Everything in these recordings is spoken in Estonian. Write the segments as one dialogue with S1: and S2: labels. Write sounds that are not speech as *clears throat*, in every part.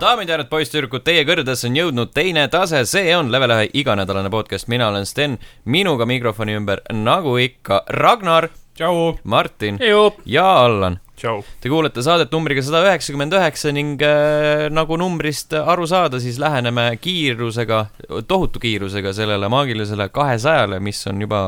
S1: daamid ja härrad poisssüdrukud , teie kõrgedesse on jõudnud teine tase , see on Level ühe iganädalane podcast , mina olen Sten , minuga mikrofoni ümber , nagu ikka , Ragnar ,
S2: tšau .
S1: Martin
S2: Jup .
S1: ja Allan .
S2: tšau .
S1: Te kuulete saadet numbriga sada üheksakümmend üheksa ning äh, nagu numbrist aru saada , siis läheneme kiirusega , tohutu kiirusega sellele maagilisele kahesajale , mis on juba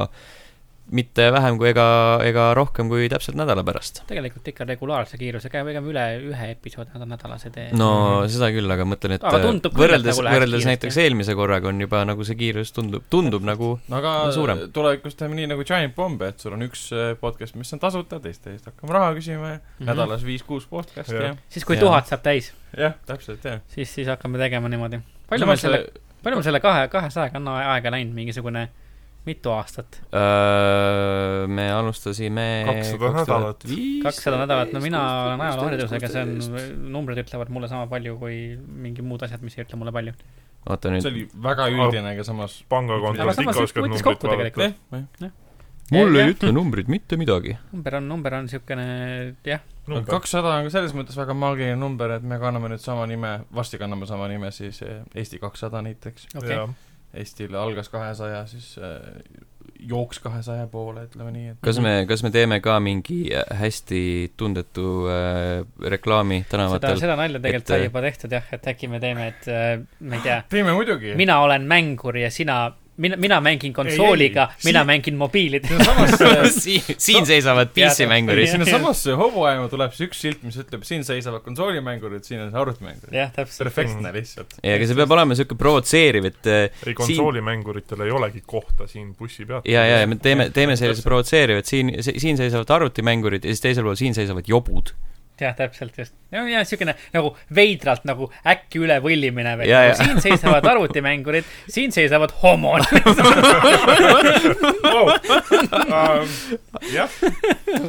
S1: mitte vähem kui ega , ega rohkem kui täpselt nädala pärast .
S3: tegelikult ikka regulaarse kiirusega , pigem üle ühe episoodi nädalas ei tee .
S1: no seda küll , aga mõtlen , et
S3: äh,
S1: äh,
S3: Aga tundub küll, et
S1: võrreldes ,
S3: nagu läheks
S1: võrreldes
S3: kiiresti.
S1: näiteks eelmise korraga on juba nagu see kiirus tundub , tundub nagu
S2: aga
S1: No suurem.
S2: tulevikus teeme nii nagu Giant Bomb , et sul on üks äh, podcast , mis on tasuta , teiste eest hakkame raha küsima ja mm -hmm. nädalas viis-kuus podcast'i ja
S4: Jah. ,
S3: Mhm. siis , kui
S1: Jaa.
S3: tuhat saab täis ,
S2: jah , täpselt , jah .
S3: siis , siis hakkame tegema niimoodi . palju meil selle ,, palju meil selle kahe , kahesajaga on aega läinud , mingisugune mitu aastat ?
S1: öö, äh, me alustasime
S4: 200 nädalat.
S3: kakssada nädalat , no mina olen ajalooharidusega , see on , numbrid ütlevad mulle sama palju kui mingi muud asjad , mis ei ütle mulle palju .
S1: oota nüüd
S2: see , oli väga üldine , aga samas Eh? Aga
S4: pangakontolt
S3: samas
S4: ikka
S3: võt- võttis
S4: oskad numbrit
S3: kokku tegelikult.
S2: jah
S4: vaadata .,
S2: jah .
S1: mul
S3: jah.
S1: ei ütle numbrid mitte midagi .
S3: number on , number on siukene , jah ,
S4: number ,
S2: kakssada on ka selles mõttes väga maagiline number , et me kanname nüüd sama nime , varsti kanname sama nime siis eh, Eesti kakssada näiteks .
S3: okei okay. .
S2: Eestil algas kahesaja , siis äh, jooks kahesaja poole , ütleme nii , et
S1: kas
S3: Mhm.
S1: me , kas me teeme ka mingi äh, hästi tundetu äh, reklaami
S3: seda ,
S1: *laughs* tänavatel ?
S3: seda nalja tegelikult
S1: et,
S3: sai
S1: äh,
S3: juba tehtud jah , et äkki me teeme , et äh, ma ei tea ,
S2: teeme muidugi .
S3: mina olen mängur ja sina , mina , mina mängin
S4: ei.
S3: konsooliga , mina
S4: Siin-
S3: mängin mobiilidega . *laughs*
S2: siinsamas ,
S1: siin , siin seisavad PC-mängurid .
S2: siinsamas hobuajama tuleb see üks silt , mis ütleb , siin seisavad konsoolimängurid , siin on arvutimängurid .
S3: jah , täpselt .
S2: perfektne lihtsalt .
S1: ei , aga see peab olema niisugune provotseeriv , et äh,
S4: ei konsoolimänguritel ei olegi kohta siin bussi peal .
S1: ja , ja , ja me teeme , teeme sellise provotseeriva , et siin , siin seisavad arvutimängurid ja siis teisel pool siin seisavad jobud .
S3: jah , täpselt just . ja , ja siukene nagu veidralt nagu äkki üle võllimine veel Nagu
S1: Ja, ja. .
S3: siin seisavad arvutimängurid , siin seisavad homod .
S1: *laughs*
S3: *laughs*
S4: Ähm, jah ,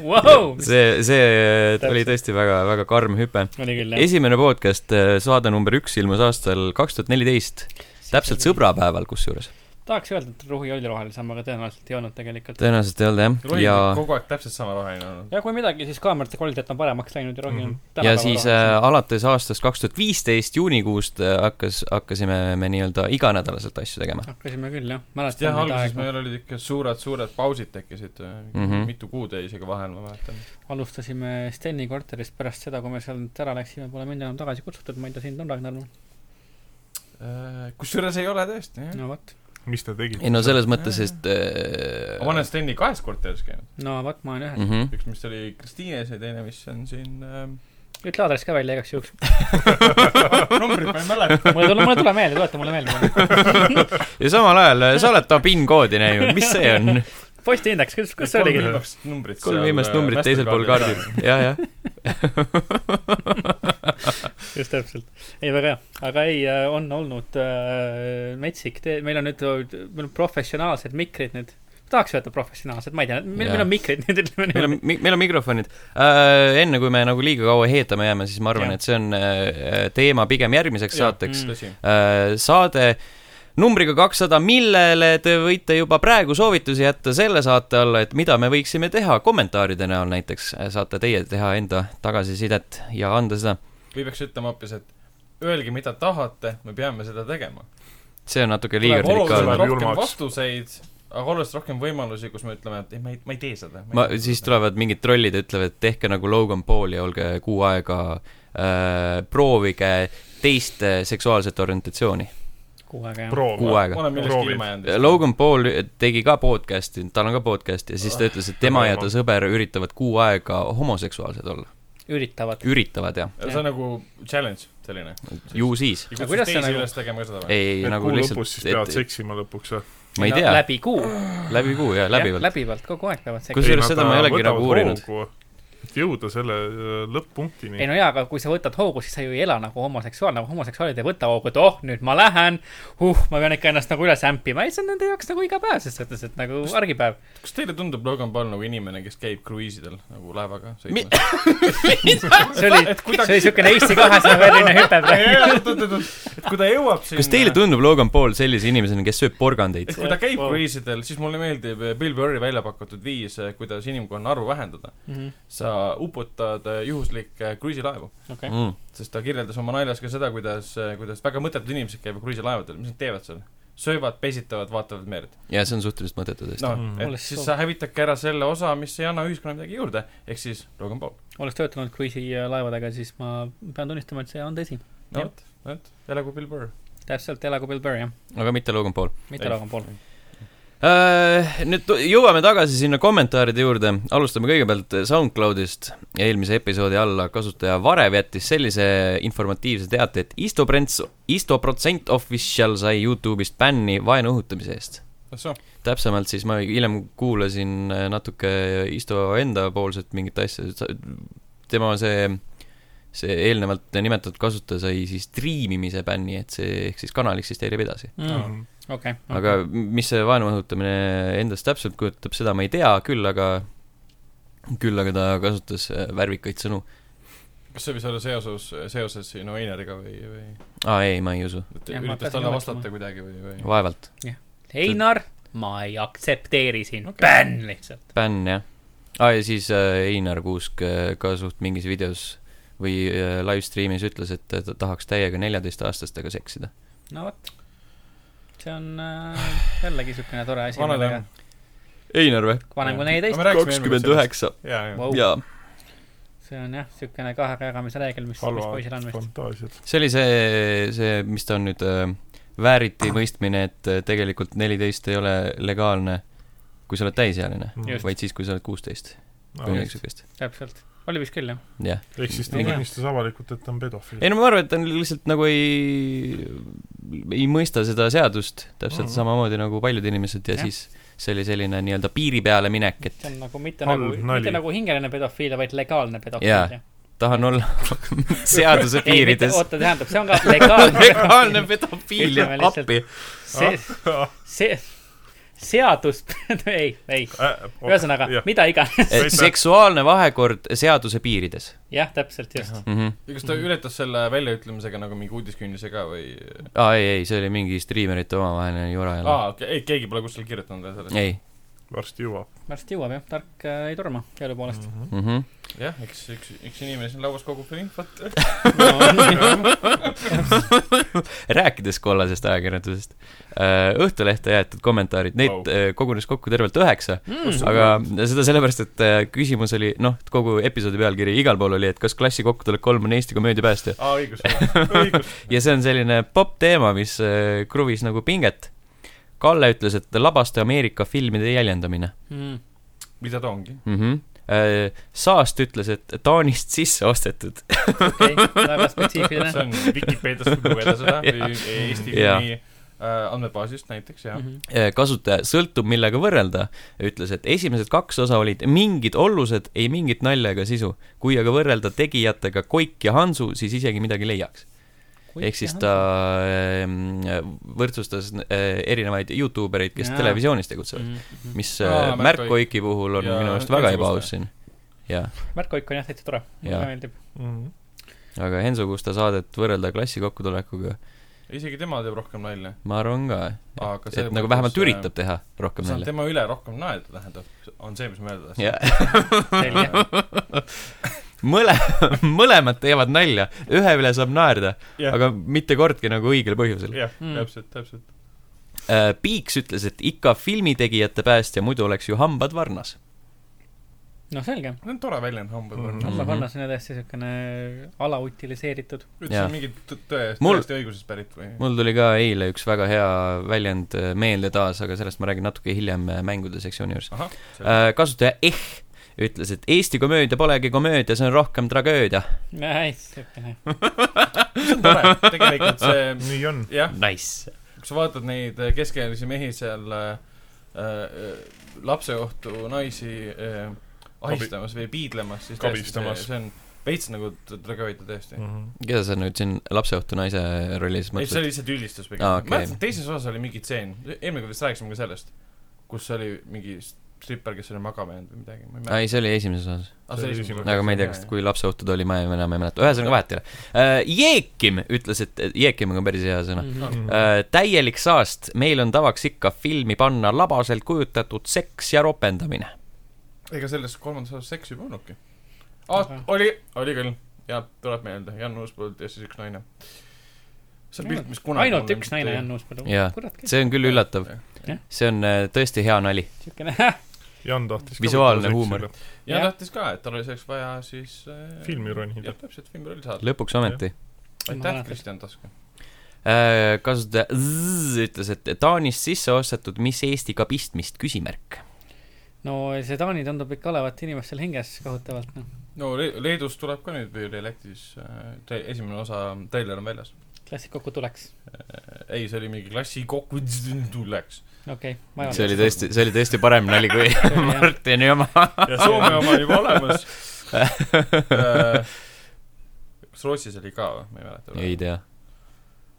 S3: Vau!
S1: see , see
S3: Oh! Täpselt.
S1: oli tõesti väga , väga karm hüpe .
S3: oli küll , jah .
S1: esimene podcast , saade number üks ilmus aastal kaks tuhat neliteist , täpselt . sõbrapäeval kusjuures .
S3: tahaks öelda , et ruhi oli rohelisem , aga tõenäoliselt ei olnud tegelikult .
S1: tõenäoliselt ei olnud jah ,
S2: rohi
S1: ja
S2: on kogu aeg täpselt sama roheline olnud .
S3: ja kui midagi , siis kaamerate kvaliteet on paremaks läinud ja rohi on
S4: Mhm.
S3: tänapäeval
S1: ja siis äh,
S3: rohelisem.
S1: alates aastast kaks tuhat viisteist juunikuust äh, hakkas , hakkasime me nii-öelda iganädalaselt asju tegema .
S3: hakkasime küll , jah .
S2: jah ,
S3: mäletan neid
S2: alguses
S3: aegu .
S2: meil olid ikka suured-suured pausid tekkisid
S1: Mhm.
S2: mm , -hmm. mitu kuud jäi isegi vahel , ma mäletan .
S3: alustasime Steni korterist pärast seda , kui me sealt ära läksime , pole mind enam tagasi kutsutud , ma ei tea , sind on Ragnar noh.
S1: Mhm.
S3: või ?
S2: Äh, kusjuures ei ole tõesti , jah .
S3: no vot .
S4: mis te tegite
S1: ei ? no selles mõttes , et äh,
S2: ma olen Steni kahes korteris käinud .
S3: no vot , ma olen ühes .
S1: mhm.
S2: üks , mis oli Kristiines ja teine , mis on siin äh,
S3: ütle aadress ka välja
S2: *laughs*
S3: igaks juhuks .
S2: numbrid ma ei mäleta .
S3: mulle tuleb , mulle tuleb meelde , tuleta mulle meelde .
S1: ja samal ajal äh, sa oled ta PIN-koodi näinud , mis see on ?
S3: postiindeks , kus , kus see oligi ?
S2: numbrit . äh,
S1: kolm viimast numbrit teisel pool kaardil , jah , jah .
S3: just täpselt , ei väga hea , aga ei , on olnud äh, metsik tee , meil on nüüd , meil on professionaalsed mikrid nüüd . tahaks öelda professionaalsed , ma ei tea , meil ,
S1: Jaa.
S3: meil on mikrid nüüd , ütleme
S1: meil
S3: niimoodi .
S1: on , meil on mikrofonid äh, . enne kui me nagu liiga kaua heetama jääme , siis ma arvan ,
S3: Jah.
S1: et see on äh, teema pigem järgmiseks
S2: Jah.
S1: saateks
S3: Mm. .
S2: tõsi .
S1: äh, saade numbriga kakssada , millele te võite juba praegu soovitusi jätta selle saate alla , et mida me võiksime teha kommentaaride näol näiteks , saate teie teha enda tagasisidet ja anda seda .
S2: või peaks ütlema hoopis , et öelge , mida tahate , me peame seda tegema .
S1: see on natuke liiga
S2: tuleb oluliselt
S1: radikaalne .
S4: Läheb
S2: rohkem
S4: julmaks.
S2: vastuseid , aga oluliselt rohkem võimalusi , kus me ütleme , et ei , ma ei , ma ei tee seda .
S1: ma , siis . tulevad mingid trollid ja ütlevad , et tehke nagu Logan Paul ja olge kuu aega äh, , proovige teist äh, seksuaalset orientatsiooni ,
S3: kuu aega jah .
S4: proov .
S1: kuu
S2: ma
S1: aega .
S2: olen millestki
S4: Proovid.
S2: ilma jäänud .
S1: Äh, Logan Paul tegi ka podcast'i , tal on ka podcast ja siis ta ütles , et tema ja ta sõber üritavad kuu aega homoseksuaalsed olla .
S3: üritavad .
S1: üritavad jah ,
S2: see on nagu challenge selline .
S1: ju siis .
S2: ja
S3: Aga
S2: kuidas
S3: kuidas
S2: teisi
S3: see nagu-
S2: üles tegema ka seda või ?
S1: ei ,
S4: et
S1: nagu
S4: kuu lõpus
S1: lihtsalt
S4: siis , pead
S1: et
S4: seksima lõpuks või ?
S1: ma ei tea ,
S3: läbi kuu .
S1: läbi kuu jah , läbivalt .
S3: läbivalt , kogu aeg peavad seksima .
S1: Kus- Kusjuures seda ma ei olegi nagu uurinud. .
S4: et jõuda selle äh, lõpp-punktini
S3: ei . no jaa , aga kui sa võtad hoogu , siis sa ju ei ela nagu homoseksuaal , nagu homoseksuaalid ei võta hoogu , et oh , nüüd ma lähen , huh , ma pean ikka ennast nagu üles ämpima , ei see on nende jaoks nagu igapäev , selles mõttes , et nagu *laughs* argipäev .
S2: kas teile tundub Logan Paul nagu inimene , kes käib kruiisidel nagu laevaga
S1: Mi-
S2: sõitmas ?
S3: see oli , see oli siukene Eesti kahesaja väline hüpe *laughs* praegu .
S2: et kui ta jõuab sinna
S1: kas teile tundub Logan Paul sellise inimesena , kes sööb porgandeid
S2: et ?
S4: *laughs*
S2: kui ta käib kruiisidel , siis mulle meeldib Bill Burri välja pakutud viis , kuidas inimkonna arvu vähendada . sa uputada juhuslikke kruiisilaevu .
S3: okei ,
S1: mm. .
S2: sest ta kirjeldas oma naljas ka seda , kuidas , kuidas väga mõttetud inimesed käivad kruiisilaevadel , mis nad teevad seal ? söövad , pesitavad , vaatavad merd .
S1: ja see on suhteliselt mõttetu tõesti no. .
S2: noh
S4: Mm. ,
S3: Olles
S2: et siis
S3: soov-
S2: sa hävitadki ära selle osa , mis ei anna ühiskonnale midagi juurde , ehk siis Logan Paul .
S3: oleks töötanud kruiisilaevadega , siis ma pean tunnistama , et see on tõsi .
S2: no
S3: Jah.
S2: vot , vot , elagu Bill Burr .
S3: täpselt , elagu Bill Burr , jah .
S1: aga mitte Logan Paul .
S3: mitte
S2: Ei.
S3: Logan Paul .
S1: Äh, nüüd tu- jõuame tagasi sinna kommentaaride juurde , alustame kõigepealt SoundCloudist . eelmise episoodi alla kasutaja Varev jättis sellise informatiivse teate , et istoprents , istoprotsent official sai Youtube'ist bänni vaenu õhutamise eest .
S2: ahsoo ,
S1: täpsemalt siis ma hiljem kuulasin äh, natuke Isto endapoolset mingit asja , tema see , see eelnevalt nimetatud kasutaja sai siis striimimise bänni , et see ehk siis kanal eksisteerib edasi .
S3: Mm. okei .
S1: aga mis see vaenu õhutamine endast täpselt kujutab , seda ma ei tea , küll aga , küll aga ta kasutas äh, värvikaid sõnu .
S2: kas see võis olla seoses , seoses sinu Einariga või , või
S1: aa ei , ma ei usu ,
S2: et
S3: Jah, ma
S2: üritas
S3: hakkasin
S2: talle
S3: mõtlema.
S2: vastata kuidagi või , või ?
S1: vaevalt .
S3: Einar , ma ei aktsepteeri sind
S2: Okei.
S3: okay. , bänn lihtsalt .
S1: bänn jah . aa ja siis äh, Einar Kuusk äh, ka suht mingis videos või äh, live stream'is ütles , et ta ta tahaks täiega neljateistaastastega seksida .
S3: no vot . see on äh, jällegi siukene tore asi ,
S2: Vanad
S3: millega
S2: on.
S1: Einar või ?
S3: vanem kui
S2: Jah.
S3: neliteist ,
S2: Me rääkisime eelmine kord sellest.
S1: üheksa ,
S2: jaa , jaa .
S3: Vau.
S1: jaa .
S3: see on jah , siukene kahe käeramise reegel , mis , mis
S4: halvad
S3: poisil on vist .
S4: fantaasiad .
S1: see oli see , see , mis ta on nüüd , vääriti mõistmine , et äh, tegelikult neliteist ei ole legaalne , kui sa oled täisealine ,
S2: Mm.
S3: Just.
S1: vaid siis , kui sa oled kuusteist või midagi siukest ,
S3: täpselt , oli vist küll jah .
S1: jah .
S4: ehk siis ta
S3: Ei tea.
S4: tunnistas avalikult , et ta on pedofiil *laughs*
S1: ei . no ma arvan , et ta on lihtsalt nagu ei , ei mõista seda seadust täpselt
S4: Mhm.
S1: samamoodi nagu paljud inimesed ja
S3: Jah.
S1: siis see oli selline nii-öelda piiri peale minek , et
S3: see on nagu mitte
S4: Halb
S3: nagu ,
S4: nali.
S3: mitte nagu hingeline pedofiilia , vaid legaalne
S1: Jaa.
S3: pedofiilia .
S1: tahan
S3: *laughs*
S1: olla seaduse piirides . *laughs*
S3: oota , tähendab , see on ka legaalne .
S1: legaalne pedofiil ja
S3: Ütleme lihtsalt-
S1: appi .
S3: *laughs* see ,
S4: Äh,
S3: see , seadus , *laughs* ei , ei ,
S4: äh, oh,
S3: ühesõnaga , mida iganes , *laughs*
S4: Aitäh.
S1: seksuaalne vahekord seaduse piirides
S3: jah , Mhm. täpselt just .
S1: mm . -hmm
S2: ja kas ta ületas selle väljaütlemisega nagu mingi uudiskünnise ka või ?
S1: aa ei , ei , see oli mingi striimerite omavaheline jura jälle
S2: aa , okei , ei , keegi pole kuskil kirjutanud veel sellest .
S1: ei
S4: varsti jõuab . Mhm.
S3: varsti jõuab jah , tark äh, ei torma , tõepoolest .
S1: mm . -hmm.
S2: jah , eks üks , üks inimene siin lauas kogub infot .
S1: *laughs* rääkides kollasest ajakirjandusest , Õhtulehte jäetud kommentaarid , neid
S2: Vau.
S1: wow. kogunes kokku tervelt üheksa ,
S3: Mm.
S1: aga seda sellepärast , et äh, küsimus oli , noh , kogu episoodi pealkiri igal pool oli , et kas klassi kokkutulek kolm on Eesti komöödiapäästja .
S2: aa , õigus , õigus .
S1: ja see on selline popp teema , mis äh, kruvis nagu pinget . Kalle ütles , et labaste Ameerika filmide jäljendamine
S3: Mm.
S2: mida ta ongi ?
S1: mm . -hmm. Saast ütles , et Taanist sisse ostetud .
S3: okei okay, , väga
S2: see
S3: spetsiifiline .
S2: on Vikipeediast võib lugeda
S1: *laughs*
S2: seda või Eesti
S1: Jaa. Mhm.
S2: filmi äh, andmebaasist näiteks , jah .
S3: Mhm.
S1: Äh, kasutaja , sõltub millega võrrelda , ütles , et esimesed kaks osa olid mingid ollused , ei mingit nalja ega sisu . kui aga võrrelda tegijatega Koik ja Hansu , siis isegi midagi leiaks . ehk siis ta . ähm, võrdsustas äh, erinevaid Youtube erid , kes
S3: Jaa. Mm.
S1: televisioonis
S3: Mhm,
S1: tegutsevad . mis
S2: Aa,
S1: äh,
S2: Märt
S1: Märt
S2: Koik.
S1: Koiki puhul on
S2: Ja
S1: minu arust väga
S2: Hensu
S1: ebaaus siin . jah ,
S3: Märt Koik on jah , täitsa tore , mulle
S1: Jaa.
S3: ka meeldib .
S4: Mhm.
S1: aga Henso Kusta saadet võrrelda klassi kokkutulekuga , isegi
S2: isegi tema teeb rohkem nalja .
S1: ma arvan ka ,
S2: aga äh,
S1: et nagu vähemalt üritab teha rohkem nalja .
S2: tema üle rohkem naerda , tähendab , on see , mis ma öelda tahtsin .
S1: jah ,
S3: selge ,
S1: mõle- , *laughs* mõlemad teevad nalja , ühe üle saab naerda ,
S2: Jah.
S1: aga mitte kordki nagu õigel põhjusel .
S2: jah ,
S3: Mm.
S2: täpselt , täpselt .
S1: Piiks ütles , et ikka filmitegijate päästja , muidu oleks ju hambad varnas .
S3: no selge .
S2: see on tore väljend , hambad
S4: Mm.
S2: on .
S3: Alla
S1: Mhm.
S3: Kannas on ju täiesti siukene alautiliseeritud .
S2: üldse
S1: Jaa.
S2: mingi tõ- tõe ,
S1: Mul-
S2: tõesti õigusest pärit või ?
S1: mul tuli ka eile üks väga hea väljend äh, meelde taas , aga sellest ma räägin natuke hiljem äh, mängude sektsiooni juures .
S2: ahah ,
S1: kasutaja Eh ütles , et Eesti komöödia polegi komöödia , see on rohkem tragöödia .
S3: nice , siukene .
S2: see on
S1: *laughs*
S2: tore , tegelikult see ,
S4: nii on .
S2: jah ,
S1: Nice .
S2: kui sa vaatad neid äh, keskealisi mehi seal äh, äh, lapseohtu naisi äh, ahistamas või piidlemas , siis tõesti see ,
S4: Kabistamas. Mm.
S2: see on veits nagu t- tragöödia tõesti .
S4: Mhm.
S1: keda sa nüüd siin lapseohtu naise rollis
S2: ei , see
S1: mõtled ?
S2: oli lihtsalt üldistus pigem
S1: Aa,
S2: ah,
S1: okei.
S2: okay. . ma mäletan , teises osas oli mingi tseen , eelmine kord vist rääkisime ka sellest , kus oli mingi stripper , kes oli magama jäänud või midagi ,
S1: ei ,
S2: ma ei mäleta . Ah,
S1: see oli esimeses osas .
S4: see oli esimene.
S1: aga ma ei tea , kas , kui lapseohtu ta oli , ma ei- enam ei mäleta , ühesõnaga vahet ei ole . Jeekim ütles , et Jeekim on ka päris hea sõna .
S3: Mhm.
S1: Äh, täielik saast , meil on tavaks ikka filmi panna labaselt kujutatud seks ja ropendamine .
S2: ega selles kolmandas osas seksi ei olnudki . aa , oli , oli küll . jah , tuleb meelde , Jan Uuspõld ja siis üks naine . see on pilt , mis kunagi
S3: ainult üks naine on . Uuspõllu
S1: Jaa. .
S3: kurat ,
S1: see on küll üllatav
S2: Jah. .
S1: see on äh, tõesti hea nali .
S3: siukene
S4: Jan tahtis .
S1: Visuaalne huumor. .
S2: ja
S3: Jah.
S2: tahtis ka , et tal oli selleks vaja siis äh,
S4: filmironida
S2: jah , täpselt , filmiroll saada .
S1: lõpuks ometi .
S3: Ma
S2: aitäh ,
S3: mäletan.
S2: Kristjan Taske .
S1: kasutaja Z ütles , et Taanist sisse ostetud , mis Eestiga pistmist , küsimärk .
S3: no see Taani tundub ikka olevat inimestel hinges kohutavalt , noh .
S2: no Le- Leedus tuleb ka nüüd Dialektis äh, , esimene osa , treiler on väljas .
S3: klassik kokku tuleks .
S2: ei , see oli mingi klassi *laughs* kokku tuleks .
S3: okei okay, , ma ei
S1: see oli tõesti , see oli tõesti parem nali kui *laughs* Martini oma .
S2: ja Soome oma on juba *laughs* olemas . kas Äh, Rootsis oli ka või , ma ei mäleta .
S1: ei . tea .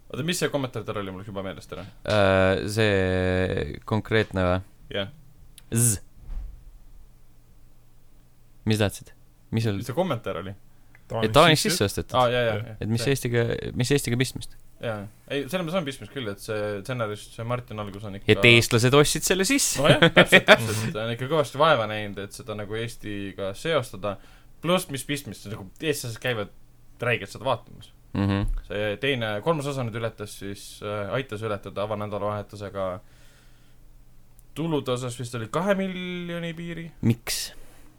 S2: oota , mis see kommentaator oli , mul läks juba meelest ära .
S1: Äh, see konkreetne või ?
S2: jah ,
S1: Z . mis tahtsid ? mis sul
S2: mis , see kommentaar oli ? Ah,
S1: et Taanist sisse
S4: Ah.
S1: ostetud ?
S2: aa , ja , ja , ja .
S1: et mis Eestiga , mis Eestiga pistmist ?
S2: jaa , ei , selles mõttes on pistmist küll , et see stsenarist , see Martin algus on ikka
S4: Ah.
S1: et eestlased ostsid selle sisse .
S2: nojah ,
S1: *laughs*
S2: täpselt , täpselt , ta on ikka kõvasti vaeva näinud , et seda nagu Eestiga seostada , pluss mis pistmist , nagu eestlased käivad räigelt seda vaatamas .
S1: Mhm.
S2: see teine , kolmas osa nüüd ületas siis äh, , aitas ületada avanädalavahetusega tulude osas vist oli kahe miljoni piiri ,
S1: miks ?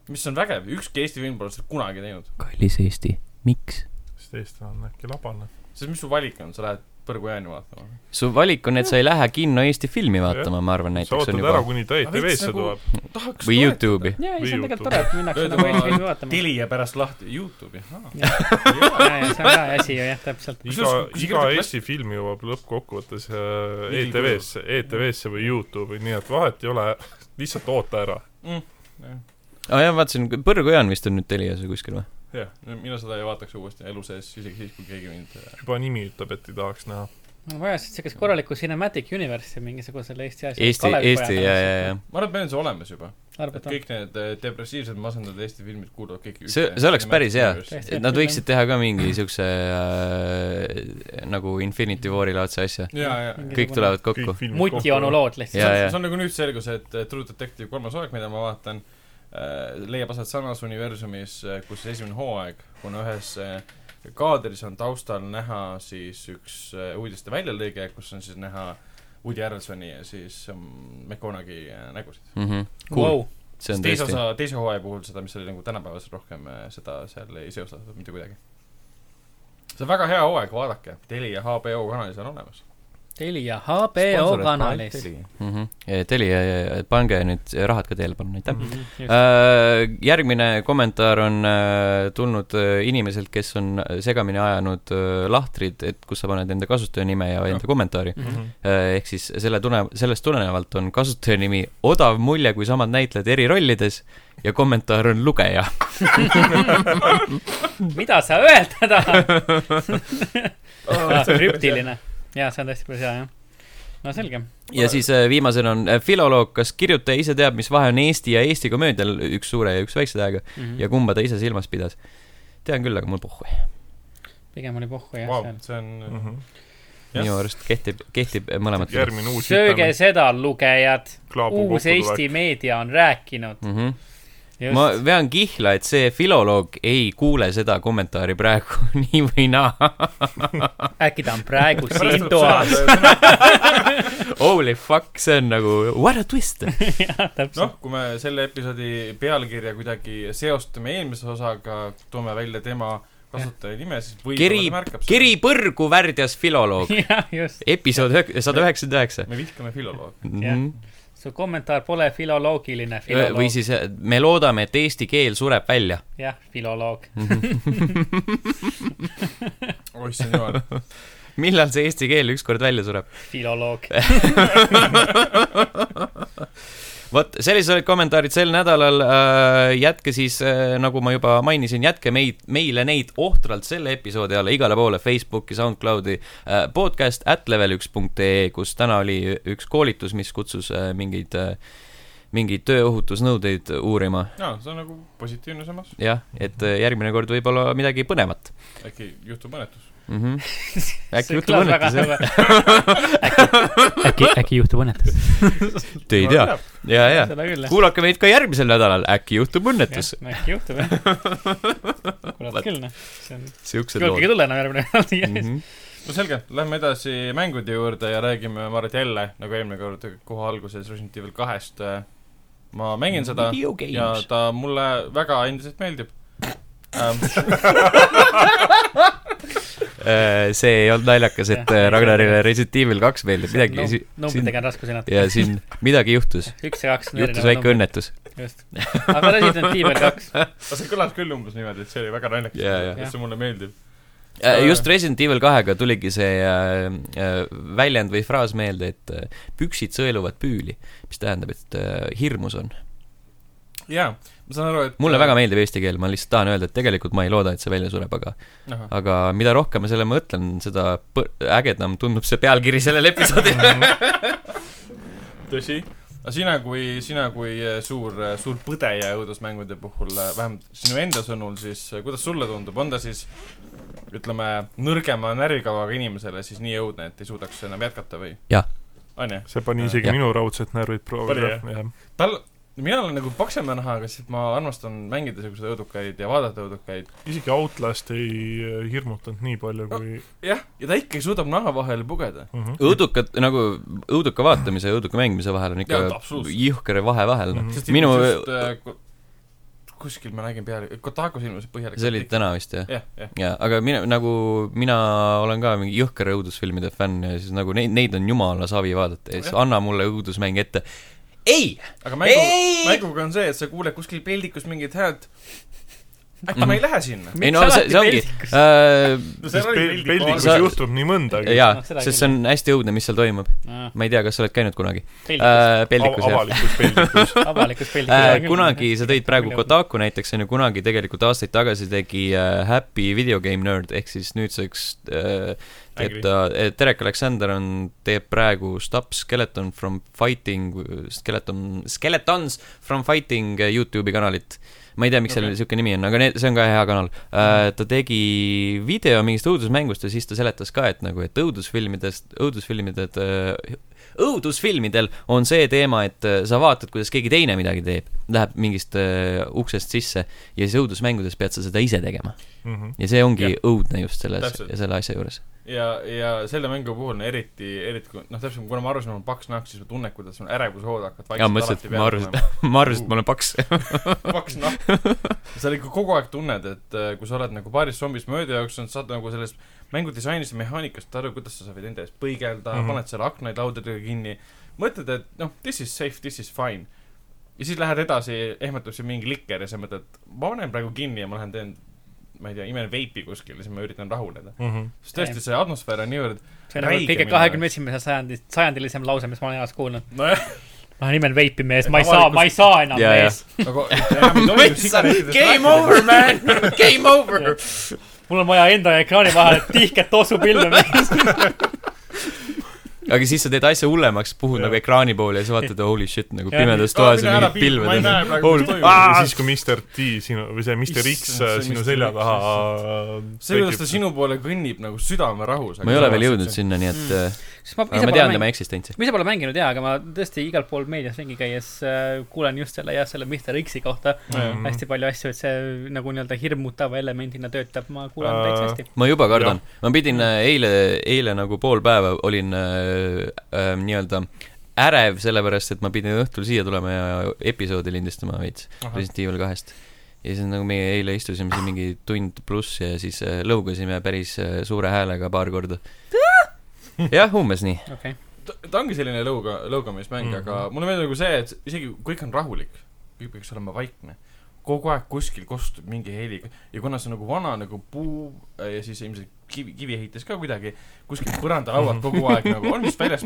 S2: mis on vägev , ükski Eesti film pole seda kunagi teinud .
S1: kallis Eesti , miks ?
S4: sest eestlane on äkki labane .
S2: sest mis su valik on , sa lähed Põrgu Jaani vaatama ?
S1: su valik on , et sa ei lähe kinno Eesti filmi vaatama , ma arvan ,
S4: sa
S1: näiteks on
S4: ootad
S1: juba
S4: ära ,. kuni ta
S2: Aga veits
S4: ETV-sse
S2: nagu-
S4: tuleb .
S2: tahaks
S1: või . Youtube'i .
S3: jaa , ei , see on tegelikult
S4: Või
S3: tore , et minnakse
S2: Öeldi
S3: nagu
S2: oma-
S3: Eesti filmi vaatama .
S2: tili ja pärast lahti , Youtube'i ,
S1: *laughs*
S2: ahaa .
S3: jaa , jaa , see on hea asi ju jah , täpselt .
S4: iga
S2: Kusjuures- ,
S4: iga Eesti film jõuab lõppkokkuvõttes äh,
S2: Nii,
S4: ETV-sse , ETV-sse või Youtube'i , nii et vahet ei ole , lihtsalt oota ära .
S1: aa Ah, jah , vaatasin , Põrgu Jaan vist on nüüd Telias või kuskil või ?
S2: jah , mina seda ei vaataks uuesti elu sees , isegi siis , kui keegi mind äh,
S4: juba nimi ütleb , et ei tahaks näha .
S3: mul on vaja lihtsalt siukest korralikku Cinematic Universe'i mingisugusele Eesti asjale .
S1: Eesti , Eesti ja , ja , ja .
S2: ma arvan , et meil on see olemas juba . et
S3: arvata .
S2: kõik need äh, depressiivsed masendatud Eesti filmid kuuluvad kõik
S1: See- see oleks päris hea.
S3: Tõesti.
S1: Nad võiksid teha ka mingi siukse äh, nagu Infinity War'i laadse asja .
S2: jaa , jaa .
S1: kõik tulevad kokku .
S3: mutionu . lood lihtsalt .
S1: Jaa, jaa.
S2: see on- see on nagu nüüd selgus , et äh, True Detective kolmas hooaeg , mida ma vaatan äh, , leiab aset samas universumis , kus esimene hooaeg , kuna ühes äh, kaadris on taustal näha siis üks äh, uudiste väljalõige , kus on siis näha Woody Harrelsoni ja siis ähm, McConaughey äh, nägusid .
S1: Cool ,
S3: Wow.
S1: Mhm. see on
S2: teise
S1: tõesti .
S2: osa , teise hooaja puhul seda , mis oli nagu tänapäevas rohkem , seda seal ei seostatud mitte kuidagi . see on väga hea hooaeg , vaadake , Telia HBO kanalis on olemas .
S3: Telia HBO kanalis .
S1: mhmh , Telia , äh, pange nüüd rahad ka teele , palun , aitäh .
S3: Mhm, just.
S1: Äh, Järgmine kommentaar on äh, tulnud äh, inimeselt , kes on segamini ajanud äh, lahtrid , et kus sa paned enda kasutajanime ja enda kommentaari .
S4: Mhm.
S3: Mhm.
S1: ehk siis selle tune- , sellest tulenevalt on kasutajanimi Odav mulje , kui samad näitlejad eri rollides ja kommentaar on lugeja .
S3: mida sa öelda
S1: *laughs*
S3: tahad ? krüptiline . jaa , see on tõesti päris hea , jah . no selge .
S1: ja siis äh, viimasena on äh, filoloog , kas kirjutaja ise teab , mis vahe on Eesti ja Eesti komöödial , üks suure ja üks väikse tähega ,
S3: Mhm.
S1: ja
S2: Mhm.
S1: kumba ta ise silmas pidas ? tean küll , aga mul pohhu .
S3: pigem oli pohhu jah
S2: Vau ,
S3: seal .
S2: see
S4: Mhm.
S2: on , Jah.
S1: minu arust kehtib , kehtib äh, mõlemat .
S4: järgmine uus
S3: sööge seda , lugejad .
S4: klaabu
S3: uus Eesti . meedia on rääkinud .
S1: Mm -hmm. ma
S3: just ,
S1: vean kihla , et see filoloog ei kuule seda kommentaari praegu *laughs* nii või naa .
S3: äkki ta on
S2: *laughs*
S3: praegu siin toas . *laughs*
S1: Holy fuck , see on nagu what a twist .
S3: täpselt .
S2: noh , kui me selle episoodi pealkirja kuidagi seostame eelmise osaga , toome välja tema kasutajanime , siis
S1: keri
S2: võib-olla ta märkab ,
S1: keri . põrgu värdjas
S2: *laughs*
S1: filoloog ,
S3: *laughs* jah , just .
S1: episood sada üheksakümmend üheksa .
S2: me vihkame filoloogi .
S3: su kommentaar pole filoloogiline .
S1: või siis äh, me loodame , et eesti keel sureb välja .
S3: jah , filoloog .
S2: oih , see on jumal .
S1: millal see eesti keel ükskord välja sureb ?
S3: filoloog .
S1: vot , sellised olid kommentaarid sel nädalal äh, , jätke siis äh, , nagu ma juba mainisin , jätke meid , meile neid ohtralt selle episoodi alla igale poole , Facebooki , SoundCloudi äh, , podcast at level1.ee , kus täna oli üks koolitus , mis kutsus äh, mingeid äh, mingeid tööohutusnõudeid uurima .
S2: jaa , see on nagu positiivne samas ,
S1: jah , et äh, järgmine kord võib-olla midagi põnevat
S2: äkki juhtub õnnetus .
S1: mm .
S2: *laughs*
S1: -hmm. äkki juhtub õnnetus , jah ?.
S5: *laughs* äkki , äkki juhtub õnnetus .
S1: Te ei tea .. ja , ja .
S3: seda küll , jah .
S1: kuulake meid ka järgmisel nädalal , äkki juhtub õnnetus .
S3: äkki juhtub , jah . kurat
S1: Vot.
S3: küll , noh . see on ,
S1: siuksed
S3: keegi ei
S1: lood .
S3: tule enam järgmine *laughs* kord
S1: Mhm.
S3: mm . -hmm.
S2: no selge , lähme edasi mängude juurde ja räägime , ma arvan , et jälle nagu eelmine kord , kohe alguses Resident Evil kahest . ma mängin seda
S1: Video
S2: ja
S1: games .
S2: ta mulle väga endiselt meeldib ähm, .
S1: Äh, see ei olnud naljakas , et äh, Ragnarile Resident Evil kaks meeldib , midagi si- siin
S3: numbritega on raske sõnata .
S1: ja siin midagi juhtus ,
S3: *laughs* üks ja kaks .
S1: juhtus väike . õnnetus .
S3: just . aga Resident Evil
S1: *laughs*
S3: kaks .
S2: aga see kõlas küll umbes niimoodi , et see oli väga naljakas
S1: Jaa, jaa.
S2: et see mulle meeldib .
S1: Äh, just Resident Evil kahega tuligi see äh, äh, väljend või fraas meelde , et äh, püksid sõeluvad püüli , mis tähendab , et äh, hirmus on .
S2: jaa , ma saan aru , et
S1: mulle väga meeldib eesti keel , ma lihtsalt tahan öelda , et tegelikult ma ei looda , et see välja sureb , aga
S2: meeldib .
S1: aga mida rohkem ma selle mõtlen , seda põ- ägedam tundub see pealkiri sellele episoodile .
S2: tõsi ? aga sina kui , sina kui äh, suur , suur põdeja õudusmängude puhul , vähemalt sinu enda sõnul , siis äh, kuidas sulle tundub , on ta siis ütleme , nõrgema närvikavaga inimesele siis nii õudne , et ei suudaks enam jätkata või ?
S1: Jah. .
S2: on ju ?
S4: see pani isegi
S1: Jah.
S4: ja. minu raudsed närvid proovile
S2: Pani, . tal , mina olen nagu paksema nahaga , sest ma armastan mängida siukseid õudukaid ja vaadata õudukaid .
S4: isegi Outlast ei äh, hirmutanud nii palju kui
S2: jah , ja ta ikkagi suudab naha vahele pugeda .
S4: Mhm.
S1: õudukat , nagu õuduka vaatamise ja õuduka mängimise vahel on ikka
S2: Jaa, absoluutselt.
S1: jõhker vahe vahel , noh .
S4: Mhm.
S1: minu ,
S2: eh, kuskil ma nägin peale , Kotaku silmas põhjalik .
S1: see oli täna vist , jah ?
S2: jah , jah .
S1: jaa , aga mina , nagu mina olen ka mingi jõhker õudusfilmide fänn ja siis nagu neid , neid on jumala savi vaadata ja siis
S2: Jah.
S1: anna mulle õudusmäng ette . ei ,
S2: aga mängu
S1: Ei! ,
S2: mänguga on see , et sa kuuled kuskil peldikus mingit häält , äkki ma ei lähe sinna .
S1: ei no see , see ongi äh, ,
S4: sest pel- peldikus
S1: Sa-
S4: juhtub nii mõndagi .
S1: jaa
S3: Noh, , seda
S1: sest see on hästi õudne , mis seal toimub . ma ei tea , kas sa oled käinud kunagi äh, peldikus , jah ?
S4: avalikus peldikus . *laughs*
S3: avalikus pildis
S1: äh, . kunagi , sa tõid praegu . Kotaku näiteks , on ju , kunagi tegelikult aastaid tagasi tegi äh, Happy Video Game Nerd ehk siis nüüdseks äh, teeb
S2: Angry.
S1: ta , äh, Derek Alexander on , teeb praegu Stop Skeleton from Fighting , Skeleton , Skeletons from Fighting äh, Youtube'i kanalit . ma ei tea , miks sellel
S2: Okei.
S1: niisugune nimi on , aga need, see on ka hea kanal äh, . ta tegi video mingist õudusmängust ja siis ta seletas ka , et nagu , et õudusfilmidest , õudusfilmided äh, õudusfilmidel on see teema , et äh, sa vaatad , kuidas keegi teine midagi teeb , läheb mingist äh, uksest sisse ja siis õudusmängudes pead sa seda ise tegema .
S4: Mhm.
S1: ja see ongi ja. õudne just selles ,
S2: Täpselt.
S1: selle asja juures .
S2: ja , ja selle mängu puhul on eriti , eriti kui , noh , täpselt , kuna ma arvasin , et mul on paks nahk , siis ma tunnen , kuidas mul ärevushood hakkavad
S1: Jaa, ma mõtlesin, et ma arvasin- ma arvasin , et ma olen paks .
S2: et paks nahk . noh. sa ikka kogu aeg tunned , et äh, kui sa oled nagu paarist zombist mööda jooksnud , saad nagu sellest mängudisainist ja mehaanikast aru , kuidas sa võid enda ees põigelda mm ,
S4: Mhm.
S2: -hmm. paned seal aknaid laudadega kinni , mõtled , et noh , this is safe , this is fine . ja siis lähed edasi , ehmatab sind mingi likker ja sa mõtled , ma panen praegu kinni ja ma lähen teen , ma ei tea , imen veipi kuskil ja siis ma üritan rahuneda .
S4: Mhm.
S2: sest tõesti , see atmosfäär on niivõrd ,
S3: see on nagu
S2: Räige
S3: kõige
S2: minu
S3: kahekümne esimese sajandi , sajandilisem lause , mis ma olen elas kuulnud .
S2: nojah ,
S3: ma olen nimel veipimees , ma ei saa , ma ei saa enam
S1: Jaa,
S3: mees .
S2: nagu enam ei *laughs* tohi sigarettidest
S1: Game
S2: rääkida.
S1: over , man , game over .
S3: mul on vaja enda ja ekraani vahel tihket *laughs* toosupilve mees .
S1: aga siis sa teed asja hullemaks , puhud
S4: Jah.
S1: nagu ekraani poole ja sa vaatad , holy shit , nagu
S3: Jah.
S1: pimedas
S2: Aa,
S1: toas
S2: mine
S1: on
S2: ära,
S1: mingid
S2: Pihl, ma ei
S1: pilved .
S2: näe praegu , mis toimub .
S4: ja siis , kui Mr T sinu , või see Mr X
S2: Issand, see
S4: sinu
S2: Mr.
S4: selja
S2: X,
S4: taha äh,
S2: see , kuidas ta sinu poole kõnnib nagu südamerahus .
S1: ma ei ole veel jõudnud . sinna , nii et äh, aga ma tean tema eksistentsi .
S3: ma ise pole mänginud jaa , aga ma tõesti igal pool meedias ringi käies äh, kuulen just selle jah , selle Mr X-i kohta mm.
S4: Mhm.
S3: hästi palju asju , et see nagu nii-öelda hirmutava elemendina töötab , ma kuulen uh,
S4: Äh,
S3: täitsa hästi .
S1: ma juba kardan , ma pidin äh, eile , eile nagu pool päeva olin äh, äh, nii-öelda ärev , sellepärast et ma pidin õhtul siia tulema ja episoodi lindistama veits Resident Evil kahest . ja siis nagu meie eile istusime siin mingi tund pluss ja siis äh, lõugasime päris äh, suure häälega paar korda . jah , umbes nii .
S3: okei ,
S2: ta ongi selline lõuga , lõugamismäng ,
S4: Mhm.
S2: aga mulle meeldib nagu see , et isegi kui kõik on rahulik , kõik peaks olema vaikne , kogu aeg kuskil kostub mingi heli ja kuna see on nagu vana nagu puu äh, ja siis ilmselt kivi , kivi heites ka kuidagi , kuskil põrandalauad kogu aeg nagu on vist väljas ,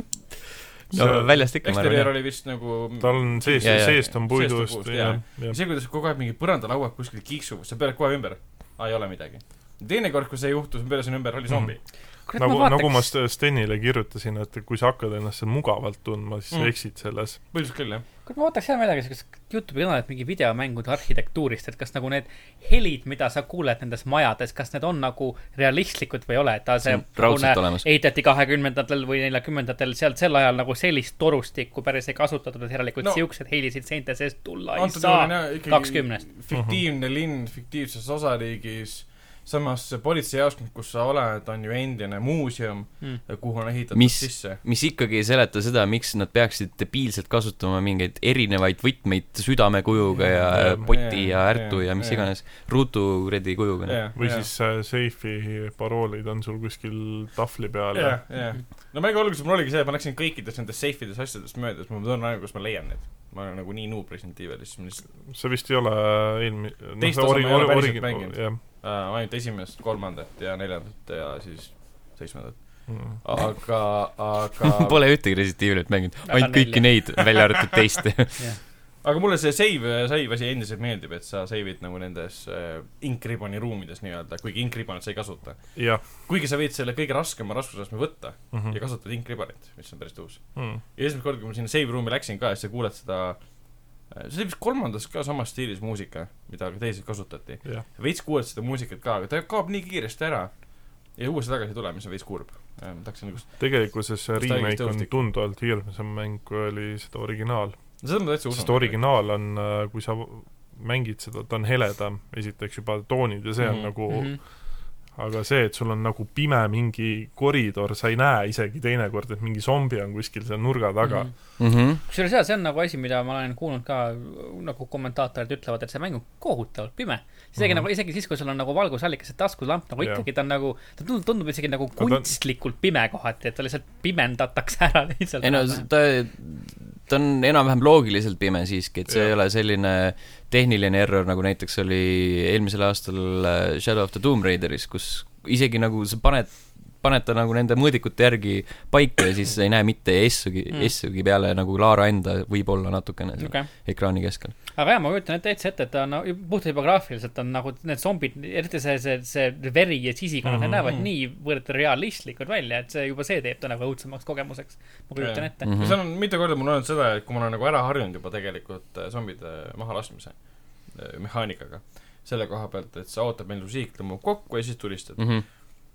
S1: no
S4: See-
S1: väljast ikka , ma
S2: eksterjöör
S1: arvan .
S2: oli vist nagu
S4: tal on sees
S1: Jaa, jaa. ,
S4: seest
S2: Seest
S4: on
S2: on
S4: puidust
S2: puust, jaa. see , kuidas kogu aeg mingid põrandalauad kuskil kiiksuvad , sa pöörad kohe ümber , aa ei ole midagi . teinekord , kui see juhtus , ma pöörasin ümber , oli zombi .
S3: kurat
S4: nagu ,
S3: ma
S4: nagu ma
S3: vaataks ,
S4: St- Stenile kirjutasin , et kui sa hakkad ennast seal mugavalt tundma , siis
S2: Mm.
S4: sa eksid selles .
S2: põhiliselt küll , jah .
S3: kuule , ma ootaks hea meelega siukest Youtube'i kanalit mingi videomängude arhitektuurist , et kas nagu need helid , mida sa kuuled nendes majades , kas need on nagu realistlikud või ei ole , et aa, see
S1: See on raudselt
S3: hoone
S1: olemas.
S3: ehitati kahekümnendatel või neljakümnendatel , sealt sel ajal nagu sellist torustikku päris ei kasutatud , et järelikult
S2: No.
S3: no. siukseid helisid seinte seest tulla ei
S2: antud
S3: saa
S2: juhul . on jah ikkagi
S3: kakskümnest.
S2: fiktiivne
S4: Mhm.
S2: linn fiktiivses osariigis , samas see politseijaoskond , kus sa oled , on ju endine muuseum
S3: Mm.
S2: mm. , kuhu on ehitatud
S1: Mis-
S2: Mis? sisse .
S1: mis ikkagi ei seleta seda , miks nad peaksid debiilselt kasutama mingeid erinevaid võtmeid südamekujuga ja
S4: Jaa,
S1: poti ja
S2: jaa,
S1: ärtu ja mis
S2: jaa.
S1: iganes , ruutu kuradi kujuga noh. yeah. .
S4: või yeah. siis äh, seifi paroolid on sul kuskil tahvli peal
S2: jah , jah . no mängu alguses mul oligi see , et ma läksin kõikides nendes seifides asjades mööda , siis ma tunnen aega , kus ma leian need . ma olen nagu nii noob Resident Evilis , siis ma lihtsalt
S4: see vist ei ole eelmi- noh,
S2: Teist
S4: see
S2: osa
S4: ori-
S2: ma ei ole
S4: ori-
S2: päriselt
S4: origi-
S2: mänginud.
S4: jah
S2: äh, , ainult esimest , kolmandat ja neljandat ja siis seitsmendat .
S4: Mm.
S2: aga ,
S4: *laughs*
S2: aga
S1: *laughs* Pole ühtegi Resident Evilit mänginud ,
S3: Väga
S1: ainult kõiki neid , välja arvatud teist .
S2: aga mulle see save , save asi endiselt meeldib , et sa save'id nagu nendes äh, inkriboni ruumides nii-öelda , kuigi inkribanit sa ei kasuta .
S4: jah
S2: kuigi sa võid selle kõige raskema raskusastme võtta
S4: Mhm.
S2: ja kasutad inkribanit , mis on päris tõus .
S4: Mm.
S2: ja esimest korda , kui ma sinna save ruumi läksin ka , siis sa kuuled seda , see oli vist kolmandas ka samas stiilis muusika , mida ka teised kasutati .
S4: jah ,
S2: veits kuuled seda muusikat ka , aga ta kaob nii kiiresti ära ja uuesti tagasi ei tule , mis on veits kurb . tahaks nagu ,
S4: tegelikkuses see
S2: Kas ta
S4: remake
S2: õigesti
S4: on
S2: õhustik- seda
S4: tunduvalt hirmsam mäng , kui oli seda originaal .
S2: ma täitsa
S4: sest
S2: usun .
S4: originaal on , kui sa mängid seda , ta on heledam , esiteks juba toonid ja see on
S2: Mhm.
S4: mm. nagu mm ,
S3: Mhm.
S4: -hmm. aga see , et sul on nagu pime mingi koridor , sa ei näe isegi teinekord , et mingi zombi on kuskil seal nurga taga mm .
S3: kusjuures jaa , see on nagu asi , mida ma olen kuulnud ka , nagu kommentaatorid ütlevad , et see mäng on kohutavalt pime . isegi mm
S4: Mhm.
S3: -hmm. nagu , isegi siis , kui sul on nagu valgusallikas ja taskulamp , nagu
S4: Jah.
S3: ikkagi ta on nagu , ta tundub , tundub isegi nagu
S4: ta on-
S3: kunstlikult pime kohati , et ta lihtsalt pimendatakse ära lihtsalt .
S1: ei no s- ta , ta on enam-vähem loogiliselt pime siiski , et see
S4: Jah.
S1: ei ole selline tehniline error , nagu näiteks oli eelmisel aastal äh, Shadow of the Tomb Raideris , kus isegi nagu sa paned , paned ta nagu nende mõõdikute järgi paika ja siis sa ei näe mitte S-ugi
S3: Mm.
S1: mm. , S-ugi peale nagu Laara enda võib-olla natukene seal
S3: okay. .
S1: ekraani keskel .
S3: aga jaa , ma kujutan ette täitsa ette , et ta on no, puhtalt juba graafiliselt on nagu need zombid , eriti see , see , see veri ja sisikonnad mm , -hmm. need
S4: Mhm.
S3: näevad niivõrd realistlikud välja , et see juba see teeb ta nagu õudsemaks kogemuseks . ma kujutan
S2: Jah.
S3: ette mm .
S1: Mhm.
S2: seal on mitu korda mul olnud seda , et kui ma olen nagu ära harjunud juba tegelikult äh, zombide mahalaskmise äh, mehaanikaga , selle koha pealt , et sa ootad , millal su siik nagu tõmbab kokku ja siis tulistad .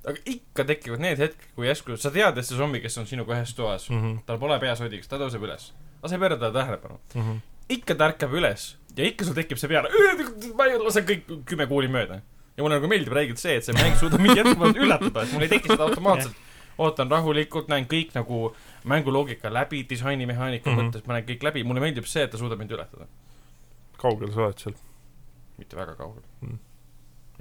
S2: aga ikka tekivad need hetked , kui järsku sa tead , et see zombi , kes on sinuga ühes toas ,
S4: -hmm.
S2: tal pole peas odiks , ta tõuseb üles . aga sa ei pööra talle tähelepanu .
S4: Mm -hmm.
S2: ikka ta ärkab üles ja ikka sul tekib see peale , ma ei lase kõik kümme kuuli mööda . ja mulle nagu meeldib räägitud see , et see mäng suudab mind jätkuvalt üllatada , et mul ei teki seda automaatselt . ootan rahulikult , näen kõik nagu mänguloogika läbi , disainimehaanika mm
S4: Mhm.
S2: -hmm. mõttes ma näen kõik läbi , mulle meeldib see , et ta suudab mind üllatada .
S4: kaugel sa oled sealt ?
S2: mitte väga kaugel
S4: Mhm.
S2: mm. .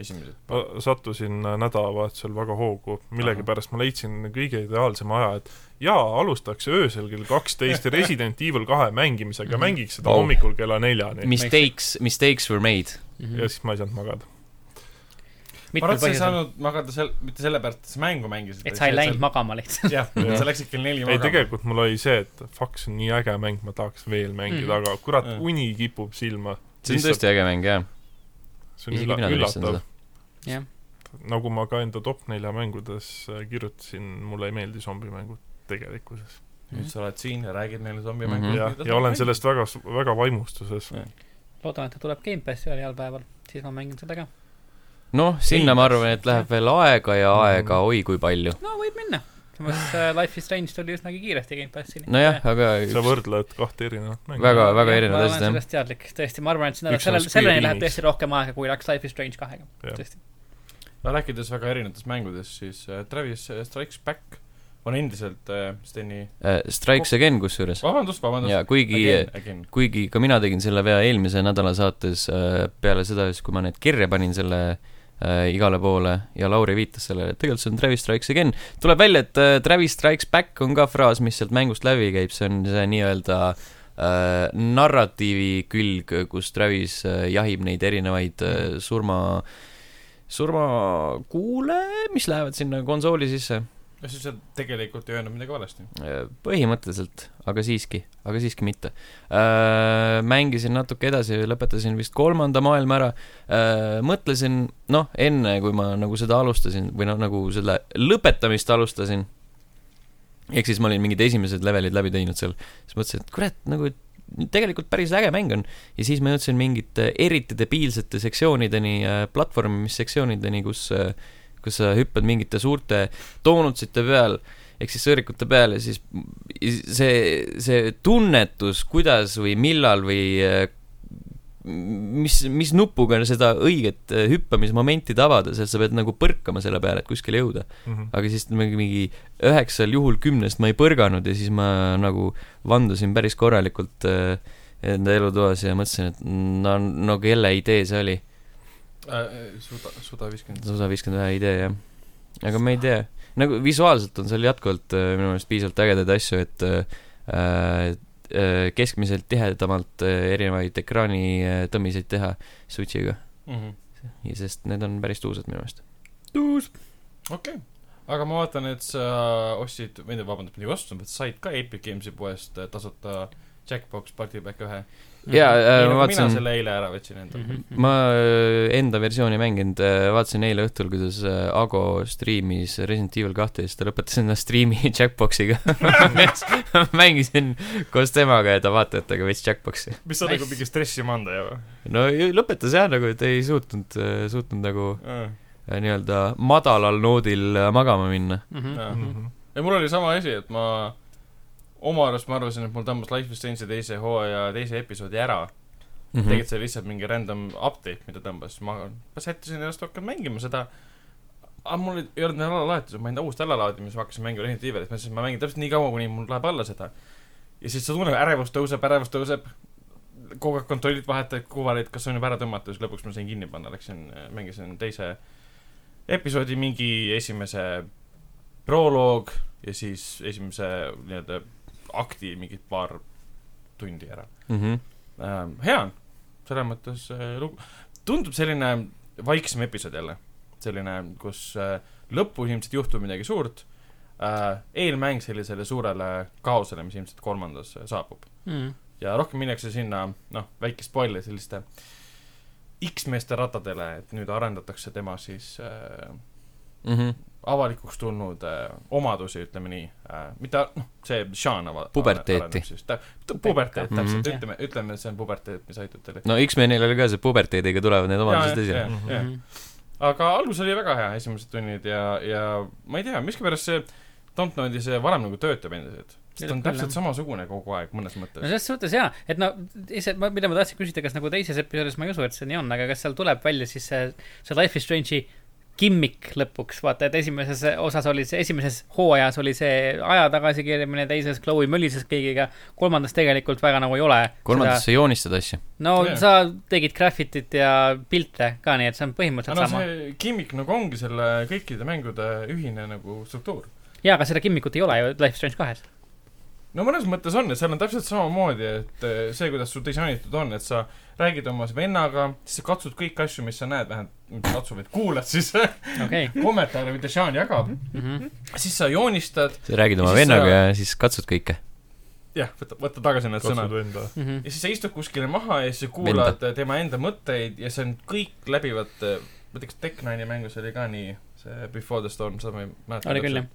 S2: esimesed .
S4: ma sattusin äh, nädalavahetusel väga hoogu , millegipärast ma leidsin kõige ideaalsema aja , et jaa , alustaks öösel kell kaksteist Resident Evil kahe mängimisega ,
S3: Mhm.
S4: mängiks seda
S1: Vau.
S4: hommikul kella neljani .
S1: Mistakes , mistakes were made .
S4: ja
S3: -hmm.
S4: siis ma ei saanud magada .
S2: ma arvan ,
S3: mitmel
S2: et sa ei
S3: põhjusel .
S2: saanud magada seal , mitte sellepärast , et sa mängu mängisid .
S3: et sa ei läinud magama lihtsalt .
S2: *laughs* jah ,
S4: Jah.
S2: sa läksid kell neli
S4: ei ,
S2: magama .
S4: tegelikult mul oli see , et fuck , see on nii äge mäng , ma tahaks veel mängida mm ,
S3: Mhm.
S4: -hmm. aga kurat
S2: Mhm.
S4: mm. , uni kipub silma .
S1: see on tõesti äge mäng , jah .
S4: see on
S1: isegi
S4: ülla-
S1: mina tunnistan
S4: üllatav
S1: seda ..
S4: nagu ma ka enda top nelja mängudes äh, kirjutasin , mulle ei meeldi zombimängud tegelikkuses .
S2: nüüd sa oled siin ja räägid meile zombi
S1: Mhm.
S2: mängu
S4: ja , ja olen . sellest väga , väga vaimustuses
S2: Jah. .
S3: loodan , et ta tuleb Gamepassi ühel heal päeval , siis ma mängin seda ka .
S1: noh , sinna ma arvan , et läheb veel aega ja aega oi kui palju .
S3: no võib minna . samas äh, Life is Strange tuli üsnagi kiiresti Gamepassini .
S1: nojah , aga
S4: sa võrdled kahte erinevat mängu .
S1: väga , väga erinevad
S3: asjad , jah .
S1: asjad ,
S3: ma olen
S1: jah .
S3: sellest teadlik , tõesti , ma arvan , et sinna
S4: Üks ,
S3: sellel ,
S4: oleks
S3: selleni
S4: Skyrimis.
S3: läheb tõesti rohkem aega , kui läks Life is Strange kahega .
S4: Jah.
S3: tõesti .
S2: no rääkides väga erinevatest mängudest , siis äh, Travis äh, Strikes Back on endiselt äh, Steni ,
S1: Strikes Again kusjuures .
S2: vabandust , vabandust ,
S1: ja kuigi , äh,
S2: again , again .
S1: kuigi ka mina tegin selle vea eelmise nädala saates äh, peale seda , siis kui ma need kirja panin selle äh, igale poole ja Lauri viitas sellele , et tegelikult see on Travis Strikes Again . tuleb välja , et äh, Travis Strikes Back on ka fraas , mis sealt mängust läbi käib , see on see nii-öelda äh, narratiivi külg , kus Travis äh, jahib neid erinevaid äh, surma , surmakuule , mis lähevad sinna konsooli sisse
S2: ja siis sa tegelikult ei öelnud midagi valesti .
S1: Äh, põhimõtteliselt , aga siiski , aga siiski mitte . mängisin natuke edasi , lõpetasin vist kolmanda maailma ära . mõtlesin , noh , enne kui ma nagu seda alustasin või noh , nagu selle lõpetamist alustasin , ehk siis ma olin mingid esimesed levelid läbi teinud seal , siis mõtlesin , et kurat , nagu tegelikult päris äge mäng on . ja siis ma jõudsin mingite eriti debiilsete sektsioonideni , platvormimissektsioonideni , kus , kus sa hüppad mingite suurte doonutsite peal ehk siis sõõrikute peal ja siis see , see tunnetus , kuidas või millal või eh, mis , mis nupuga seda õiget eh, hüppamismomenti tabada , sest sa pead nagu põrkama selle peale , et kuskile jõuda .
S4: Mhm.
S1: aga siis mingi , mingi üheksal juhul kümnest ma ei põrganud ja siis ma nagu vandusin päris korralikult äh, enda elutoas ja mõtlesin , et no , no kelle idee see oli .
S2: Äh, suda , suda viiskümmend .
S1: sada viiskümmend ühe idee , jah . aga ma ei tea , nagu visuaalselt on seal jätkuvalt äh, minu meelest piisavalt ägedaid asju , et äh, äh, keskmiselt tihedamalt äh, erinevaid ekraanitõmmiseid teha Switch'iga ,
S2: Mhm.
S1: sest need on päris tuusad minu meelest .
S3: tuus .
S2: okei , aga ma vaatan , et sa ostsid , või tähendab , vabandust , midagi ostsid , vaid said ka Epic Games'i poest äh, tasuta Jackbox Party Pack ühe .
S1: jaa , ma
S2: Mhm. mina
S1: vaatasin ,
S2: selle eile ära võtsin endale .
S1: ma äh, enda versiooni mänginud , vaatasin eile õhtul , kuidas äh, Ago striimis Resident Evil kahte ja siis ta lõpetas enda striimi *laughs*
S2: *laughs*
S1: Jackboxiga . mängisin koos temaga ja ta vaatajatega veits Jackboxi .
S2: mis sa nagu mingi stressi mandaja või ?
S1: no ju- lõpetas jah , nagu et ei suutnud , suutnud nagu äh, nii-öelda madalal noodil äh, magama minna .
S3: Mhm.
S4: Mhm.
S2: ei , mul oli sama asi , et ma oma arust ma arvasin , et mul tõmbas Life is Strange'i teise hooaja teise episoodi ära mm
S1: Mhm.
S2: -hmm. . tegelikult see oli lihtsalt mingi random update , mida tõmbas , ma ma sättisin ennast rohkem mängima seda . aga mul ei olnud veel alalaetusi , ma ei tea , uust allalaadimist ma hakkasin mängima Resident Evilit , ma ütlesin , et ma mängin täpselt nii kaua , kuni mul läheb alla seda . ja siis see tunne , ärevus tõuseb , ärevus tõuseb , kogu aeg kontrollid vahetad , kuvarid , kas on juba ära tõmmata , siis lõpuks ma sain kinni panna , läksin , mängisin teise episoodi mingi esimese proloog ja siis esimese nii-öelda akti mingid paar tundi ära ähm, . hea on , selles mõttes äh, lugu , tundub selline vaiksem episood jälle , selline , kus äh, lõpus ilmselt juhtub midagi suurt äh, . eelmäng sellisele suurele kaosele , mis ilmselt kolmandas äh, saabub
S3: Mhm.
S2: ja rohkem minnakse sinna , noh , väike spoiler selliste X-meeste ratadele , et nüüd arendatakse tema siis äh, avalikuks tulnud äh, omadusi , ütleme nii äh, , mitte noh , see žanr ava- .
S1: Puberteeti.
S2: puberteet , täpselt ,
S3: Mhm.
S2: ütleme , ütleme , et see on puberteet , mis aitab teile .
S1: no X-menil oli ka see puberteediga tulevad need omadused esile .
S3: Mhm.
S2: aga algus oli väga hea , esimesed tunnid ja , ja ma ei tea , miskipärast see Dontnodi see varem nagu töötab endiselt . sest ta on
S3: Töötab küll,
S2: täpselt
S3: jah.
S2: samasugune kogu aeg mõnes mõttes
S3: no . selles suhtes jaa , et no ise , mida ma tahtsin küsida , kas nagu teises episoodis , ma ei usu , et see nii on , aga kas seal tuleb välja siis see , see Life is Strange'i kimmik lõpuks , vaata , et esimeses osas oli see , esimeses hooajas oli see aja tagasikeeramine , teises Chloe mölises kõigiga , kolmandas tegelikult väga nagu ei ole .
S1: kolmandasse joonistad asju .
S3: no
S2: Jaa.
S3: yeah. sa tegid graffitit ja pilte ka , nii et see on põhimõtteliselt
S2: aga
S3: no,
S2: no
S3: sama see... .
S2: see gimmick nagu ongi selle kõikide mängude ühine nagu struktuur .
S3: jaa , aga seda kimmikut ei ole ju Life is
S2: *laughs*
S3: Strange kahes .
S2: no mõnes mõttes on , et seal on täpselt samamoodi , et eh, see , kuidas sul disainitud on , et sa räägid oma vennaga , siis sa katsud kõiki asju , mis sa näed , vähemalt mitte katsu , vaid kuulad siis *laughs*
S3: okei okay.
S2: kommentaare , mida Sean jagab ,
S3: mm -hmm. .
S2: siis sa joonistad ,
S1: sa räägid oma
S2: Ja siis sa-
S1: vennaga ja siis katsud kõike .
S2: jah , võta , võta tagasi need sõnad .
S4: katsud enda .
S3: Mm -hmm.
S2: ja siis sa istud kuskile maha ja siis sa kuulad Venda. tema enda mõtteid ja see on kõik läbivad , ma ei tea , kas Tech Nine'i mängus oli ka nii , see Before the Storm , seda ma ei mäleta .
S3: oli küll jah ,.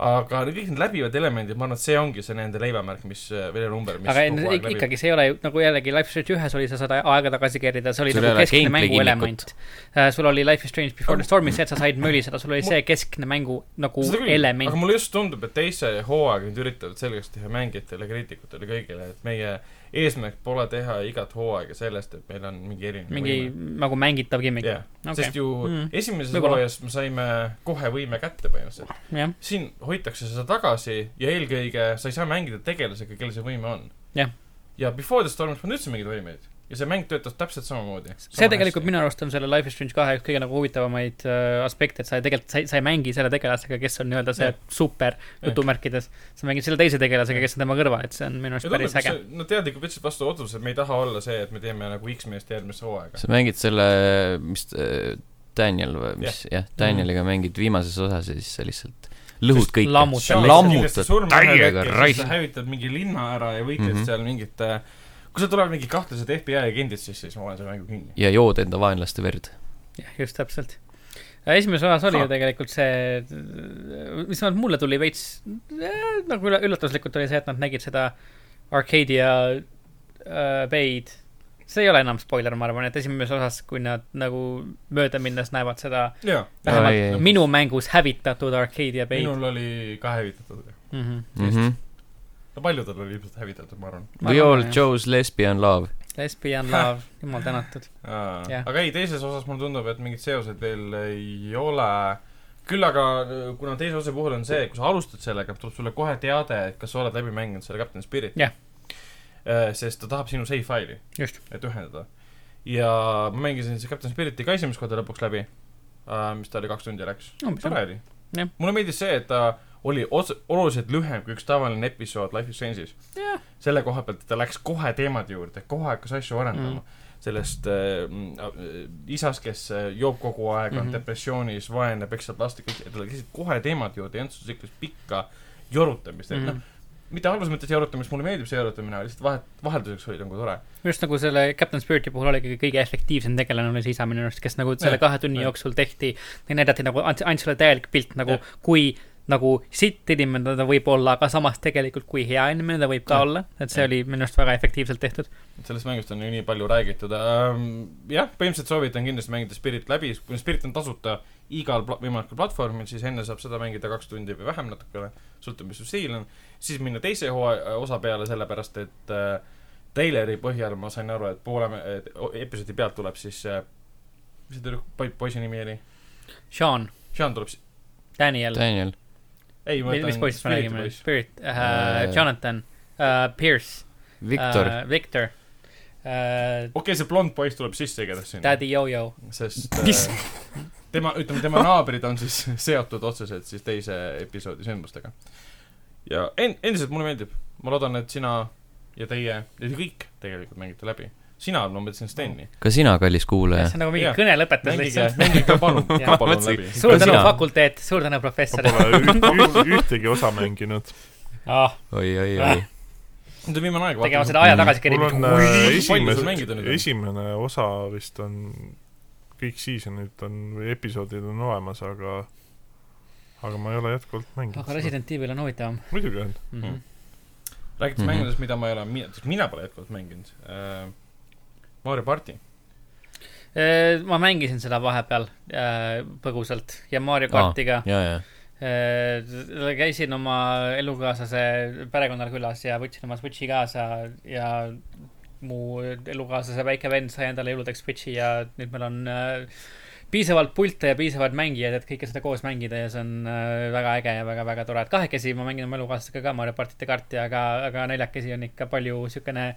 S2: aga need kõik need läbivad elemendid , ma arvan , et see ongi see nende leivamärk , mis , või number , mis
S3: aga ei,
S2: kogu
S3: no
S2: aeg
S3: ik-
S2: läbib.
S3: ikkagi see ei ole ju nagu jällegi Life is Strange ühes oli sa saad aega tagasi kerida , see oli
S1: Sul
S3: nagu
S1: ei ole
S3: keskne
S1: gameplay
S3: mängu element Äh,
S1: kinniput. .
S3: sul oli Life is Strange Before the Storm'is see , et sa said möliseda , sul oli
S2: Mu-
S3: see keskne mängu nagu
S2: Mm. Seda küll, aga
S3: element .
S2: mulle just tundub , et teise hooaega nüüd üritavad selgeks teha mängijatele , kriitikutele , kõigile , et meie eesmärk pole teha igat hooaega sellest , et meil on mingi erinev
S3: mingi nagu mängitav
S2: võime .
S3: gimmick .
S2: jah ,
S3: okei
S2: sest , ju
S3: Mm.
S2: mm. esimeses
S3: Võib-olla.
S2: hooajas me saime kohe võime kätte põhimõtteliselt .
S3: jah ,
S2: siin hoitakse seda tagasi ja eelkõige sa ei saa mängida tegelasega , kellel see võime on .
S3: Jah.
S2: ja Before the Stormis polnud üldse mingeid võimeid ja see mäng töötas täpselt samamoodi .
S3: see tegelikult minu arust on selle Life is Strange kahe üks kõige nagu huvitavamaid äh, aspekte , et sa tegelikult , sa ei , sa ei mängi selle tegelasega , kes on nii-öelda see
S2: Jah.
S3: super jutumärkides . sa mängid selle teise tegelasega , kes on tema kõrval , et see on minu arust päris äge .
S2: no teadlikult võtsid vastu otsuse , et me ei taha olla see , et me teeme nagu X-meest järgmise hooaega .
S1: sa mängid selle , mis äh, Daniel või mis , jah , Danieliga mängid viimases osas ja siis sa lihtsalt lõhud
S3: Just
S1: kõike .
S3: lammutad.
S1: lammutad täiega
S2: raisk .
S1: raisk .
S2: hävitad mingi linna ära ja võitled mm
S1: Mhm.
S2: -hmm. seal mingit , kui seal tulevad mingid kahtlased FBI agendid sisse , siis ma olen selle mängu kinni .
S1: ja jood enda vaenlaste verd .
S3: jah , just täpselt . esimeses osas oli
S2: Ha.
S3: ju tegelikult see , mis vähemalt mulle tuli veits eh, nagu ülla- üllatuslikult oli see , et nad nägid seda Arcadia Bait . see ei ole enam spoiler , ma arvan , et esimeses osas , kui nad nagu mööda minnes näevad seda
S2: jaa ,
S1: Ai, ai, ai.
S3: vähemalt minu mängus hävitatud Arcadia Bay'd .
S2: minul Mm-hmm. oli ka hävitatud .
S3: Mm -hmm.
S1: mm . -hmm.
S2: no paljudel oli ilmselt hävitatud , ma arvan .
S3: Ma
S1: We
S3: arvan,
S1: all
S3: jah.
S1: chose lesbian love .
S3: Lesbian love , jumal tänatud . Jah.
S2: aga ei , teises osas mulle tundub , et mingeid seoseid veel ei ole . küll aga äh, kuna teise osa puhul on see , kui sa alustad sellega , tuleb sulle kohe teade , et kas sa oled läbi mänginud selle Captain Spirit .
S3: Jah. .
S2: sest ta tahab sinu save faili ,
S3: just ,
S2: et ühendada . ja ma mängisin siis Captain Spiriti ka esimest korda lõpuks läbi , mis ta oli , kaks tundi läks .
S3: umbes
S2: tore . oli
S3: Jah. .
S2: mulle meeldis see , et ta oli ots- , oluliselt lühem kui üks tavaline episood Life is Change'is . selle koha pealt , et ta läks kohe teemade juurde , kohe hakkas asju arendama mm. . sellest äh, m- äh, isast , kes äh, joob kogu aeg , on mm
S3: Mhm.
S2: -hmm. depressioonis , vaenleb , ekstab last , et ta läks kohe teemade juurde , ei olnud sellist pikka jorutamist , et mm
S3: Mm.
S2: -hmm. noh , mitte halvas mõttes jorutamist , mulle meeldib see jorutamine , aga lihtsalt vahet , vahelduseks oli nagu tore .
S3: just nagu selle Captain Spiriti puhul oligi kõige efektiivsem tegelane oli see isa minu arust , kes nagu selle
S2: Jah,
S3: kahe tunni
S2: jah.
S3: jooksul tehti , näidati nagu , andis sulle täielik pilt nagu
S2: Jah. ,
S3: kui nagu sitt inimene ta võib olla , aga samas tegelikult kui hea inimene ta võib ka
S2: Jah.
S3: olla , et see
S2: Jah.
S3: oli minu arust väga efektiivselt tehtud .
S2: sellest mängust on ju nii palju räägitud ähm, . jah , põhimõtteliselt soovitan kindlasti mängida Spirit läbi , kuna Spirit on tasuta igal pla- võimalikul platvormil , siis enne saab seda mängida kaks tundi või vähem natukene , sõltub , mis su stiil on . siis minna teise hooaja osa peale , sellepärast et äh, treileri põhjal ma sain aru , et poole mä- et o- episoodi pealt tuleb siis äh, , mis see tüdruk , poisi nimi oli ?
S3: Sean ,
S2: Sean tuleb siis ,
S3: Daniel ,
S1: Daniel .
S2: ei ma
S3: mis
S2: ütlen
S3: poiss me
S2: Spiriti
S3: räägime ,
S2: poiss .
S3: Spirit uh,
S1: Äh, ,
S3: Jonathan uh, , Pierce ,
S1: Viktor .
S3: Victor uh, ,
S2: okei , see blond poiss tuleb sisse igatahes sinna ,
S3: Daddy Yo-Yo ,
S2: sest
S3: Mis?
S2: äh, tema , ütleme tema naabrid on siis seotud otseselt siis teise episoodi sündmustega . ja en- , endiselt mulle meeldib , ma loodan , et sina ja teie ja te kõik tegelikult mängite läbi . sina , ma mõtlesin Steni .
S1: ka sina , kallis kuulaja
S3: see . on nagu mingi
S2: Jah.
S3: kõne lõpetus
S2: mängige
S3: lihtsalt ,.
S2: mängige ka
S3: *laughs*
S2: palun ,
S3: Jaa.
S2: ka palun
S1: Mõtlesin-
S2: läbi .
S3: suur
S1: Ka
S3: tänu
S1: sina.
S3: fakulteet , suur tänu
S4: ma
S3: professor .
S4: pole üht, üht, ühtegi osa mänginud .
S3: ah, .
S1: oi , oi , oi .
S2: nüüd on viimane aeg .
S3: tegema seda aja tagasi
S4: mul
S3: kerida
S4: on
S3: no. .
S4: äh,
S2: Palju sul mängida
S4: esimene
S2: nüüd , on?
S4: esimene osa vist on , kõik seasonid on või episoodid on olemas , aga aga ma ei ole jätkuvalt
S3: aga
S4: mänginud .
S3: Resident Evil on huvitavam
S4: muidugi on .
S3: mm . -hmm.
S2: räägites
S1: Mhm.
S2: mängudest , mida ma ei ole , mina pole jätkuvalt mänginud äh, . Mario party .
S3: Äh, ma mängisin seda vahepeal äh, põgusalt ja Mario
S1: Aa.
S3: kartiga .
S1: ja , ja .
S3: Äh, käisin oma elukaaslase perekonnal külas ja võtsin oma Switchi kaasa ja mu elukaaslase väike vend sai endale jõuludeks Switchi ja nüüd meil on äh, piisavalt pilte ja piisavad mängijad , et kõike seda koos mängida ja see on äh, väga äge ja väga-väga tore , et kahekesi ma mängin oma elukaaslasega ka Mario partite karti , aga , aga neljakesi on ikka palju siukene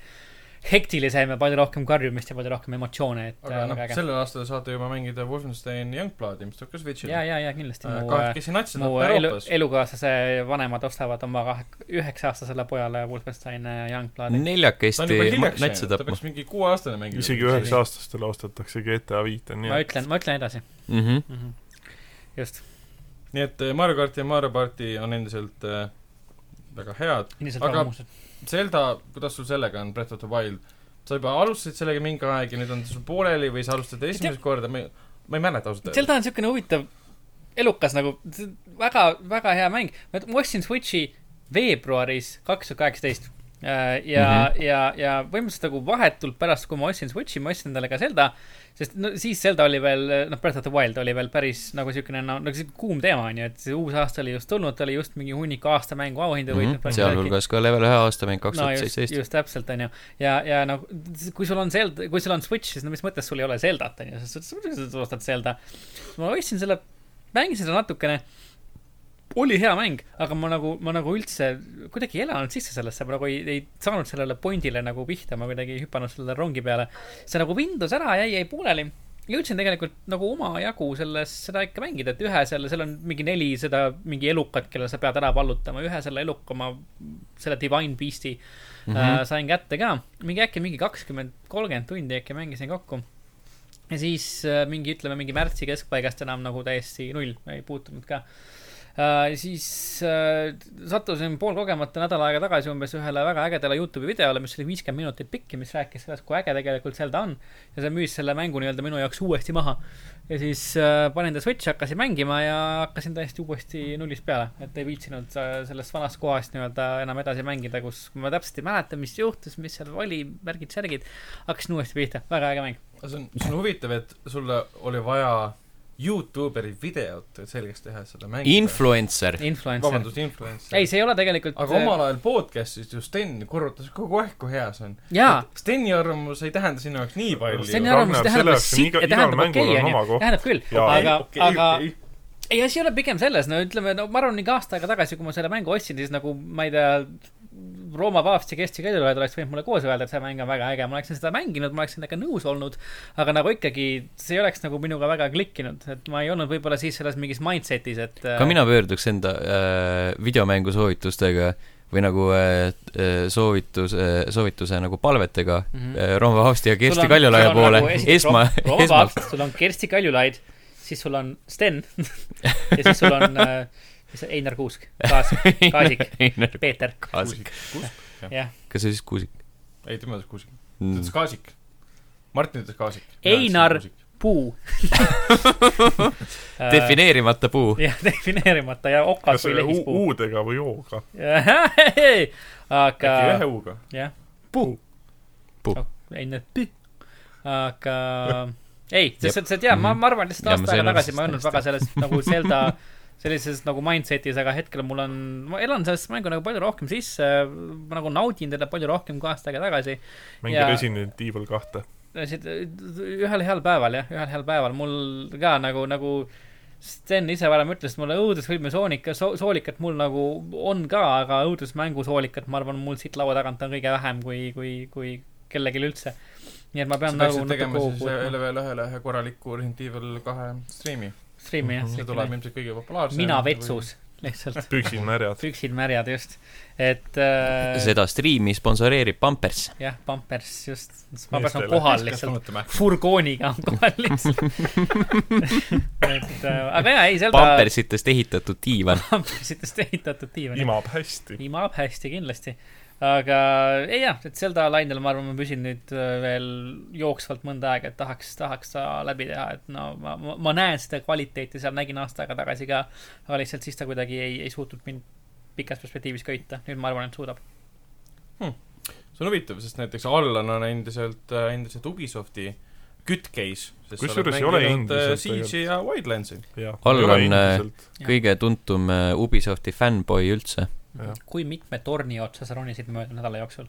S3: hektilisem ja palju rohkem karjumist ja palju rohkem emotsioone , et
S2: aga
S3: äh,
S2: noh
S3: väga , äge .
S2: sellel aastal saate juba mängida Wolfenstein Youngbloodi , mis tuleb ka Switch'ile
S3: ja ,. ja , ja kindlasti mu äh,
S2: kahekesi natsid
S3: mu
S2: on
S3: elu
S2: Euroopas ,.
S3: elukaaslase vanemad ostavad oma kah- üheksa-aastasele pojale Wolfensteini ja Youngbloodi .
S2: ta on juba
S1: neljakesti
S2: hiljaks
S1: natse
S2: jäänud , ta
S1: tapma
S2: peaks . mingi kuueaastane mängima .
S4: isegi üheksa-aastastele ostetakse GTA viite , nii
S3: ma
S4: et
S3: ütlen , ma ütlen edasi
S1: mhmh .
S3: mm . -hmm. just ,
S2: nii et äh, Mario kart ja Mario party on endiselt äh, väga head .
S3: endiselt
S2: Aga-
S3: väga muuseas .
S2: Zelda , kuidas sul sellega on , Breath of the Wild ? sa juba alustasid sellega mingi aeg ja nüüd on ta sul pooleli või sa alustad esimest korda , ma ei , ma ei mäleta ausalt öeldes .
S3: Zelda on niisugune huvitav elukas nagu , väga , väga hea mäng . ma ostsin Switchi veebruaris kaks tuhat kaheksateist ja mm , -hmm. ja , ja põhimõtteliselt nagu vahetult pärast , kui ma ostsin Switchi , ma ostsin endale ka Zelda , sest no siis Zelda oli veel , noh , Breath of the Wild oli veel päris nagu niisugune , no , nagu niisugune kuum teema on ju , et see uus aasta oli just tulnud , ta oli just mingi hunniku aasta mängu auhindu võitnud .
S1: Mhm. sealhulgas ka level ühe aastamäng kaks tuhat
S3: just-
S1: seitseteist .
S3: just täpselt , onju . ja , ja no kui sul on Zelda , kui sul on Switch , siis no mis mõttes sul ei ole Zeldat , onju , sest sa muidugi sa ostad Zelda . ma ostsin selle , mängisin seda natukene . oli hea mäng , aga ma nagu , ma nagu üldse kuidagi ei elanud sisse sellesse , ma nagu ei , ei saanud sellele pointile nagu pihta , ma kuidagi ei hüpanud selle rongi peale . see nagu vindus ära , jäi , jäi pooleli jõudsin tegelikult nagu omajagu selles , seda ikka mängida , et ühe selle , seal on mingi neli seda mingi elukat , kelle sa pead ära vallutama , ühe selle eluka ma , selle Divine Beast'i
S1: Mhm.
S3: mm
S1: Mm-hmm.
S3: -hmm. äh, sain kätte ka . mingi äkki mingi kakskümmend , kolmkümmend tundi äkki mängisin kokku . ja siis äh, mingi , ütleme mingi märtsi keskpaigast enam nagu täiesti null , ei puutunud ka Uh, siis uh, sattusin poolkogemata nädal aega tagasi umbes ühele väga ägedale Youtube'i videole , mis oli viiskümmend minutit pikk ja mis rääkis sellest , kui äge tegelikult Zelda on . ja see müüs selle mängu nii-öelda minu jaoks uuesti maha . ja siis uh, panin ta Switch'i , hakkasin mängima ja hakkasin täiesti uuesti nullist peale , et ei viitsinud uh, sellest vanast kohast nii-öelda enam edasi mängida , kus ma täpselt ei mäleta , mis juhtus , mis seal oli , värgid-särgid . hakkasin uuesti pihta , väga äge mäng .
S2: see on , see on huvitav , et sulle oli vaja Youtuberi videot et selgeks teha , et seda mängida .
S1: influencer .
S3: Influencer .
S2: vabandust , influencer .
S3: ei , see ei ole tegelikult .
S2: aga omal ajal podcast'is ju Sten korrutas kogu aeg , kui hea see on .
S3: äh, jaa
S2: Steni arvamus ei tähenda sinu jaoks nii palju .
S3: see on
S4: Ragnar,
S3: arvamus ,
S4: selle
S3: tähendab
S4: jaoks on
S3: sitt
S4: iga-
S3: ja
S4: igal
S3: tähendab
S4: mängul
S3: okei ,
S4: on oma
S3: onju ,
S4: koht.
S3: tähendab küll ,
S4: Jaa,
S3: aga , aga ei , asi ei ole pigem selles , no ütleme , no ma arvan , mingi aasta aega tagasi , kui ma selle mängu ostsin , siis nagu ma ei tea , Rooma paavst ja Kersti Kedulööd oleks võinud mulle koos öelda , et see mäng on väga äge , ma oleksin seda mänginud , ma oleksin temaga nõus olnud , aga nagu ikkagi see ei oleks nagu minuga väga klikkinud , et ma ei olnud võib-olla siis selles mingis mindset'is , et
S1: ka mina pöörduks enda äh, videomängu soovitustega või nagu äh, äh, soovitus äh, , soovituse nagu palvetega mm
S3: Mhm.
S1: -hmm. äh, Rooma Vahvsti ja Kersti Kaljulaia poole
S3: nagu
S1: esma ,
S3: Rooma
S1: esmalt .
S3: paavst , sul on Kersti Kaljulaid , siis sul on Sten *laughs* ja siis sul on äh, mis see Einar Kuusk , kaas ,
S1: *laughs*
S3: kaasik , Peeter ,
S1: Kaasik .
S3: jah .
S1: *laughs* kas see siis Kuusik
S2: ei , tema ütles kuusik . ta
S1: mm.
S2: ütles ? kaasik . Martin ütles kaasik .
S3: Einar. puu .
S1: defineerimata puu .
S3: *laughs* jah , defineerimata ja okas
S4: kas
S3: või
S4: u-
S3: *laughs* lehispuu .
S4: U-dega või O-ga ?
S3: aga
S2: äkki ühe U-ga .
S3: jah , puu .
S1: Puu. .
S3: ei , need pü- . aga ei , sa , sa tead , ma ,
S1: Mhm.
S3: ma arvan lihtsalt
S1: Ja ma
S3: aasta aega
S1: sain aru
S3: tagasi ma ei olnud
S1: sellest
S3: väga selles
S1: *laughs*
S3: nagu Zelda sellises nagu mindset'is , aga hetkel mul on , ma elan sellesse mängu nagu palju rohkem sisse , ma nagu naudin teda palju rohkem kui aasta aega tagasi .
S4: mängi
S3: Jaa.
S4: Resident Evil kahte .
S3: siit- ühel heal päeval jah , ühel heal päeval mul ka nagu , nagu Sten ise varem ütles , et mulle õudusfilmi soonika so, , soolikat mul nagu on ka , aga õudusmängu soolikat , ma arvan , mul siit laua tagant on kõige vähem kui , kui , kui kellelgi üldse . nii et ma
S2: sa
S3: pean nagu
S2: peaksid tegema
S3: natuke
S2: siis
S3: hoogu
S2: üle veel ühele ühe korraliku Resident Evil kahe striimi .
S3: striimi jah
S2: Mhm, see tuleb
S3: siukene
S2: ilmselt kõige populaarsem .
S3: Mhm. mina vetsus lihtsalt ,
S4: püksid märjad .
S3: püksid märjad just , et äh,
S1: seda striimi sponsoreerib Pampers .
S3: jah , Pampers just , Pampers on
S4: Meestele.
S3: kohal lihtsalt . furgooniga on kohal lihtsalt . et äh, aga jaa , ei Zelda .
S1: Pampersitest ehitatud diivan .
S3: pamprisitest ehitatud diivani .
S4: imab hästi .
S3: imab hästi kindlasti . aga ei jah , et Zelda lainel ma arvan , ma püsin nüüd äh, veel jooksvalt mõnda aega , et tahaks , tahaks ta läbi teha , et no ma, ma , ma näen seda kvaliteeti seal , nägin aasta aega tagasi ka . aga lihtsalt siis ta kuidagi ei , ei suutnud mind pikas perspektiivis köita , nüüd ma arvan , et suudab .
S2: see on huvitav , sest näiteks Allan on endiselt , endiselt Ubisofti kütkeis .
S4: Kusjuures ei ole endiselt
S2: Siege'i äh, ja Wildlandsi .
S1: Allan,
S2: äh,
S1: kõige tuntum äh, Ubisofti fännboi üldse .
S3: kui mitme torni otsa sa ronisid möödunud nädala jooksul ?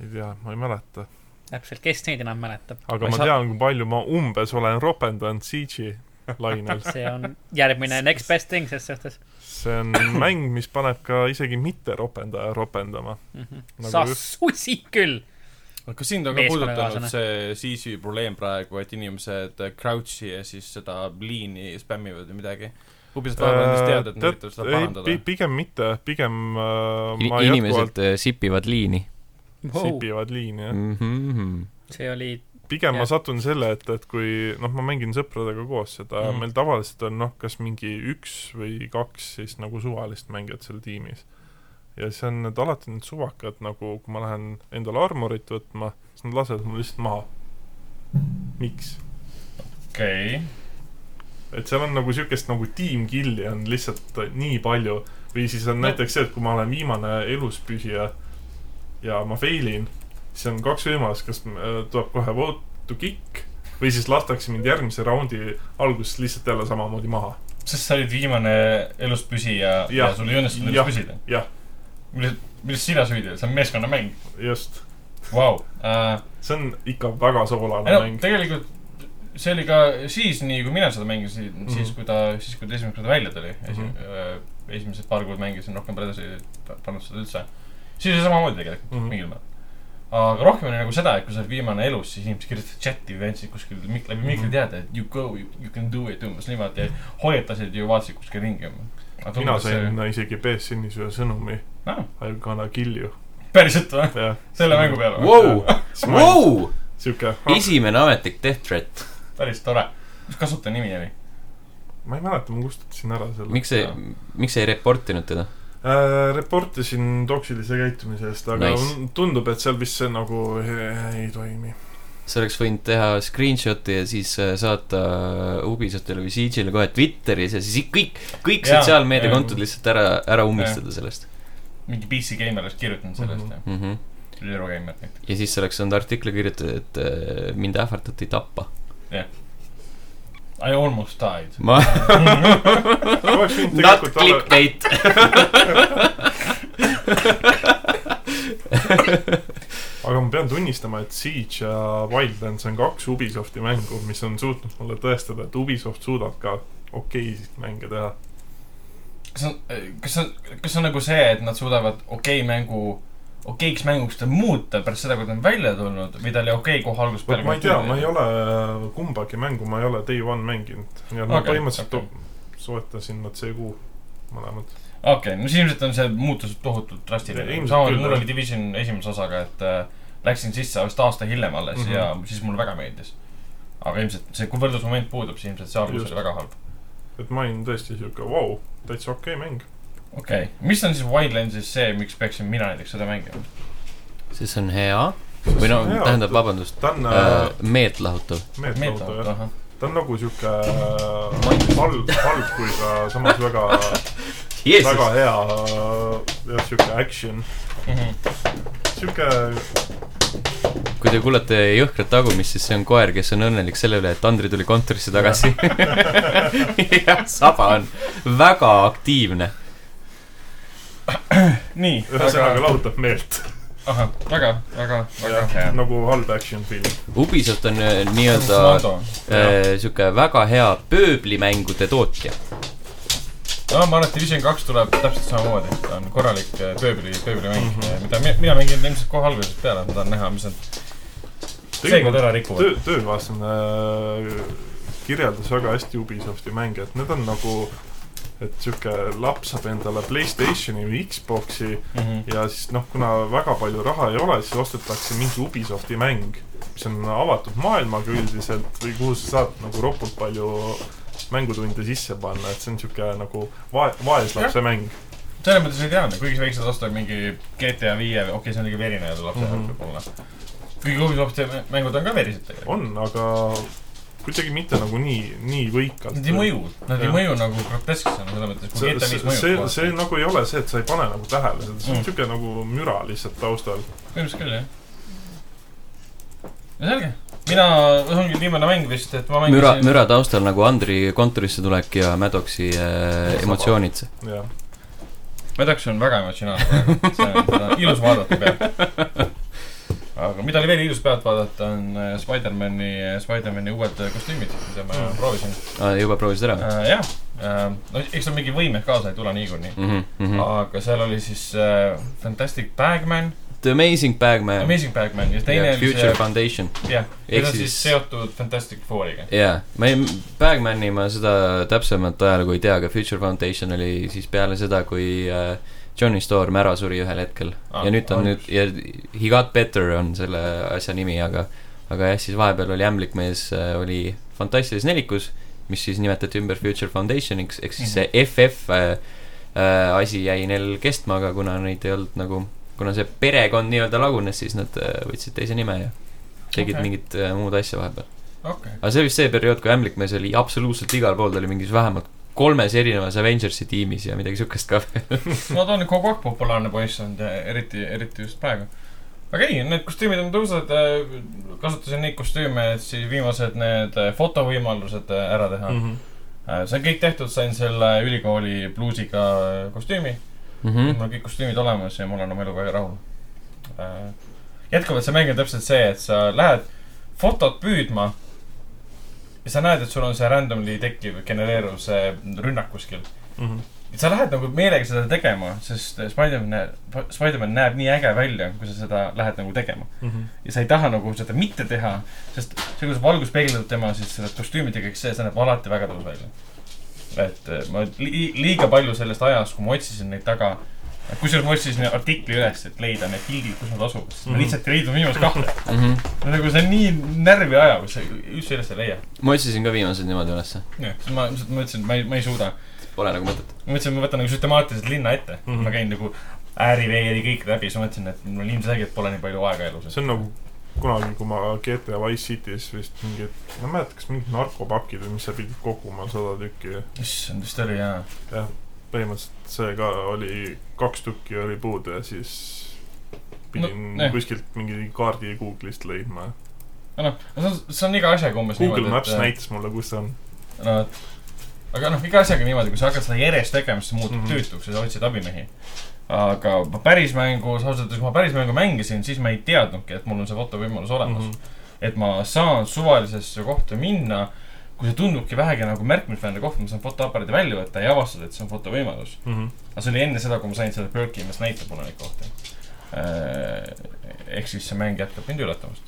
S4: ei tea , ma ei mäleta .
S3: täpselt , kes neid enam mäletab ?
S4: aga
S2: Ma
S4: ma
S2: ei saa-
S4: tean , kui palju ma umbes olen ropendanud Siege'i
S2: *laughs*
S4: lainel .
S3: see on järgmine next best thing ses suhtes
S4: see on mäng , mis paneb ka isegi mitte ropendaja ropendama .
S3: mm . -hmm.
S4: Nagu
S3: sa
S4: just-
S3: susi küll
S2: kas sind on ka puudutanud
S3: Meeskonnakaaslane.
S2: see Siege'i probleem praegu , et inimesed äh, crouch'i ja siis seda liini spämmivad või midagi ? Ubisoft vahepeal andis teada , et nad üritavad seda parandada
S4: Äh, ei ,. pigem mitte , pigem äh, ma jätkuvalt
S1: inimesed äh, sipivad liini
S3: wow. .
S4: sipivad liini , jah .
S1: mm . -hmm.
S3: see oli ,
S4: pigem
S3: Jah.
S4: ma satun selle , et , et kui noh , ma mängin sõpradega koos seda mm. ,
S3: Mhm.
S4: meil tavaliselt on noh , kas mingi üks või kaks siis nagu suvalist mängijat seal tiimis . ja siis on need alati need suvakad nagu , kui ma lähen endale armorit võtma , siis nad lasevad mul lihtsalt maha . miks ?
S2: okei .
S4: et seal on nagu siukest nagu team kill'i on lihtsalt nii palju või siis on näiteks see , et kui ma olen viimane eluspüsija ja ma fail in , siis on kaks võimalust , kas äh, tuleb kohe vote to kick või siis lastakse mind järgmise raundi alguses lihtsalt jälle samamoodi maha .
S2: sest sa olid viimane elus püsija
S4: Jah.
S2: sul ei õnnestunud
S4: Jah.
S2: püsida .
S4: jah ,
S2: millest , millest sina süüdi oled , see on meeskonnamäng ,
S4: just ,
S2: vau . Äh, ei
S4: see on ikka väga soolane
S2: no
S4: mäng .
S2: tegelikult see oli ka siis nii , kui mina seda mängisin mm , -hmm. siis kui ta , siis kui ta esimest korda välja tuli Esi, mm ,
S4: Mhm.
S2: -hmm. esimesed paar kuud mängisin rohkem pole edasi pa- pannud seda üldse . siis oli samamoodi tegelikult mm
S4: Mhm.
S2: -hmm. mingil määral . aga rohkem oli nagu seda , et kui sa oled viimane elus , siis inimesed kirjutasid chati või andsid kuskil mik- , läbi mikri
S4: Mhm.
S2: teada , et you go , you can do it umbes niimoodi , hoiatasid ja vaatasid kuskil ringi .
S4: mina sain . isegi BSN-is ühe sõnumi
S2: Noh,
S4: I m gonna kill
S2: *laughs*
S4: you .
S2: päriselt või ?
S4: jah ,
S2: selle mängu peale või ?
S1: wow!
S4: siis Äh, ma olin
S1: wow!
S4: siuke ,
S1: esimene ametlik death threat .
S2: päris tore . mis kasutaja nimi oli ?
S4: ma ei mäleta , ma kustutasin ära selle .
S1: miks see , miks ei reportinud teda ?
S4: äh, ? Reportisin toksilise käitumise eest , aga
S1: Nice.
S4: nice. tundub , et seal vist see nagu eh, ei toimi .
S1: sa oleks võinud teha screenshot'i ja siis äh, saata Ubisoftile või CG-le kohe Twitteris ja siis kõik , kõik
S2: Jaa,
S1: sotsiaalmeediakontod
S2: jaa.
S1: lihtsalt ära , ära ummistada sellest
S2: mingi PC Gamer oleks kirjutanud sellest
S4: Mhm.
S2: mm
S1: mm . -hmm.
S2: -hmm. , Eurogeimer näiteks .
S1: ja siis sa oleks saanud artikli kirjutada , et äh, mind ähvardati tappa .
S2: I almost died .
S1: *laughs* ma ,
S4: oleks võinud
S1: not
S4: tegelikult olla ,
S1: clickbait .
S4: aga ma pean tunnistama , et Siege ja Wildlands on kaks Ubisofti mängu , mis on suutnud mulle tõestada , et Ubisoft suudab ka okeisid mänge teha .
S2: kas on , kas on , kas on nagu see , et nad suudavad okei mängu , okeiks mänguks ta muuta pärast seda , kui ta on välja tulnud või ta oli okei kohe algusest
S4: vot
S2: peale ?
S4: ma ei tea , ma ei . ole äh, kumbagi mängu , ma ei ole Day One mänginud . ja ma
S2: Okei,
S4: okay, põhimõtteliselt
S2: okei.
S4: okay. soetasin nad see kuu mõlemad .
S2: okei okay, , no siis ilmselt on see muutus tohutult drastiline .
S4: Ilmselt
S2: samamoodi
S4: küll,
S2: mul
S4: jah.
S2: oli Division esimese osaga , et äh, läksin sisse vist aasta hiljem alles mm
S4: Mhm.
S2: -hmm. ja siis mulle väga meeldis . aga ilmselt see , kui võrdlusmoment puudub , siis ilmselt see algus
S4: Just.
S2: oli väga halb .
S4: et ma olin tõesti siuke , vau , täitsa okei okay mäng .
S2: okei okay. , mis on siis Wildlandsis see , miks peaksin mina näiteks seda mängima ?
S1: siis on hea või no tähendab ,. vabandust
S4: ta on
S1: äh,
S4: äh, ,
S1: meelt lahutav .
S4: meeltmõõtu jah .
S2: ahah .
S4: ta on nagu siuke äh, halb , halb , kui ka samas väga , väga hea ja siuke action ,
S2: Mhm.
S4: siuke
S1: kui te kuulete jõhkrat tagumist , siis see on koer , kes on õnnelik selle üle , et Andri tuli kontorisse *laughs* tagasi . jah , saba on väga aktiivne .
S2: nii ,
S4: ühesõnaga lahutab meelt .
S2: ahah , väga , väga , väga hea .
S4: nagu halb action film .
S1: Ubisoft on äh, nii-öelda
S2: Nado .
S1: äh, sihuke väga hea pööblimängude tootja .
S2: no ma arvan , et Division kaks tuleb täpselt samamoodi , ta on korralik äh, pööbli , pööblimäng
S4: Mhm.
S2: mm , -hmm. mida mi- mina mängin ilmselt kohe algusest peale , ma tahan näha , mis nad seekord ära rikuvad .
S4: töö , töövaaslane kirjeldas väga hästi Ubisofti mänge , et need on nagu , et sihuke laps saab endale Playstationi või Xboxi
S2: Mhm.
S4: ja siis noh , kuna väga palju raha ei ole , siis ostetakse mingi Ubisofti mäng , mis on avatud maailmaga üldiselt või kuhu sa saad nagu ropult palju mängutunde sisse panna , et see on siuke nagu vae- , vaeslapse mäng .
S2: selles mõttes ei tea , kuigi sa võiksid osta mingi GTA viie , okei okay, , see on liiga verine ja tuleb see
S4: Mhm.
S2: võib-olla . kuigi Ubisofti mä- mängud on ka verised tegelikult .
S4: on , aga kuidagi mitte nagu nii , nii võikalt .
S2: Nad ei mõju , nad ei
S4: Jah.
S2: mõju nagu grotesksena selles mõttes , kui
S4: see ,
S2: GTA viis
S4: see , see,
S2: mõjub .
S4: see nagu ei ole see , et sa ei pane nagu tähele seda , see on
S2: Mm.
S4: mm. siuke nagu müra lihtsalt taustal .
S2: põhimõtteliselt küll , jah . no selge , mina , see ongi viimane mäng vist , et ma mängisin
S1: müra , müra taustal nagu Andri kontorisse tulek ja Maddoxi äh, emotsioonid .
S4: jah ,
S2: Maddox on väga emotsionaalne praegu , see on seda on ilus vaadata pealt . aga mida oli veel ilus pealt vaadata , on äh, Spider-mani , Spider-mani uued äh, kostüümid , mida ma
S4: Mm.
S2: proovisin .
S1: Ah, juba proovisid ära või ?
S2: jah , no eks seal mingi võimed kaasa ei tule niikuinii .
S1: Mhm, mhm.
S2: aga seal oli siis äh, Fantastic Bagman ,
S1: The Amazing Bagman
S2: Amazing Bagman ja
S1: ja
S2: teine oli
S1: Future
S2: see ,
S1: Foundation .
S2: jah ,
S1: ehk
S2: need on siis
S1: siis-
S2: seotud Fantastic Fouriga .
S1: jaa , ma ei , Bagmani ma seda täpsemat ajalugu ei tea , aga Future Foundation oli siis peale seda , kui äh, Johnny Storm ära suri ühel hetkel
S2: Ah,
S1: ah, . ja nüüd on
S2: ah,
S1: nüüd ja He Got Better on selle asja nimi , aga , aga jah , siis vahepeal oli Ämblik mees , oli Fantastilises nelikus , mis siis nimetati ümber Future Foundationiks , ehk
S2: Mhm.
S1: siis see FF äh, äh, asi jäi neil kestma , aga kuna neid ei olnud nagu , kuna see perekond nii-öelda lagunes , siis nad äh, võtsid teise nime ja tegid
S2: Okei.
S1: okay. mingit äh, muud asja vahepeal .
S2: okei ,
S1: aga see oli vist see periood , kui ämblikmees oli absoluutselt igal pool , ta oli mingis vähemalt kolmes erinevas Avengersi tiimis ja midagi siukest ka .
S2: no ta on kogu aeg populaarne poiss olnud ja eriti , eriti just praegu . aga ei , need kostüümid on tõusnud , kasutasin neid kostüüme , et siis viimased need äh, fotovõimalused äh, ära teha mm .
S4: -hmm.
S2: -hmm. see on kõik tehtud , sain selle ülikooli bluusiga äh, kostüümi mm. , mul on kõik kostüümid olemas ja ma olen oma eluga väga rahul . jätkuvalt see mäng on täpselt see , et sa lähed fotot püüdma ja sa näed , et sul on see randomly tekkiv , genereeruv see rünnak kuskil .
S4: Mm -hmm.
S2: et sa lähed nagu meelega seda tegema , sest Spider-man näeb , Spider-man näeb nii äge välja , kui sa seda lähed nagu tegema .
S4: mm -hmm.
S2: ja sa ei taha nagu seda mitte teha , sest see , kuidas valgus peegeldub tema siis selle kostüümidega , eks see , see näeb alati väga tõus välja . et eh, ma li liiga palju sellest ajast , kui ma otsisin neid taga , kusjuures ma otsisin artikli üles , et leida need pildid , kus nad asuvad , sest ma
S4: Mhm.
S2: lihtsalt ei leidnud viimast kahte .
S1: mm . -hmm.
S2: nagu see on nii närvi ajav , see üldse üles ei leia .
S1: ma otsisin ka viimased niimoodi ülesse .
S2: jah , siis ma lihtsalt mõtlesin , et ma ei , ma ei suuda .
S1: Pole nagu mõtet .
S2: ma mõtlesin , et ma võtan nagu süstemaatiliselt linna ette mm .
S4: Mhm.
S2: -hmm. ma käin nagu ääri-veeri kõik läbi , siis ma mõtlesin , et mul ilmselgelt pole nii palju aega elus .
S4: see on nagu kunagi , kui ma GTA Wise City's vist mingid , ma ei mäleta , kas mingid narkopakid või mis sa pidid koguma sada tükki .
S2: issand , vist oli jaa .
S4: põhimõtteliselt see ka oli , kaks tükki oli puudu ja siis pidin
S2: No, eh.
S4: no,
S2: jah.
S4: kuskilt mingi kaardi Google'ist leidma .
S2: aga noh , see on , see on iga asjaga umbes
S4: Google
S2: niimoodi ,
S4: Maps näitas mulle , kus see on .
S2: et no, et- aga noh , iga asjaga niimoodi , kui sa hakkad seda järjest tegema , siis sa muutud mm
S4: Mhm.
S2: -hmm. töötuks ja sa otsid abimehi . aga ma päris mängus , ausalt öeldes , kui ma päris mängu mängisin , siis ma ei teadnudki , et mul on see fotovõimalus olemas
S4: Mhm.
S2: mm . -hmm. et ma saan suvalisesse kohta minna , kui see tundubki vähegi nagu märkimisväärne koht , ma saan fotoaparaadi välja võtta ja avastada , et see on fotovõimalus .
S4: Mhm,
S2: aga see oli enne seda , kui ma sain selle perki , mis näitab mulle neid kohti . ehk siis see mäng jätkab mind üllatamast .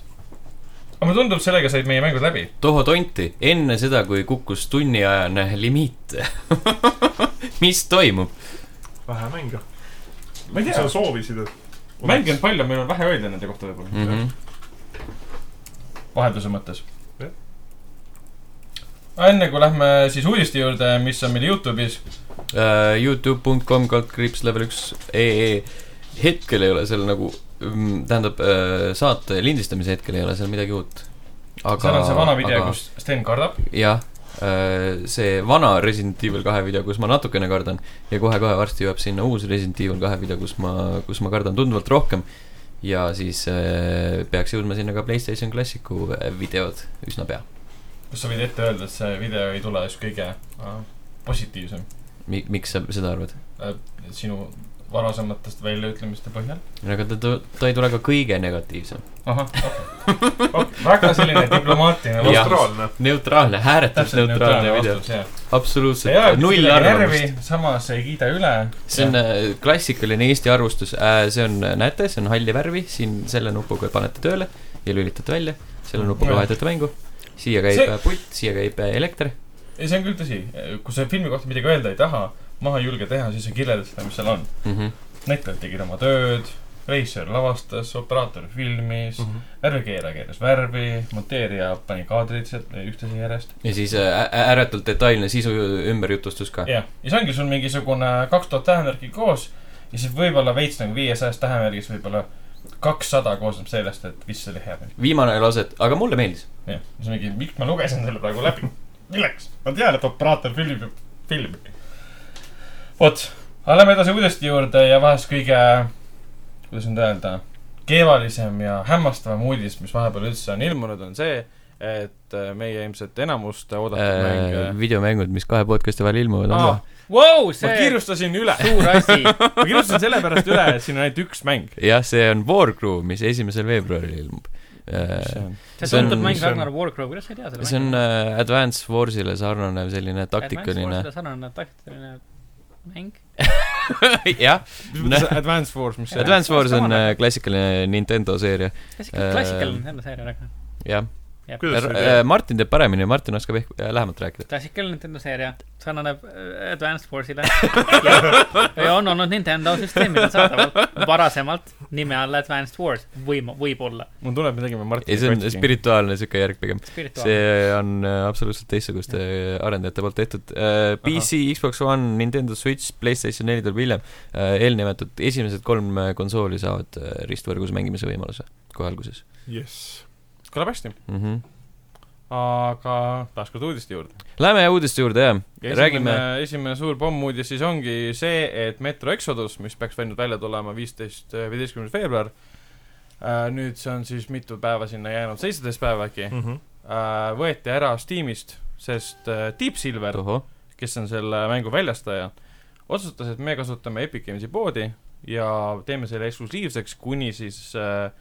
S2: aga mulle tundub , sellega said meie mängud läbi .
S1: Toho tonti , enne seda , kui kukkus tunniajane limiit . *laughs* mis toimub ?
S4: vähe mänge .
S2: ma ei tea
S4: sa , soovisid , et .
S2: mänge on palju , meil on vähe öelda nende kohta võib-olla , Hmm. vahelduse mõttes
S4: Jah. .
S2: enne kui lähme siis uudiste juurde , mis on meil Youtube'is ,
S1: Äh, Youtube.com kaldkriips level üks ee . hetkel ei ole seal nagu , tähendab äh, saate lindistamise hetkel ei ole seal midagi uut . aga .
S2: seal on see vana video , kus Sten kardab .
S1: jah , see vana Resident Evil kahe video , kus ma natukene kardan ja kohe-kohe varsti jõuab sinna uus Resident Evil kahe video , kus ma , kus ma kardan tunduvalt rohkem . ja siis äh, peaks jõudma sinna ka Playstation Classicu äh, videod üsna pea .
S2: kas sa võid ette öelda , et see video ei tule just kõige äh, positiivsem
S1: Mi- , miks sa seda arvad ?
S2: äh, sinu varasematest väljaütlemiste põhjal ?
S1: aga ta, ta , ta ei tule ka kõige negatiivsem .
S2: ahah , okei okay. . väga selline diplomaatiline vastus .
S4: neutraalne .
S1: neutraalne , hääletult
S2: täpselt neutraalne
S1: neutraalne video .
S2: vastus , jah . see ei
S1: absoluutselt
S2: aja
S1: null
S2: null
S1: arvamust .
S2: närvi , samas ei kiida üle .
S1: see on äh, klassikaline Eesti arvustus , see on , näete , see on halli värvi , siin selle nupuga panete tööle ja lülitate välja , selle nupuga
S2: Jah.
S1: vahetate mängu , siia käib
S2: See-
S1: see... puit , siia käib äh, elekter .
S2: ei , see on küll tõsi . kui sa filmi kohta midagi öelda ei taha , maha ei julge teha , siis sa kirjeldad seda , mis seal on .
S1: Mhm.
S2: näitlejad tegid oma tööd , reisijal lavastas , operaator filmis ,
S1: Mm.
S4: Mhm.
S2: värvikeeraja keeras värvi , monteerija pani kaadrid sealt üksteise järjest .
S1: ja siis äh, ä- ääretult detailne sisu ümberjutustus ka .
S2: jah , ja see ongi sul mingisugune kaks tuhat tähemärki koos ja siis võib-olla veits nagu viiesajast tähemärgist võib-olla kakssada koosneb sellest , et vist see oli hea film .
S1: viimane lause , et aga mulle meeldis .
S2: jah , siis mingi , miks ma lugesin selle praegu läbi ? milleks ? ma tean , et operaator filmib filmi . vot , aga lähme edasi uudiste juurde ja vahest kõige , kuidas nüüd öelda , keevalisem ja hämmastavam uudis , mis vahepeal üldse on ilmunud , on see , et äh, meie ilmselt enamust oodatud mäng .
S1: Äh,
S2: äh,
S1: videomängud , mis kahe podcast'i vahel ilmuvad , on noh.
S2: Ah,
S1: ka .
S3: Vau ,
S2: ma
S3: see
S2: kiirustasin üle ,
S3: suur
S2: *laughs*
S3: asi .
S2: ma kiirustasin sellepärast üle , et siin on ainult üks mäng .
S1: jah , see on War Crew , mis esimesel veebruaril ilmub .
S2: Äh,
S1: see
S3: see
S1: See on-
S3: tuntud mäng
S4: see on-
S3: Ragnar Warcraft , kuidas sa ei tea seda ?
S1: on äh, Advance Warsile sarnanev selline taktikaline ,
S3: sarnane taktikaline mäng .
S1: *laughs* jah ,
S2: mis mõttes Advance Force , mis see on ?
S1: Advance Wars on äh, klassikaline Nintendo seeria , Äh,
S3: klassikaline Nintendo seeria Ragnar .
S1: jah .
S4: kuidas sa ei
S1: Äh,
S4: tea ?
S1: Martin teeb paremini , Martin oskab ehk äh, lähemalt rääkida .
S3: klassikaline Nintendo seeria , sarnane äh, Advanced
S2: *laughs*
S3: Warsile ja on olnud Nintendo süsteemidel saadaval varasemalt nime all Advanced Wars , võim- , võib-olla .
S2: mul tuleb , me tegime
S1: ei ,
S2: Martini
S1: see on . spirituaalne sihuke järg pigem .
S3: spirituaalne .
S1: see on äh, absoluutselt teistsuguste äh, arendajate poolt tehtud . PC , Xbox One , Nintendo Switch , Playstation neli tuleb hiljem . eelnimetatud esimesed kolm äh, konsooli saavad äh, ristvõrgus mängimise võimaluse kohe alguses
S4: jess .
S2: kõlab hästi .
S1: mm . -hmm.
S2: aga taaskord uudiste juurde .
S1: Läheme uudiste juurde , jah . räägime ,
S2: esimene, esimene suur pommuudis siis ongi see , et Metro Exodus , mis peaks võinud välja tulema viisteist , viieteistkümnes veebruar , nüüd see on siis mitu päeva sinna jäänud , seitseteist päeva äkki ,
S4: Mhm,
S2: võeti ära Steamist , sest äh, Deep Silver ,
S1: tohoh ,
S2: kes on selle mängu väljastaja , otsustas , et me kasutame Epic Games'i poodi ja teeme selle eksklusiivseks kuni siis äh,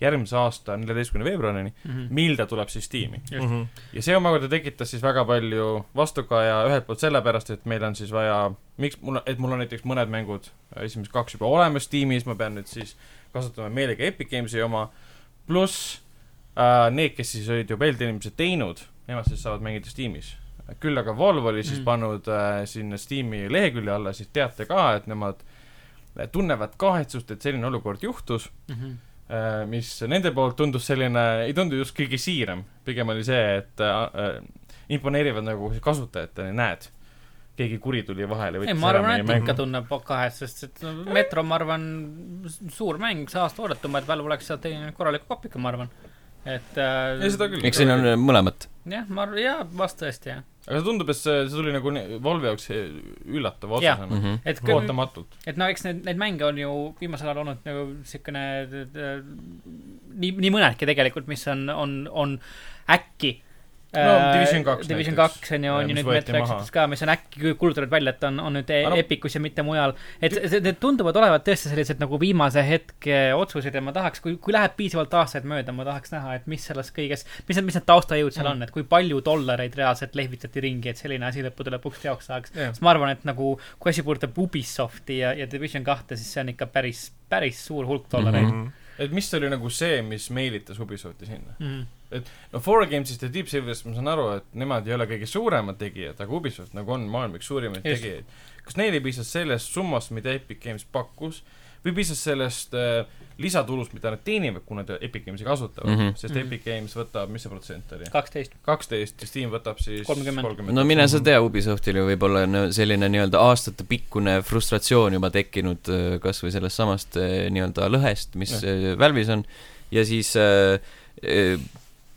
S2: järgmise aasta neljateistkümne veebruarini ,
S3: Mhm.
S2: mil ta tuleb siis Steam'i .
S4: mhm,
S2: ja see omakorda tekitas siis väga palju vastukaja ühelt poolt sellepärast , et meil on siis vaja , miks mul , et mul on näiteks mõned mängud , esimesed kaks juba olemas tiimis , ma pean nüüd siis kasutama meelega Epic Games'i oma , pluss äh, need , kes siis olid ju peldiinimesed teinud , nemad siis saavad mängida Steamis . küll aga Valve oli siis
S3: Mm.
S2: mm. pannud äh, sinna Steam'i lehekülje alla siis teate ka , et nemad tunnevad kahetsust , et selline olukord juhtus ,
S3: -hmm.
S2: Äh, mis nende poolt tundus selline , ei tundu just kõige siiram . pigem oli see , et äh, äh, imponeerivad nagu kasutajatele , näed , keegi kuri tuli vahele .
S3: ei , ma arvan , et ikka tunneb kahest , sest et no, Metro , ma arvan , suur mäng , see aasta oodatumaid peal oleks sealt teeninud korraliku kopika , ma arvan . et äh,
S2: Ei, seda küll.
S1: eks siin on äh, mõlemat .
S3: jah , ma arvan , jaa , vast tõesti jah .
S2: aga see tundub , et see , see tuli nagu ne- Valve jaoks üllatava
S3: Jah.
S2: otsusena mm
S1: Mhm.
S2: -hmm. .
S3: et küll ,
S2: ootamatult .
S3: et no eks neid , neid mänge on ju viimasel ajal olnud nagu siukene äh, nii , nii mõnedki tegelikult , mis on , on , on äkki .
S2: No, Division kaks
S3: Division
S2: näiteks.
S3: kaks on ju , on
S2: Ja,
S3: ju
S2: mis
S3: nüüd
S2: võeti
S3: Metro
S2: maha.
S3: Exodus ka , mis on äkki kuulutatud välja , et on , on nüüd e-
S2: Aga no-
S3: Epicus ja mitte mujal . et see- see- need tunduvad olevat tõesti sellised nagu viimase hetke otsused ja ma tahaks , kui , kui läheb piisavalt aastaid mööda , ma tahaks näha , et mis selles kõiges , mis need , mis need taustajõud
S2: Mm.
S3: seal on , et kui palju dollareid reaalselt lehvitati ringi , et selline asi lõppude lõpuks teoks saaks .
S2: jah ,
S3: sest ma arvan , et nagu , kui asi puudutab Ubisofti ja , ja Division kahte , siis see on ikka päris , päris suur hulk dollareid mm .
S4: -hmm.
S2: et mis oli nagu see , mis meelitas Ubisofti sinna ?
S3: -hmm.
S2: no Four Games'ist ja Deep Silverist ma saan aru , et nemad ei ole kõige suuremad tegijad , aga Ubisoft nagu on maailma üks suurimaid
S3: Just.
S2: tegijaid . kas neile piisas sellest summast , mida Epic Games pakkus või piisas sellest äh, lisatulust , mida nad teenivad , kui nad Epic Games'i kasutavad mm ,
S1: Mhm.
S2: -hmm. sest Epic Games võtab , mis see protsent oli ?
S3: kaksteist .
S2: kaksteist ja Steam võtab siis
S3: 30.
S1: no mine sa tea , Ubisoftil ju võib olla on selline nii-öelda aastatepikkune frustratsioon juba tekkinud öö, kas või sellest samast öö, nii-öelda lõhest , mis öö, Valve'is on , ja siis öö, öö,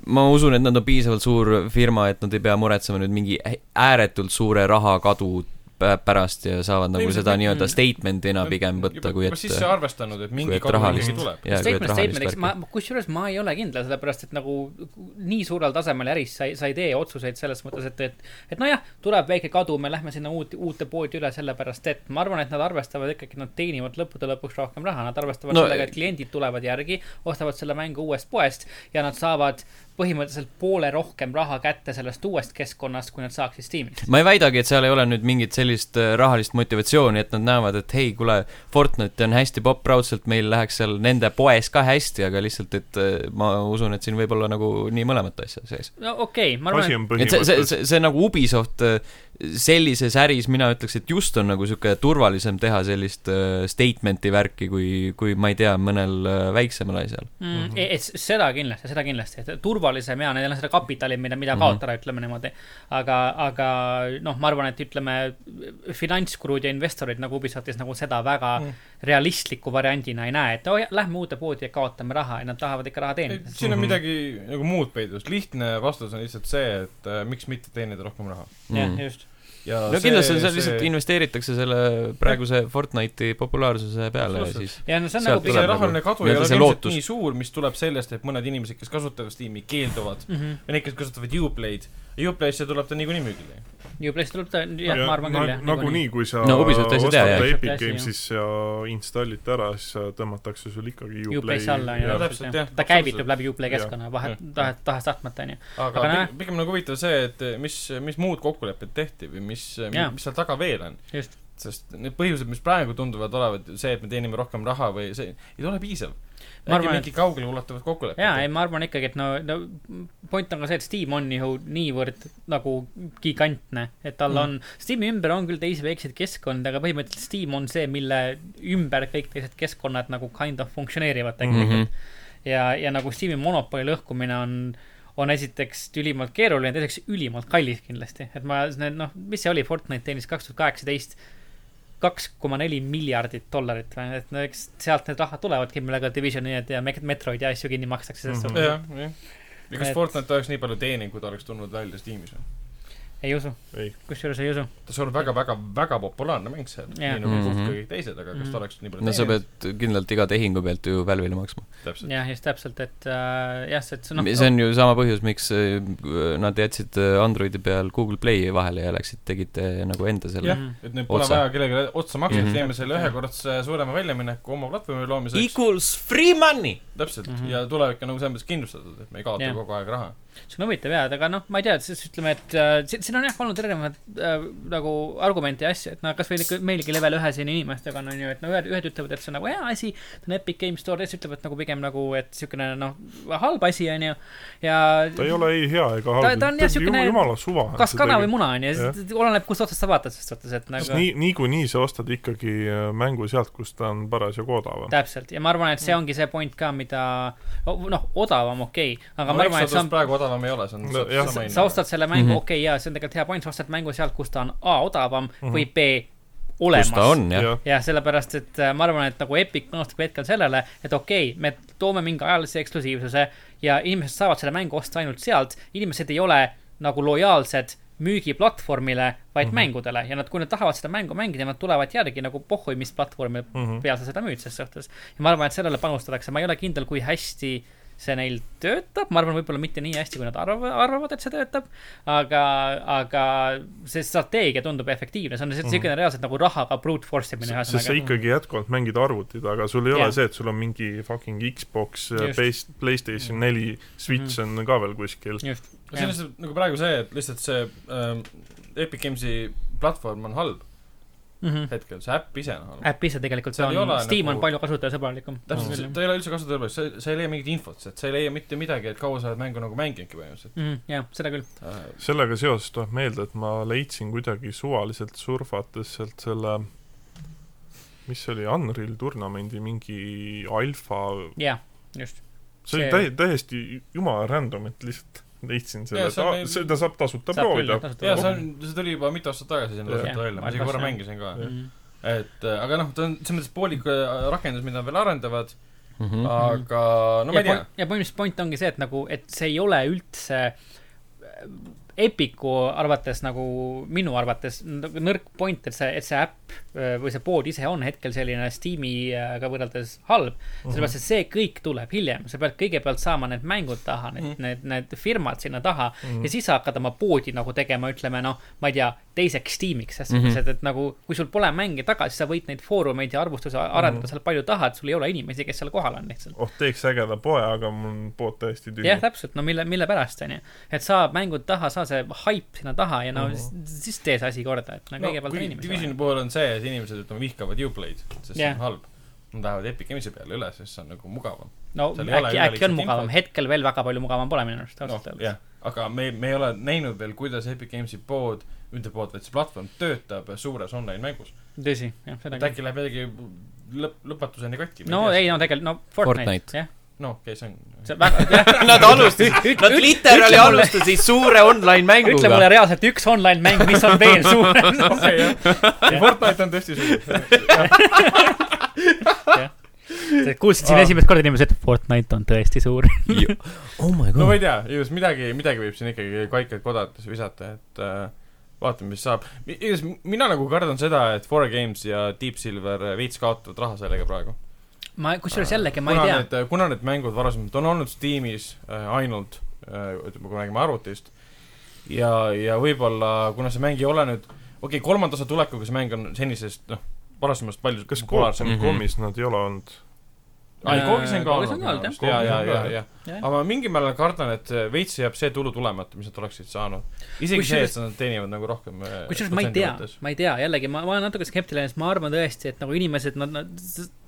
S1: ma usun , et nad on piisavalt suur firma , et nad ei pea muretsema nüüd mingi ä- ääretult suure raha kadu pä- pärast ja saavad nagu
S2: ilmselt
S1: seda
S2: mitte.
S1: nii-öelda
S3: Mm.
S1: statement'ina pigem võtta , kui et
S2: ma
S1: äh,
S2: sisse arvestanud , et
S1: kui
S2: mingi
S1: et
S2: kadu
S1: rahalist-
S2: ikkagi tuleb .
S1: jaa, kui et
S3: Statement
S1: rahalist
S3: statement'iks ,
S1: värki.
S3: ma , kusjuures ma ei ole kindel , sellepärast et nagu nii suurel tasemel äris sa ei , sa ei tee otsuseid selles mõttes , et , et , et nojah , tuleb väike kadu , me lähme sinna uut , uute poodi üle , sellepärast et ma arvan , et nad arvestavad ikkagi , nad teenivad lõppude lõpuks rohkem raha , nad arvestavad
S1: No- e-
S3: no, sellega , et kliendid tulevad järgi , ostavad selle mängu uuest poest ja nad saavad põhimõtteliselt poole rohkem raha kätte sellest uuest keskkonnast , kui nad saaksid Steamis .
S1: ma ei väidagi , et seal ei ole nüüd mingit sellist äh, rahalist motivatsiooni , et nad näevad , et hei , kuule , Fortnite on hästi popp raudselt , meil läheks seal nende poes ka hästi , aga lihtsalt , et äh, ma usun , et siin võib olla nagu nii mõlemat asja sees .
S3: no okei okay, , ma arvan ,
S4: asi on
S1: et see , see ,
S4: põhimõtteliselt .
S1: see , see nagu Ubisoft äh, sellises äris , mina ütleks , et just on nagu niisugune turvalisem teha sellist äh, statement'i värki , kui , kui ma ei tea , mõnel äh, väiksemal asjal .
S3: mm, . et s- seda kindlasti , seda kindlasti , et turvalisem ja neil on seda kapitali , mida , mida
S1: Mhm.
S3: kaotada , ütleme niimoodi . aga , aga noh , ma arvan , et ütleme , finantskurud ja investorid nagu Ubisoftis nagu seda väga
S2: Mhm.
S3: mm. realistliku variandina ei näe , et oh, jah, lähme uude poodi ja kaotame raha ja nad tahavad ikka raha
S2: Ei,
S3: teenida .
S2: siin on
S4: Mhm.
S2: midagi nagu muud peidus , lihtne vastus on lihtsalt see , et äh, miks mitte teenida rohkem raha .
S1: Mhm.
S3: jah , just .
S2: ja
S1: Mm. no kindlasti on see lihtsalt , investeeritakse selle praeguse Fortnite'i populaarsuse peale ja siis
S3: ja no see on
S1: Sealt
S3: nagu
S2: see
S1: tuleb
S3: pigem .
S2: rahaline
S1: nagu-
S2: kadu ei
S1: nii-öelda
S2: ole
S1: see
S2: ilmselt
S1: lootus.
S2: nii suur , mis tuleb sellest , et mõned inimesed , kes kasutavad Steam'i , keelduvad .
S3: Mm -hmm.
S2: ja need , kes kasutavad Uplay'd , Uplay'sse tuleb ta niikuinii müügile .
S3: Uplay'st tuleb ta , jah , ma arvan küll , jah .
S4: nagunii , kui sa
S1: No Ubisoft ei saa
S4: ostad
S1: teha, jah.
S4: ta Epic
S3: Ubisoft ei saa,
S4: Games'is ja installid ta ära , siis tõmmatakse sul ikkagi
S3: Uplay'sse alla on ju ,
S2: Jah,
S3: täpselt
S2: täpselt,
S3: jah
S2: jah, .
S3: ta käivitub läbi Uplay
S4: Jah.
S3: keskkonna , vahet ,
S2: Jah.
S3: tahes , tahes-tahtmata on ju .
S2: aga
S3: Aga
S2: pi-
S3: näe-
S2: pigem nagu huvitav see , et mis , mis muud kokkulepped tehti või mis ,
S3: Jaa.
S2: mis seal taga veel on .
S3: Just.
S2: sest need põhjused , mis praegu tunduvad olevat see , et me teenime rohkem raha või see , ei ole piisav . äkki
S3: Ma arvan,
S2: mingi kaugele ulatuvad kokkulepped .
S3: jaa , ei ma arvan ikkagi , et no , no point on ka see , et Steam on ju niivõrd nagu gigantne , et tal mm. on , Steam'i ümber on küll teisi väikseid keskkondi , aga põhimõtteliselt Steam on see , mille ümber kõik teised keskkonnad nagu kind of
S1: Mhm.
S3: funktsioneerivad tegelikult mm . -hmm. ja , ja nagu Steam'i monopoli lõhkumine on , on esiteks ülimalt keeruline , teiseks ülimalt kallis kindlasti , et ma , noh , mis see oli , Fortnite teenis kaks tuhat kaheksateist kaks koma neli miljardit dollarit või , et no eks sealt need rahad tulevadki , millega Divisionid ja Met- Metroid ja asju kinni makstakse , sest mm
S4: Mhm.
S3: -hmm.
S2: jah , jah . ja kas et...
S3: Et-
S2: Fortnite oleks nii palju teeninud , kui ta oleks tulnud välja Steamis või ?
S3: ei usu ,
S4: ei ,
S3: kusjuures ei usu .
S2: ta see on väga-väga-väga populaarne mäng seal ,
S3: Jaa.
S2: nii nagu mm
S1: Mhm.
S2: -hmm. kõik teised , aga kas
S3: Mhm.
S2: ta oleks nii palju
S1: no sa pead kindlalt iga tehingu pealt ju Valve'ile maksma .
S2: täpselt .
S3: jah , just täpselt , et äh, jah , see , et see
S1: no,
S3: noh .
S1: see on ju sama põhjus , miks äh, nad jätsid äh, Androidi peal Google Play'i vahele ja läksid , tegid äh, nagu enda selle
S3: Mm.
S2: jah , et nüüd pole
S1: Otsa.
S2: vaja kellelegi otsa maksta mm ,
S1: Mhm.
S2: -hmm. teeme selle ühekordse suurema väljamineku oma platvormi loomiseks .
S1: Equals free money .
S2: täpselt mm ,
S3: Mhm.
S2: -hmm. ja tulevik on nagu selles mõttes kindlustatud , et me ei kaota
S3: Jah.
S2: yeah. kogu aeg raha .
S3: see on huvitav jaa , aga noh , ma ei tea , siis ütleme , et äh, siin , siin on jah olnud erinevaid äh, nagu argumente ja asju , et no kasvõi ikka meilgi level ühe siin inimestega on , on ju , et no ühed , ühed ütlevad , et see on nagu hea asi , see on Epic Games Store , teised ütlevad nagu pigem nagu , et siukene noh , halb asi on ju . ja
S4: ta ei ole ei hea ega halb .
S3: ta on jah siukene
S4: jumala suva .
S3: kas kana või muna on ju , oleneb , kust otsast sa vaatad , ses suhtes , et
S4: sest
S3: nagu
S4: nii , niikuinii sa ostad ikkagi äh, mängu sealt , kus ta on Mm. parasjagu odavam .
S3: täpselt ja ma arvan , et see ongi see point ka , mida o- noh , odavam okei okay, , aga ma arvan , et see on
S2: praegu odavam ei ole , see on
S4: No
S2: sa-
S4: jah.
S2: sama
S3: sa
S2: hind .
S3: ostad selle mängu ,
S1: Mhm.
S3: okei , jaa , see on tegelikult hea point , sa ostad mängu sealt , kus ta on A odavam mm -hmm.
S4: Mhm.
S3: või B
S1: kus ta
S3: olemas .
S1: on , jah .
S3: jah , sellepärast , et äh, ma arvan , et nagu Epic panustab hetkel sellele , et okei okay, , me toome mingi ajalise eksklusiivsuse ja inimesed saavad selle mängu osta ainult sealt , inimesed ei ole nagu lojaalsed müügiplatvormile , vaid mm -hmm. mängudele ja nad , kui nad tahavad seda mängu mängida , nad tulevad järgi nagu pohhui , mis platvormi mm -hmm. peal sa seda müüd ses suhtes . ja ma arvan , et sellele panustatakse , ma ei ole kindel , kui hästi see neil töötab , ma arvan , võib-olla mitte nii hästi , kui nad arvavad , arvavad , et see töötab . aga , aga see strateegia tundub efektiivne , see on lihtsalt niisugune reaalselt nagu rahaga brute force imine
S4: sest sa
S3: ühesõnaga .
S4: ikkagi jätkuvalt mängid arvutit , aga sul ei ole
S3: Jah.
S4: see , et sul on mingi fucking Xbox äh,
S3: Just. , Mhm.
S4: PlayStation neli , Switch on ka veel kuskil .
S3: just ,
S2: see on lihtsalt nagu praegu see , et lihtsalt see ähm, Epic Games'i platvorm on halb hetkel , see äpp ise on halb .
S3: Mhm. äpp Mhm. ise tegelikult , see
S2: Seal ei
S3: on
S2: ole ,
S3: Steam on
S2: nagu- Mhm.
S3: palju kasutajasõbralikum .
S2: täpselt , ta ei ole üldse kasutajal , sa , sa ei leia mingit infot , sa ei leia mitte midagi , et kaua sa oled mängu nagu mänginudki põhimõtteliselt
S3: Mhm, jah , seda küll .
S2: äh, .
S4: sellega seoses tuleb meelde , et ma leidsin kuidagi suvaliselt surfates sealt selle , mis see oli , Unreal Tournamenti mingi alfa ,
S3: jah , just .
S4: see
S3: See-
S4: oli täi- , täiesti jumala random , et lihtsalt leidsin selle
S2: Jaa, see on
S4: ja,
S2: meil- ,
S4: seda saab tasuta
S3: Saab küll,
S4: proovida .
S3: tasuta
S2: jaa , see on , see tuli juba mitu aastat tagasi sinna
S4: Jah.
S2: tasuta välja , ma
S3: Jah,
S2: isegi korra
S3: jah.
S2: mängisin ka . et äh, aga noh , ta on selles mõttes poolik äh, rakendus , mida nad veel arendavad ,
S1: Mhm.
S2: aga no ma
S3: Mhm. ja
S2: ei tea
S3: point- . ja põhimõtteliselt point ongi see , et nagu , et see ei ole üldse äh, Epiku arvates nagu , minu arvates nagu nõrk point , et see , et see äpp äh, või see pood ise on hetkel selline Steamiga võrreldes halb .
S2: Mhm.
S3: sellepärast , et see kõik tuleb hiljem , sa pead kõigepealt saama need mängud taha , need
S2: Mhm.
S3: mm. , need , need firmad sinna taha mm.
S4: Mhm.
S3: ja siis sa hakkad oma poodi nagu tegema , ütleme noh , ma ei tea , teiseks tiimiks , selles
S2: Mhm.
S3: mõttes , et , et nagu kui sul pole mänge taga , siis sa võid neid foorumeid ja arvustusi arendada
S2: Mhm.
S3: mm. seal palju tahad , sul ei ole inimesi , kes seal kohal on lihtsalt .
S4: oh , teeks ägeda poe , aga mul on pood täiesti tühi
S3: jah ,. täpselt , no mille , mille pärast , onju . et saa mängud taha , saa see haip sinna taha ja no s- siis tee see asi korda , et no
S2: no
S3: kõigepealt on
S2: kui
S3: inimesi vaja .
S2: Divisioni puhul on see , et inimesed , ütleme , vihkavad Uplay'd , sest see
S3: Jah.
S2: on halb . Nad lähevad Epic Games'i peale üle , sest see on nagu mugavam .
S3: no
S2: seal ei ole
S3: äkki , äkki
S2: üleliigset
S3: on mugavam ,
S2: infot.
S3: hetkel veel väga palju mugavam pole minu arust
S2: noh
S3: ausalt , öeldes .
S2: jah , aga me , me ei ole näinud veel , kuidas Epic Games'i pood , mitte pood , vaid see platvorm töötab suures online mängus .
S3: tõsi , jah , seda
S2: et
S3: küll .
S2: äkki läheb jällegi lõpp , lõpmatuseni katki .
S3: no ei , no tegelikult , no
S1: Fortnite.
S3: Fortnite , jah .
S2: no okei okay, , see on
S3: see on väga , jah ,
S1: Nad
S2: *laughs*
S1: alustasid , nad literaali
S3: ütle mulle-
S1: alustasid suure online
S3: ütle mulle
S1: mänguga .
S3: reaalselt üks online mäng , mis on veel
S2: *laughs*
S3: suurem .
S2: okei Noh,
S3: *laughs*
S2: jah , ei Fortnite on tõesti suur .
S3: kuulsid
S2: Ah.
S3: siin esimest korda inimesed , Fortnite on tõesti suur .
S1: oh my
S2: no ma
S1: god .
S2: ei tea , igatahes midagi , midagi võib siin ikkagi kaikaid kodatesse visata , et äh, vaatame , mis saab . igatahes mina nagu kardan seda , et Four Games ja Deep Silver äh, veits kaotavad raha sellega praegu .
S3: ma , kusjuures jällegi , ma ei tea ..
S2: kuna need mängud varasemalt on olnud Steamis äh, ainult äh, , ütleme , kui me räägime arvutist , ja , ja võib-olla kuna see mäng ei ole nüüd , okei okay, , kolmanda osa tulekuga see mäng on senisest , noh , varasemast palju
S4: kas
S2: populaarsem .
S1: Mhm.
S4: Koop.com-is nad ei ole olnud ?
S2: ei , Koogis on ka
S3: Koogis Äh, on ka olnud,
S2: olnud
S3: jah. .
S2: ja , ja , ja ,
S4: Koogis on ka,
S2: ja ,
S3: jah.
S2: aga ma mingil määral kardan , et äh, veits jääb see tulu tulemata , mis nad oleksid saanud . isegi see ,
S3: Kusjuures-
S2: et nad teenivad nagu rohkem .
S3: kusjuures ma ei tea , ma ei tea , jällegi ma , ma olen natuke skeptiline , sest ma arvan tõesti , et nagu inimesed , nad , nad ,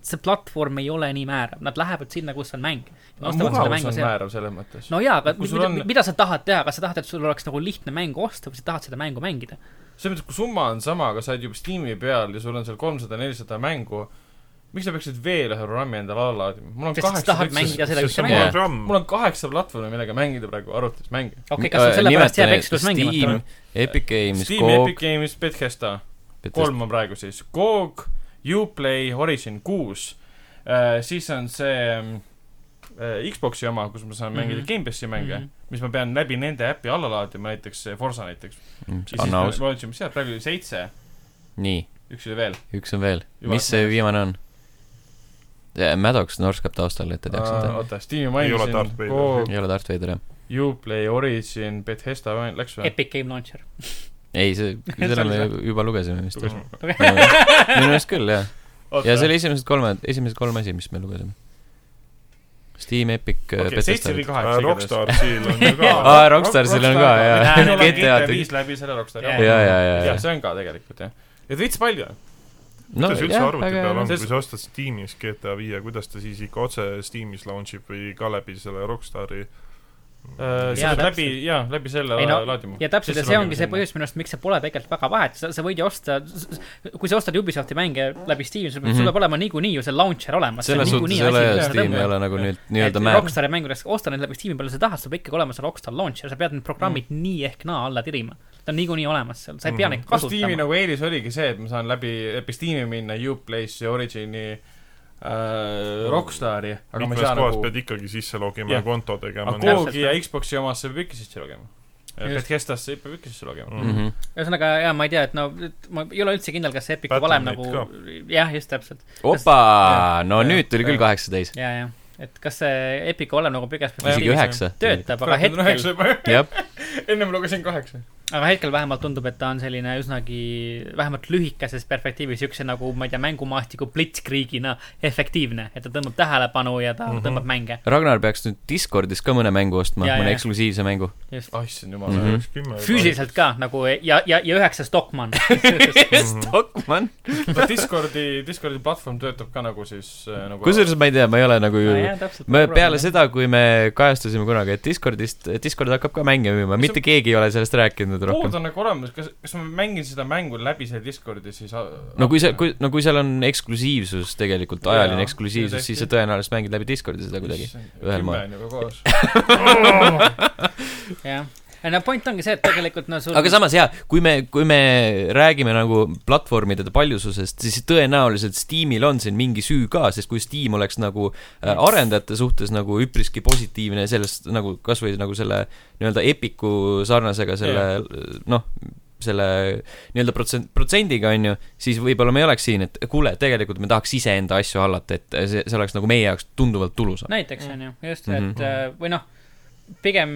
S3: see platvorm ei ole nii määrav , nad lähevad sinna , kus on mäng .
S2: mugavus on määrav selles mõttes .
S3: no jaa , aga
S2: Kui
S3: mida,
S2: sul
S3: on...
S2: on-
S3: mida sa tahad teha , kas sa tahad , et sul oleks nagu lihtne mängu osta või sa tahad seda mängu mängida ?
S2: selles mõttes , kui summa on sama , aga sa oled juba Steam'i peal ja sul on seal kolmsada , nelisada mängu , miks sa peaksid veel ühe programmi endale alla laadima ? mul on
S3: Sest sa
S2: kaheksa
S3: tahad mängida seda, mis sa
S1: mängid.
S2: mul on kaheksa platvormi , millega mängida praegu arvutis mänge .
S3: okei okay, , kas sul sellepärast jääb Exodus mängimata
S1: Äh, Steam
S3: või ?,
S1: Epic Games ,
S2: Steam ,
S1: Coop
S2: Epic , Games , Bethesda , kolm on praegu siis , GOG , Uplay , Origin kuus , siis on see äh, Xbox'i oma , kus ma saan mängida
S3: Mhm.
S2: Gamepassi mänge mm ,
S3: Mhm.
S2: -hmm. mis ma pean läbi nende äpi alla laadima , näiteks äh, Forsa näiteks . ja siis
S1: Mm, anna
S2: ma
S1: aus .
S2: vaatasin , mis seal praegu oli , seitse ,
S1: nii ,
S2: üks oli veel .
S1: üks on veel .
S2: Juba
S1: mis see
S2: Maddox.
S1: viimane on ? Maddox norskab taustal , et te teaksite .
S2: Äh, oota , Steam'i
S4: Ei ole
S2: mainisin ,
S4: Darth Vader.
S2: GOG ,
S1: ei ole Darth Vader , jah ?
S2: Uplay , Origin , Bethesda main- läks või ?
S3: Epic Game Launcher .
S1: ei ,
S4: *laughs*
S1: see ,
S3: See
S1: selle
S3: oli
S1: me
S3: see.
S1: juba lugesime vist .
S4: Lugesime.
S1: minu arust küll , jah . ja see oli esimesed kolmed , esimesed kolm asi , mis me lugesime . Steam , Epic ,
S2: okei , seitse
S1: Bethesda .
S2: või kaheksa *laughs* igatahes .
S4: Äh, Rockstar Seal on ju ka .
S1: aa , Rockstarsil on ka , jaa .
S3: Rockstar-
S2: minul on
S1: GTA
S2: GTA
S1: tegi-
S2: viis läbi selle Rockstar ,
S3: Jaa.
S1: jaa ,
S2: jah .
S1: jaa , jaa
S2: jah ,. see on ka tegelikult jah . et veits palju on .
S4: kuidas üldse arvuti peal on ,
S2: Sest-
S4: kui sa ostad Steamis GTA viie , kuidas ta siis ikka otse Steamis launch ib või ka läbi selle Rockstari ?
S2: sa
S3: Jaa,
S2: pead Äh, läbi
S3: täpselt. ,
S2: jaa , läbi
S1: Äh,
S2: selle
S3: Ei no,
S2: laadima .
S3: ja täpselt , ja see ongi see . põhjus minu arust , miks see pole tegelikult väga vahet , sa , sa võid ju osta , kui sa ostad Ubisofti mänge läbi Steam'i , sul peab ,
S1: Mhm.
S3: sul peab olema niikuinii ju see launcher olemas .
S1: selles suhtes ei ole
S2: asi,
S1: jah ,
S2: mida
S1: Steam ei
S2: tõmbab.
S1: ole nagu nüüd
S3: et
S1: nii-öelda määr .
S3: Rockstari mängudes , osta neid läbi Steam'i peale , sa tahad , sul peab ikkagi olema see Rockstar launcher , sa pead need programmid mm. nii ehk naa alla tirima . ta on niikuinii olemas seal , sa ei pea
S4: Mhm.
S3: neid
S2: kas Steam'i
S3: kasutama .
S2: nagu eelis oligi see , et ma saan läbi , läbi Steam'i minna Uplay'sse ja Origin'i äh, Rockstari , aga ma ei
S4: mitmes
S2: saa
S4: kohas
S2: nagu ,
S4: pead ikkagi sisse logima
S2: Jah.
S4: ja konto tegema
S2: aga .
S3: Täpselt,
S2: Google'i ja
S3: jah.
S2: Xbox'i omasse peab ikka sisse logema .
S3: Just.
S2: Bethesdasse peab ikka sisse
S1: Mm.
S2: logema .
S1: Mhm.
S3: ühesõnaga , jaa , ma ei tea , et no , ma ei ole üldse kindel , kas see Epicu valem
S4: Battle.net
S3: nagu , jah , just täpselt ,
S1: opa , no
S2: Jah,
S1: nüüd tuli küll
S2: jah.
S1: kaheksateist .
S3: ja , ja , et kas see Epicu valem nagu pigem
S1: isegi
S2: Steamis on.
S1: üheksa .
S3: töötab , aga hetkel ,
S1: jah ,
S2: *laughs* ennem lugesin kaheksa .
S3: aga hetkel vähemalt tundub , et ta on selline üsnagi , vähemalt lühikeses perspektiivis siukse nagu , ma ei tea , mängumaastiku blitzkriigina efektiivne , et ta tõmbab tähelepanu ja ta mm -hmm.
S4: Mhm.
S3: tõmbab mänge .
S1: Ragnar peaks nüüd Discordis ka mõne mängu ostma ,
S3: Jaa,
S1: mõne
S3: jaa.
S1: eksklusiivse mängu .
S3: just ,
S2: ah issand jumal
S1: Mhm.
S2: mm .
S3: füüsiliselt ka nagu ja , ja , ja üheksa Stockmann .
S4: Mhm.
S1: Stockmann .
S2: -hmm. Discordi , Discordi platvorm töötab ka nagu siis äh, nagu
S1: kusjuures ma ei tea , ma ei ole nagu ju me peale . seda , kui me kajastasime kunagi , et Discordist , Discord hakkab ka mänge müüma ,
S2: Mis
S1: mitte keegi ei ole sellest rääkinud
S2: pood
S1: rohkem .
S2: on nagu olemas , kas , kas ma mängin seda mängu läbi selle Discordi siis äh,
S1: no kui see , kui , no kui seal on eksklusiivsus tegelikult ,
S2: Jaa,
S1: ajaline eksklusiivsus , siis
S2: tõesti.
S1: sa tõenäoliselt mängid läbi Discordi seda kuidagi . ühel
S2: kümme
S1: moel.
S2: on ju ka koos .
S3: jah , no point ongi see , et tegelikult no sul
S1: aga samas jaa , kui me , kui me räägime nagu platvormide paljususest , siis tõenäoliselt Steamil on siin mingi süü ka , sest kui Steam oleks nagu äh, arendajate suhtes nagu üpriski positiivne sellest nagu kasvõi nagu selle nii-öelda Epiku sarnasega selle noh , selle nii-öelda protsent , protsendiga on ju , siis võib-olla me ei oleks siin , et kuule , tegelikult me tahaks iseenda asju hallata , et see , see oleks nagu meie jaoks tunduvalt tulusam .
S3: näiteks on ju , just , et mm
S1: Mhm.
S3: -hmm. või noh , pigem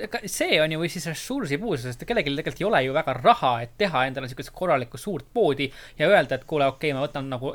S3: ega see on ju või siis ressursipuudus , sest kellelgi tegelikult ei ole ju väga raha , et teha endale niisugust korralikku suurt poodi ja öelda , et kuule , okei okay, , ma võtan nagu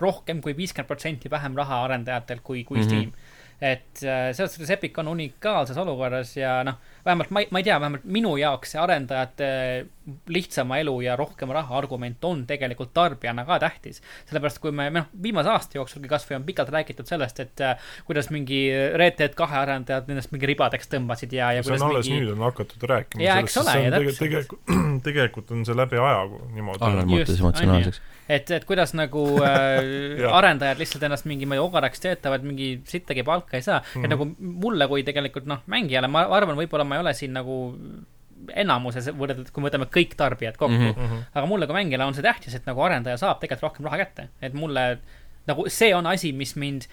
S3: rohkem kui viiskümmend protsenti vähem raha arendajatelt kui , kui mm
S1: Mhm.
S3: -hmm. Steam . et äh, selles suhtes Epic on unikaalses olukorras ja noh , vähemalt ma ei , ma ei tea , vähemalt minu jaoks see arendajate lihtsama elu ja rohkema raha argument on tegelikult tarbijana ka tähtis . sellepärast , kui me , noh , viimase aasta jooksulgi kasvõi on pikalt räägitud sellest , et äh, kuidas mingi Red Dead kahe arendajad nendest mingi ribadeks tõmbasid ja , ja
S4: see on
S3: kuidas
S4: alles
S3: mingi
S4: nüüd on hakatud rääkima
S3: Jaa, eks ole, ja
S4: sest see on tege- tege- *clears throat* tegelikult on see läbi aja ku- niimoodi
S1: Allan muutus
S3: Just,
S1: emotsionaalseks .
S3: et , et kuidas
S4: *laughs*
S3: nagu äh,
S4: Jah.
S3: arendajad lihtsalt ennast mingi , ma ei tea , ogaraks töötavad , mingi sittagi palka ei saa mm . -hmm.
S4: Mhm.
S3: et nagu mulle kui tegelikult noh , mängijale , ma arvan , võib-olla ma ei ole siin nagu enamuses võrreldes , kui me võtame kõik tarbijad kokku mm .
S1: Mhm.
S3: -hmm. aga mulle kui mängijale on see tähtis , et nagu arendaja saab tegelikult rohkem raha kätte , et mulle nagu see on asi , mis mind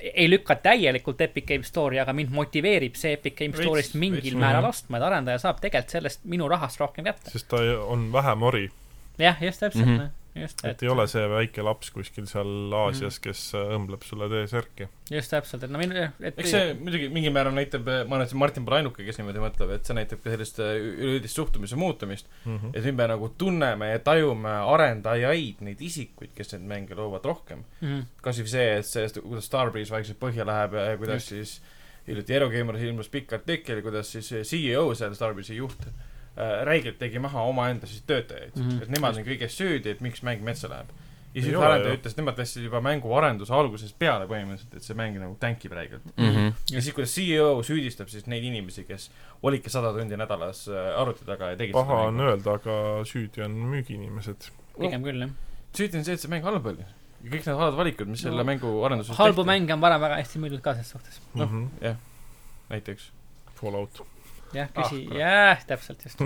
S3: ei lükka täielikult Epic Game Store'i , aga mind motiveerib see Epic Game
S2: Veits-
S3: Store'ist mingil
S2: veits,
S3: määral
S4: mhm.
S3: ostma , et arendaja saab tegelikult sellest minu rahast rohkem kätte .
S4: sest ta on vähem ori ,
S3: jah , just täpselt mm ,
S1: Mhm.
S3: -hmm. just ,
S4: et ei ole see väike laps kuskil seal Aasias , kes äh, õmbleb sulle T-särki .
S3: just täpselt , et no minu , et
S2: eks see muidugi mingil määral näitab , ma arvan , et Martin pole ainuke , kes niimoodi mõtleb , et see näitab ka sellist äh, üleüldist suhtumise muutumist , et nüüd me nagu tunneme ja tajume arendajaid , neid isikuid , kes neid mänge loovad rohkem .
S3: mm .
S2: kas või see , et see , kuidas Starbreeze vaikselt põhja läheb ja ja kuidas Just. siis hiljuti Eurogeimeris ilmus pikk artikkel , kuidas siis CEO seal , Starbreeze'i juht äh, , räigelt tegi maha omaenda siis töötajaid mm ,
S3: Mhm.
S2: -hmm. et nemad on kõiges süüdi , et miks mäng metsa läheb . ja
S4: Ei
S2: siis
S4: ole
S2: arendaja
S4: ju.
S2: ütles , et nemad läksid juba mängu arenduse algusest peale põhimõtteliselt , et see mäng nagu tänkib räigelt .
S1: Mhm.
S2: ja siis , kuidas CEO süüdistab siis neid inimesi , kes olidki sada tundi nädalas äh, arvuti taga ja tegid
S4: paha on . öelda , aga süüdi on müügiinimesed .
S3: pigem küll jah .
S2: süüdi on see , et see mäng halb oli . kõik need halvad valikud , mis selle
S3: No,
S2: no, mängu arenduses
S3: halbu mänge on varem väga hästi müüdud ka ses suhtes .
S2: Noh.
S4: Mhm.
S2: näiteks .
S4: Fallout .
S3: jah ,
S2: Ah,
S3: küsi
S2: kurat.
S3: ah, , jah , täpselt just .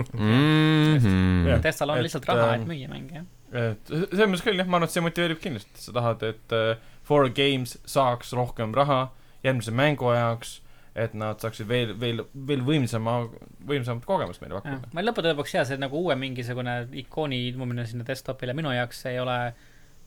S1: jah .
S3: Testal on
S2: Et,
S3: et, lihtsalt raha , et
S2: ähm,
S3: müüa mänge , jah .
S2: et selles mõttes küll jah , ma arvan , et see motiveerib kindlasti , et sa tahad , et äh, For Games saaks rohkem raha järgmise mängu ajaks , et nad saaksid veel , veel , veel võimsama , võimsamat kogemust meile
S3: jah
S2: pakkuda .,
S3: ma lõppude lõpuks jah , see nagu uue mingisugune ikooni ilmumine sinna desktopile minu jaoks ei ole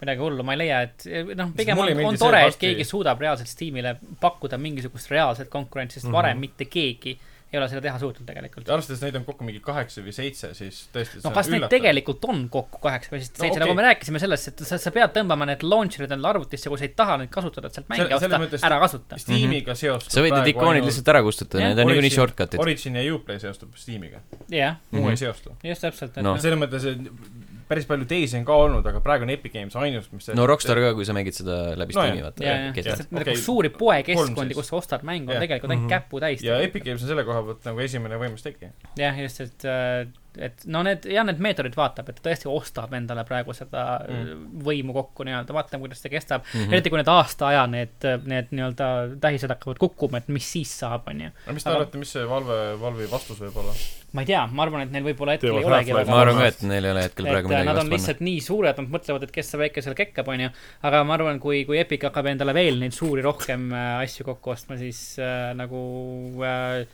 S3: midagi hullu , ma ei leia , et noh , pigem
S2: mulle
S3: on,
S2: ei meeldi
S3: on
S2: see
S3: tore , et
S2: varsti-
S3: keegi suudab reaalselt Steamile pakkuda mingisugust reaalset konkurentsi , sest
S4: Mhm.
S3: varem mitte keegi ei ole seda teha suutnud tegelikult .
S2: arvestades neid on kokku mingi kaheksa või seitse , siis tõesti
S3: no kas neid tegelikult on kokku kaheksa või siis
S2: No okei.
S3: seitse , nagu me rääkisime sellest , et sa , sa pead tõmbama need launcher'id endale arvutisse , kui sa ei taha neid kasutada , et sealt mänge
S2: Selle- selle
S3: osta
S2: mõttes- ,
S3: ära kasuta .
S2: Steamiga seostub
S1: sa võid need ikoonid lihtsalt ära kustutada ,
S3: Jah.
S1: need on niikuinii shortcut'id .
S2: Origin ja Uplay seostub Steamiga ,
S3: jah ,
S2: muu
S1: Mhm.
S2: ei seostu .
S3: just täpselt ,
S1: No.
S3: et noh,
S2: selles mõttes , et päris palju teisi on ka olnud , aga praegu on Epic Games ainus , mis
S1: no Rockstar ka , kui sa mängid seda läbi
S2: No
S1: Steam'i ,
S2: jah.
S1: vaata
S3: ja , ja ,
S1: keset.
S3: sest need
S2: Okei.
S3: okay. suuri
S2: Kolm
S3: poekeskkondi ,
S2: siis.
S3: kus sa ostad mängu , on
S2: Jah.
S3: tegelikult ainult
S4: Mhm.
S3: käputäis .
S2: ja Epic Games on selle koha pealt nagu esimene võimas tegija .
S3: jah , just , et , et no need , jah , need meetodid vaatab , et ta tõesti ostab endale praegu seda
S2: Mm.
S3: mm. võimu kokku nii-öelda , vaatame , kuidas see kestab mm .
S1: Mhm.
S3: -hmm. eriti kui need aasta aja need , need nii-öelda tähised hakkavad kukkuma , et mis siis saab , onju .
S2: aga mis te
S3: Aga-
S2: arvate , mis see Valve , Valve'i vastus võib olla ?
S3: ma ei tea , ma arvan , et neil võib-olla hetkel
S4: Teevad
S3: ei olegi
S4: Half-Life
S1: ma
S3: väga
S4: Mar-
S1: arvan ka , et neil ei ole hetkel
S3: et
S1: praegu
S3: äh,
S1: midagi
S3: nad on
S1: vastu panna .
S3: lihtsalt nii suured , nad mõtlevad , et kes see väike seal kekkab , onju . aga ma arvan , kui , kui Epic hakkab endale veel neid suuri rohkem äh, asju kokku ostma , siis äh, nagu äh,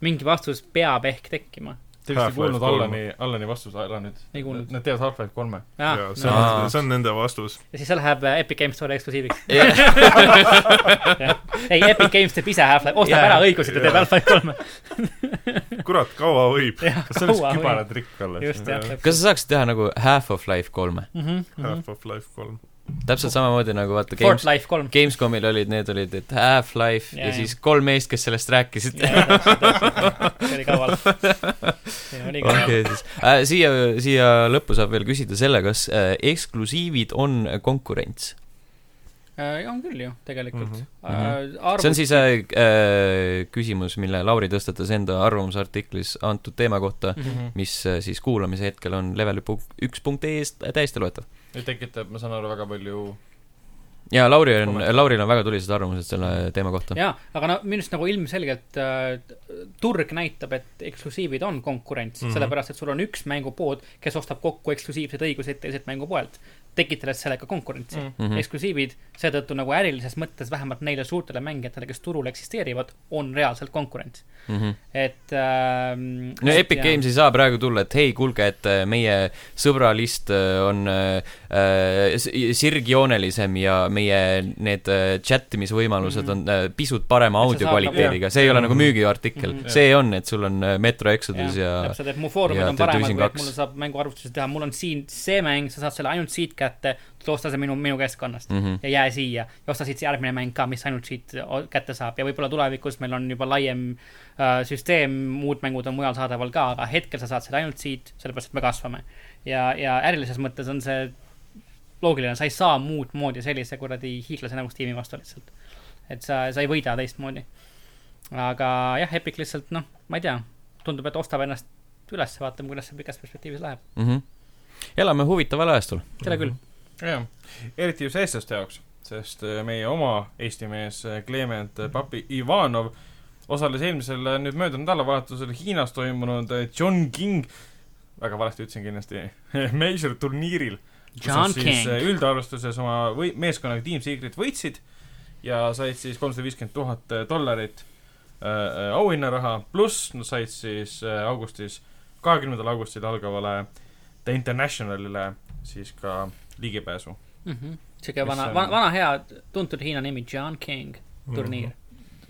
S3: mingi vastus peab ehk tekkima .
S2: Te vist ei
S4: Half-Life
S2: kuulnud
S4: kolm.
S2: Allani , Allani vastuse ära nüüd
S3: Ei kuulnud. .
S2: Nad teevad Half-Life *laughs* kolme .
S3: Ah,
S4: ja see
S1: Aa.
S4: on , see on nende vastus .
S3: ja siis see läheb äh, Epic Games Store eksklusiiviks . *laughs*
S1: jah ,
S3: ei , Epic Games teeb ise Half-Life , ostab
S1: Jaa.
S3: ära õigused ja teeb
S4: Jaa.
S3: Half-Life kolme .
S4: kurat , kaua võib ?
S2: kas see oleks
S3: kaua või?
S2: kübaratrikk alles ?
S3: just , jah . Mhm,
S1: kas sa saaksid teha nagu Half-of-Life kolme ?
S4: Half-Life kolm .
S3: Oh.
S1: täpselt samamoodi nagu vaata Games ,
S3: Fortlife kolm .
S1: Gamescomil olid , need olid , et Half-Life ja,
S3: Jaa,
S1: ja
S3: jaa.
S1: siis kolm meest , kes sellest rääkisid . *laughs*
S3: see oli kaval . see oli kaval .
S1: okei , siis äh, siia , siia lõppu saab veel küsida selle , kas äh, eksklusiivid on konkurents .
S3: Äh, on küll ju , tegelikult
S4: Mhm. .
S1: see on siis äh, äh, küsimus , mille Lauri tõstatas enda arvamusartiklis antud teema kohta ,
S2: Mhm.
S3: Mhm.
S1: mis äh, siis kuulamise hetkel on level.1.ee-st äh, täiesti loetav .
S2: ja tekitab , ma saan aru , väga palju
S1: ja Lauri on ,
S2: Kommentaare.
S1: Lauril on väga tulised arvamused selle teema kohta .
S3: jaa , aga no minu arust nagu ilmselgelt äh, turg näitab , et eksklusiivid on konkurents mm ,
S4: Mhm.
S3: -hmm. sellepärast et sul on üks mängupood , kes ostab kokku eksklusiivseid õiguseid teiselt mängupoelt , tekitades sellega konkurentsi mm .
S2: mm. .
S3: -hmm.
S1: Mhm.
S3: eksklusiivid seetõttu nagu ärilises mõttes vähemalt neile suurtele mängijatele , kes turul eksisteerivad , on reaalselt konkurents ,
S1: Mhm.
S3: et ähm,
S1: no
S3: et
S1: Epic
S3: jah.
S1: Games ei saa praegu tulla , et hei , kuulge , et äh, meie sõbralist äh, on äh, s- sirgjoonelisem ja meie need äh,
S3: Mhm.
S1: chattimisvõimalused on äh, pisut parema
S3: Et sa saad
S1: audiokvaliteediga , see ei ole nagu müügiartikkel
S3: Mhm. ,
S1: see on , et sul on äh, Metro Exodus ja
S3: Jah, täpselt , et mu
S1: ja
S3: foorumid on
S1: The
S3: paremad ,
S1: Division
S3: kui et
S1: kaks.
S3: mul saab mänguarvutusi teha , mul on siin see mäng , sa saad selle ainult siit kätte , osta see minu , minu keskkonnast mm .
S1: Mhm.
S3: -hmm. ja jää siia ja osta siit see järgmine mäng ka , mis ainult siit äh, o- kätte saab ja võib-olla tulevikus meil on juba laiem äh, süsteem , muud mängud on mujal saadaval ka , aga hetkel sa saad seda ainult siit , sellepärast et me kasvame . ja , ja ärilises mõttes on see loogiline , sa ei saa muud moodi sellise kuradi hiiglase nagu Steam'i vastu lihtsalt . et sa , sa ei võida teistmoodi . aga jah , Epic lihtsalt noh , ma ei tea , tundub , et ostab ennast üles , vaatame , kuidas see pikas perspektiivis läheb .
S1: Mhm. elame huvitaval ajastul .
S3: seda küll ,
S2: jah , eriti just eestlaste jaoks , sest äh, meie oma Eesti mees äh, Klement äh, Papi Ivanov osales eelmisel , nüüd möödunud nädalavahetusel Hiinas toimunud äh, John King , väga valesti ütlesin kindlasti , *laughs* Major turniiril .
S3: John
S2: siis
S3: King.
S2: äh, üldarvestuses oma või- , meeskonnaga Team Secret võitsid ja said siis kolmsada viiskümmend tuhat dollarit äh, äh, auhinnaraha , pluss nad said siis äh, augustis , kahekümnendal augustil algavale The Internationalile siis ka ligipääsu .
S3: siuke
S2: Mis
S3: vana
S2: on- , Mhm.
S3: vana , vana hea tuntud Hiina nimi , John King , turniir .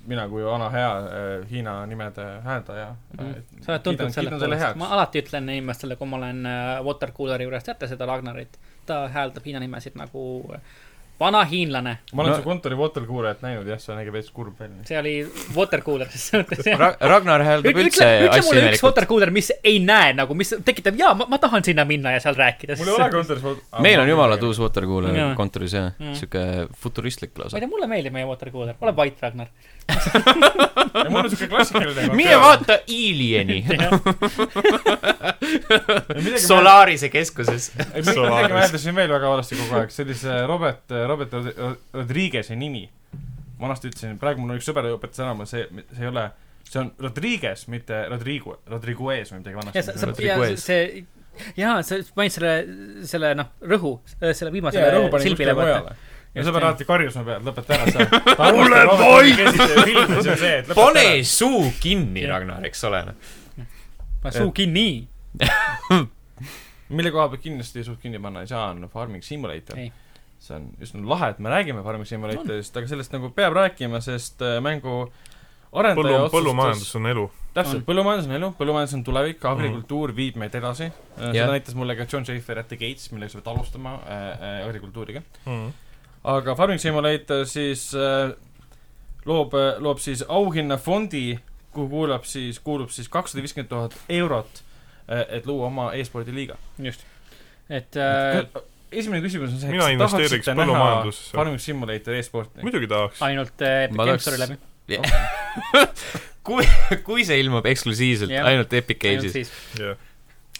S2: mina kui vana hea äh, Hiina nimede hääldaja äh,
S3: Mhm. sa oled tuntud selle poolest , ma alati ütlen inimestele , kui ma olen äh, watercooleri juures , teate seda Ragnarit , ta hääldab Hiina nimesid nagu vana hiinlane ,
S2: ma olen
S1: No-
S2: no. su kontori waterkuurajat näinud jah , see nägi veits kurb
S3: *laughs*
S2: välja .
S3: see oli watercooler selles mõttes .
S1: Ragnar hääldab
S3: ütle ,
S1: üldse
S3: ütle , ütle
S1: asju
S3: mulle üks
S1: imelikult .
S3: watercooler , mis ei näe nagu , mis tekitab , jaa , ma , ma tahan sinna minna ja seal rääkida .
S2: mul ei ole kontoris vot-
S1: meil on jumala tuus watercooler
S3: Jaa.
S1: kontoris jah ,
S3: Mhm.
S1: sihuke futuristlik
S3: ma ei
S1: lausa .
S3: tea , mulle meeldib meie watercooler , ole vait , Ragnar .
S2: ja mul on siuke klassikaline
S1: mine vaata
S3: *laughs*
S1: Alieni Solarise keskuses . *laughs*
S2: midagi ma hääldasin veel väga valesti kogu aeg , sellise Robert , Robert Rod- Rod- Rodriguez'i nimi . vanasti ütlesin , praegu mul on üks sõber õpetas ära , see , see ei ole , see on Rodriguez , mitte Rodrigo , Rodriguez või midagi
S3: ja sa , sa ,
S2: vanasti .
S3: ja
S1: Rodriguez.
S3: see , jaa , sa panid selle , selle noh , rõhu , selle viimase
S2: ja rõhu panin
S3: silbile
S2: kuskile
S3: vaata .
S2: mujale . ja sõber
S3: Just,
S2: alati karjus mu peal , lõpeta ära see . ole vait !
S1: pane suu kinni , Ragnar , eks ole .
S3: ma suu kinni .
S2: mille koha pealt kindlasti suht kinni panna ei saa , on Farming Simulator
S3: Ei. .
S2: see on üsna lahe , et me räägime Farming Simulatorist , aga sellest nagu peab rääkima , sest äh, mängu arendaja
S4: põllu ,
S2: otsustas
S4: põllumajandus on Mhm. elu .
S2: täpselt
S3: On. ,
S2: põllumajandus on elu , põllumajandus on tulevik , agrikultuur viib meid edasi . seda
S1: Jah.
S2: näitas mulle ka John Schaefer at the Gates , millega sa pead alustama äh, äh, agrikultuuriga .
S4: mm. .
S2: aga Farming Simulator siis äh, loob , loob siis auhinnafondi , kuhu kuulab siis , kuulub siis kakssada viiskümmend tuhat eurot , et luua oma e-spordi liiga .
S3: just . et äh,
S2: esimene küsimus on see ,
S4: Mina
S2: kas te
S4: investeeriks
S2: tahaksite näha
S4: põllumajandusse.
S2: Farming Simulator e-sporti ?
S4: muidugi tahaks .
S3: ainult äh, Epic
S1: Ma
S3: Games
S1: tahaks-
S3: Store'i läbi .
S1: kui , kui see ilmub eksklusiivselt
S3: Jah.
S1: yeah. ainult Epic
S3: ainult
S1: Games'is ,
S3: siis .
S4: jah ,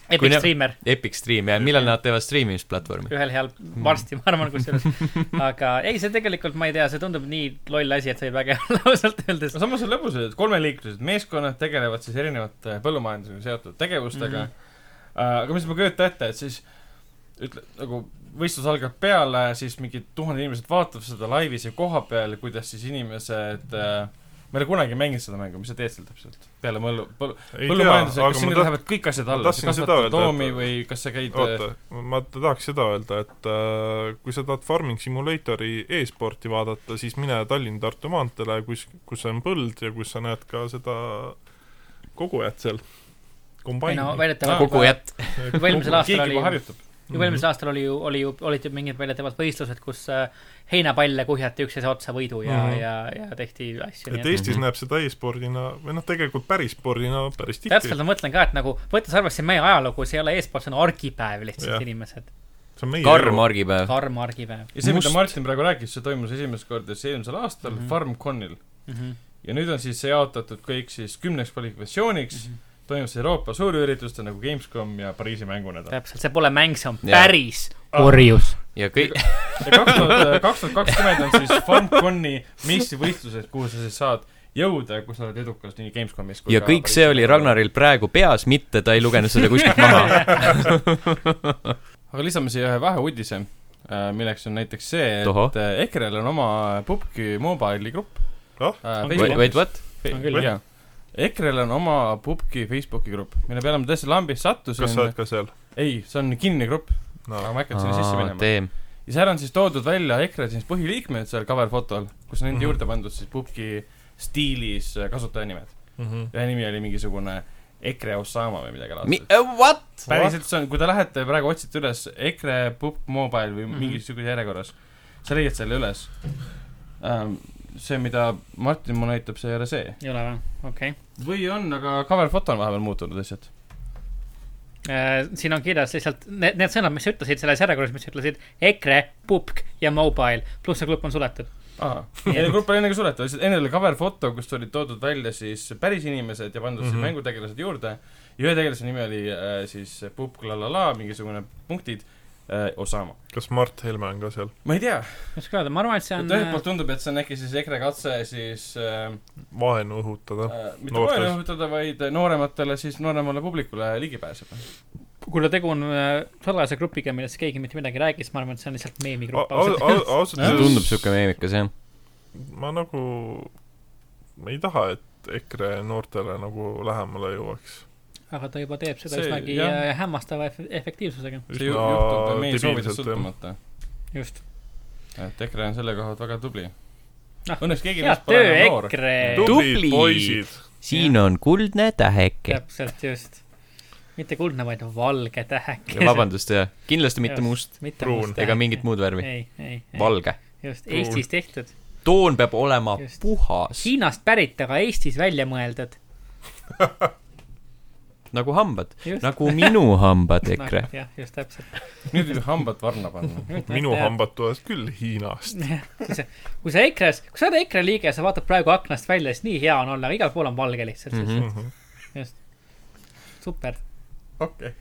S1: Kui
S3: Epic
S1: ne-
S3: Streamer ,
S1: Epic Stream ja millal nad teevad streamimisplatvormi ?
S3: ühel heal ,
S1: Hmm.
S3: varsti ma arvan , kusjuures .
S1: *laughs*
S3: aga ei , see tegelikult , ma ei tea , see tundub nii loll asi , et see võib äge olla *laughs* ausalt öeldes
S2: no . samas on lõbus , et kolmeliiklused meeskonnad tegelevad siis erinevate põllumajandusega seotud tegevustega mm .
S4: Mhm.
S2: -hmm. aga mis ma kujutan ette , et siis ütle , nagu võistlus algab peale , siis mingid tuhanded inimesed vaatavad seda laivis ja kohapeal , kuidas siis inimesed äh, ma ei ole kunagi mänginud seda mängu , mis sa teed seal täpselt ? peale mõllu ,
S4: ei tea ,
S2: põllumajandusega , kas
S4: aga ma
S2: sinna
S4: tahan ,
S2: lähevad kõik asjad
S4: ma
S2: alla ,
S4: tahtsin
S2: sa
S4: seda
S2: kasvatad
S4: öelda,
S2: loomi
S4: et-
S2: või kas sa käid äh,
S4: oota , ma ta- tahaks seda öelda , et äh, kui sa tahad Farming Simulatori e-sporti vaadata , siis mine Tallinn-Tartu maanteele , kus , kus on põld ja kus sa näed ka seda kogujat seal ,
S3: ei no
S4: *laughs* kombaini .
S3: väidetavalt
S1: kogu jätt .
S3: eelmisel aastal
S2: keegi
S3: oli ju-
S2: juba harjutab .
S3: juba
S4: Mhm.
S3: eelmisel aastal oli ju , oli ju , olid ju mingid väidetavalt võistlused , kus äh, heinapalle kuhjati üksteise otsa võidu ja mm ,
S4: Mhm.
S3: -hmm. ja , ja tehti asju .
S4: et Eestis näeb seda e-spordina või noh , tegelikult päris spordina päris tihti
S3: täpselt , ma mõtlen ka , et nagu võttes arvesse meie ajalugu , see ei ole e-sport , see on argipäev lihtsalt
S4: Jah.
S3: yeah. inimesed .
S4: see on meie
S1: karm argipäev .
S3: karm argipäev
S2: ja see , mida
S1: Must-
S2: Martin praegu rääkis , see toimus esimest korda siis eelmisel aastal mm
S3: Mhm.
S2: -hmm. FarmConil .
S3: mm . -hmm.
S2: ja nüüd on siis see jaotatud kõik siis kümneks kvalifikatsiooniks
S1: Mhm.
S2: mm , -hmm. toimub see Euroopa suurüritustel nagu Gamescom ja Pariisi mängunädal .
S3: täpselt , see pole mäng , see on
S1: Jah.
S3: yeah. päris orjus .
S1: ja kõik ,
S2: ja kaks tuhat , kaks tuhat kakskümmend on siis FarmConi meistrivõistlused , kuhu sa siis saad jõuda ja kus sa oled edukas nii Gamescomis kui
S1: ja kõik see oli . Ragnaril praegu peas , mitte ta ei lugenud seda kuskilt
S3: *laughs*
S1: maha .
S2: aga lisame siia ühe väheuudise , milleks on näiteks see ,
S1: Tohoh.
S2: et äh, EKRE-l on oma Pupki mobiili grupp
S4: Ah,
S2: Äh,
S3: on küll.
S1: Wait ,
S2: Facebookis.
S1: wait , what ?
S3: On küll.
S2: jaa . EKRE-l on oma Pupki Facebooki grupp , mille peale ma tõesti lambist
S4: kas sa
S2: sattusin
S4: oled . ka seal ?
S2: ei , see on kinnine grupp ,
S4: no
S2: aga ma ei hakanud sinna sisse minema .
S1: teem .
S2: ja seal on siis toodud välja EKRE siis põhiliikmed seal cover fotol , kus on nende mm
S4: Mhm.
S2: -hmm. juurde pandud siis pubgi stiilis äh, kasutajanimed .
S4: mm .
S1: Mhm.
S4: -hmm.
S2: ühe nimi oli mingisugune EKRE Osama või midagi laadset .
S1: äh, What ?
S2: päriselt see on , kui te lähete praegu otsite üles EKRE pub mobile või mm
S3: Mhm.
S2: -hmm. mingisuguse järjekorras , sa leiad selle üles ähm, . see , mida Martin mulle näitab , see ei ole see .
S3: ei ole või ? okei
S2: või on , aga cover foto on vahepeal muutunud lihtsalt .
S3: okay. . Äh, siin on kirjas lihtsalt need , need sõnad , mis sa ütlesid selles järjekorras , mis sa ütlesid EKRE , pupk ja mobile , pluss see grupp on suletud .
S2: aa , ja grupp oli enne ka suletud , lihtsalt enne oli cover foto , kus olid toodud välja siis päris inimesed ja pandud mm -hmm.
S4: Mhm.
S2: siis mängutegelased juurde ja ühe tegelase nimi oli äh, siis Pupk la la la , mingisugune punktid äh, , Osama .
S4: kas Mart Helme on ka seal ?
S2: ma ei tea ,
S3: ma ei oska öelda , ma arvan , et see
S2: et
S3: on äh,
S2: ühelt poolt tundub , et see on äkki siis EKRE katse siis äh,
S4: vaenu õhutada .
S2: äh, mitte
S4: Noortes.
S2: kohe rõhutada , vaid noorematele , siis nooremale publikule ligi pääseb .
S3: kuna tegu on äh, salajase grupiga , millest keegi mitte midagi ei räägi , siis ma arvan , et see on lihtsalt meemigrupp ausalt öeldes .
S4: ausalt
S2: Jah.
S1: tundub siuke meemikas jah .
S4: ma nagu , ma ei taha , et EKRE noortele nagu lähemale jõuaks .
S3: aga ta juba teeb seda
S2: See-
S3: üsnagi
S2: jah.
S3: äh, hämmastava ef- efektiivsusega ,
S2: see ju- juhtub meie soovidest sõltumata .
S3: just .
S2: et EKRE on selle koha pealt väga tubli
S3: Ah, .
S2: Õnneks keegi
S3: head
S2: meist pole
S3: töö ,
S2: enam noor .
S3: EKRE .
S1: Tubli.
S4: tublid poisid .
S1: siin on kuldne täheke .
S3: täpselt , just . mitte kuldne , vaid valge täheke .
S1: vabandust jah , kindlasti mitte
S3: Just.
S1: must
S3: *laughs* mitte
S4: pruun.
S3: must
S1: ega
S3: täheke.
S1: mingit muud värvi ,
S3: ei , ei , ei ,
S1: valge .
S3: just ,
S4: Pruun.
S3: Eestis tehtud .
S1: toon peab olema
S3: Just.
S1: puhas
S3: Hiinast pärit , aga Eestis välja mõeldud .
S1: nagu hambad , nagu minu
S3: *laughs*
S1: hambad ,
S3: Nagu
S1: EKRE .
S3: jah , just täpselt . *laughs*
S2: nüüd võib hambad varna panna .
S4: minu . hambad tulevad küll Hiinast .
S3: kui sa , kui sa EKRE-s , kui sa oled EKRE liige , sa vaatad praegu aknast välja , siis nii hea on olla , igal pool on valge lihtsalt mm ,
S1: Mhm.
S3: -hmm. just . super .
S2: okei .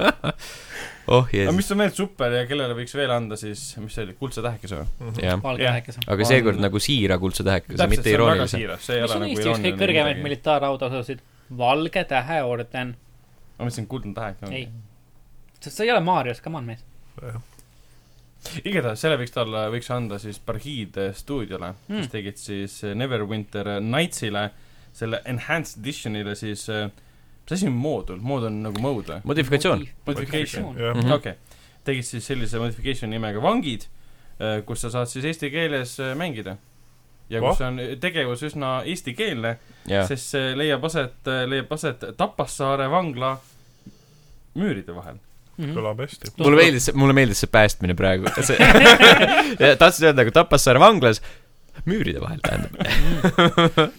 S1: oh
S2: aga
S1: jess ,
S2: mis on veel super ja kellele võiks veel anda siis , mis see oli , kuldse tähekese või ?
S1: jah .
S3: valge
S2: Jah.
S3: tähekes on .
S1: aga seekord nagu siira kuldse tähekese , mitte
S2: see on väga
S1: iroonilise .
S2: siiras , see ei
S3: mis
S2: ole
S3: on
S2: nagu
S3: Eesti üks kõige kõrgemaid . militaarautosid ? valge tähe orden .
S2: ma mõtlesin , kuldne tähek on
S3: ei .. sest see ei ole Marios , come on mees .
S2: igatahes selle võiks talle , võiks anda siis Parhiid eh, stuudiole mm. , kes
S3: Mm.
S2: tegid siis eh, Neverwinter Nightsile , selle enhanced editionile siis , mis asi on moodul , mood on nagu mode või ?
S1: modifikatsioon .
S2: Modification .
S4: jah ,
S1: Mhm.
S2: okei okay. , tegid äh, siis sellise modification nimega Vangid , kus sa saad siis eesti keeles eh, äh, mängida . ja
S4: Vah.
S2: kus
S1: Oh.
S2: on tegevus üsna eestikeelne ,
S1: jah ,
S2: sest see leiab aset , leiab aset Tapassaare vangla müüride vahel .
S3: Mhm.
S4: kõlab hästi .
S1: mulle meeldis , mulle meeldis see päästmine praegu . tahtsin öelda , kui Tapassaare vanglas , müüride vahel tähendab .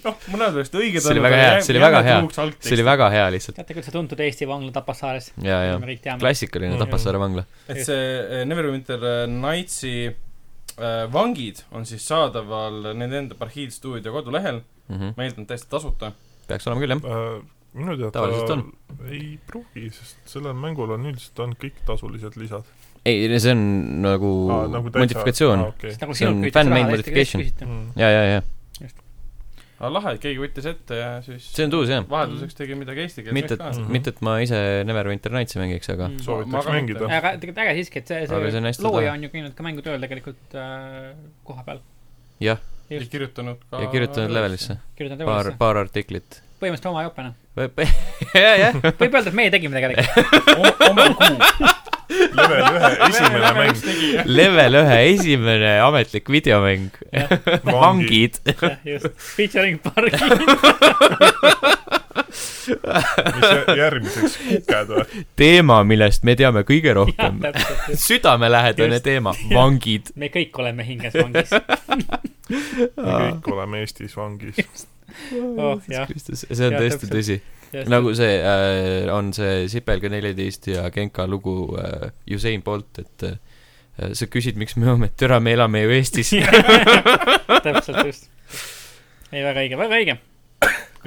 S2: noh , mõned oleksid õiged
S1: See oli väga hea, see oli väga hea. see oli väga hea lihtsalt .
S3: teate , kuidas sa tuntud Eesti vangla Tapassaares ?
S1: ja , ja
S3: me kõik teame .
S1: klassikaline
S4: Mm.
S1: Tapassaare vangla .
S2: et see eh, Neverwinter eh, Nightsi eh, vangid on siis saadaval nende enda Parhiilstuudio kodulehel , ma eeldan täiesti tasuta .
S1: Mhm. peaks olema küll , jah .
S4: Äh, minu
S1: Tavaliselt
S4: teada
S1: on.
S4: ei pruugi , sest sellel mängul on üldiselt on kõik tasulised lisad .
S1: ei , see on nagu,
S4: Aa,
S1: nagu
S4: täitsa- aa,
S1: modifikatsioon .
S4: okei.
S3: nagu
S1: See on
S3: sinult
S1: fan-made
S3: küsitakse raha , hästi
S1: modification.
S3: küsiti .
S4: Mm.
S1: ja , ja , ja
S2: aga lahe , et keegi võttis ette ja siis
S1: see on tuus , jah .
S2: vahelduseks tegi midagi
S1: mitte ,
S2: eestikeelseks
S1: et
S2: ka
S4: Mhm. .
S1: mitte , et ma ise Neverwinter Nightsi mängiks , aga
S2: Ma-
S3: Mm.
S2: ma
S4: soovitaks
S2: ka
S4: mängida .
S3: aga tegelikult äge siiski , et see ,
S1: Aga see on
S3: see,
S1: hästi
S3: see looja
S1: tore.
S3: on ju käinud ka mängutööl tegelikult äh, koha peal ,
S2: ja
S3: Just.
S2: kirjutanud ka
S1: ja kirjutanud levelisse
S3: kirjutanud
S1: paar ,
S3: Evalisse ,
S1: paar artiklit . *laughs*
S3: põhimõtteliselt oma jopena .
S1: jah , jah .
S3: võib öelda , et meie
S1: *laughs*
S3: tegime tegelikult .
S2: O- oma kuu .
S4: level ühe esimene mäng .
S1: level ühe esimene ametlik videomäng . *laughs* vangid .
S3: just , featuring pargi .
S4: järgmiseks kuked
S1: *laughs*
S4: või ?
S1: teema , millest me teame kõige
S3: jah ,
S1: rohkem .
S3: täpselt , just .
S1: südamelähedane
S3: Just.
S1: teema , vangid .
S3: me kõik oleme hinges vangis .
S4: me kõik oleme Eestis
S1: *laughs*
S4: vangis .
S3: Oh, jah.
S1: see on
S3: Jah,
S1: tõesti
S3: täpselt.
S1: tõsi . nagu see äh, on see Sipelga neliteist ja Genka lugu äh, Usain Bolt , et äh, sa küsid , miks me oleme , et türa , me elame ju
S3: *laughs*
S1: Eestis .
S3: *laughs* täpselt , just . ei , väga õige , väga õige .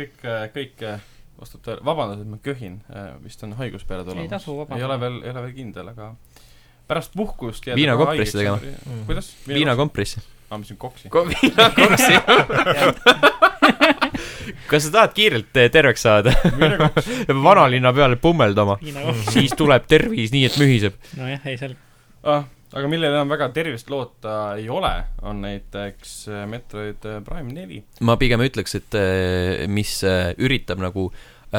S2: kõik , kõik eh, vastab tõele , vabandust , et ma köhin , vist on haigus peale tulemas .
S3: tasu vabandada.
S2: ei ole veel , ei ole veel kindel , aga pärast puhkust
S1: Viinakoprisse
S2: tegema kuidas ?
S1: viinakomprisse .
S2: aa , ma ütlesin koksi . *laughs*
S1: viinakomprisse . kas sa tahad kiirelt eh, terveks saada ?
S2: viinakops ,
S1: peab vanalinna peale pummeldama ,
S3: nojah ,
S1: siis tuleb tervis nii , et mühiseb .
S3: ei seal ,
S2: ah, aga millel enam väga tervist loota ei ole , on näiteks eh, Metroid Prime neli .
S1: ma pigem ütleks , et eh, mis eh, üritab nagu eh,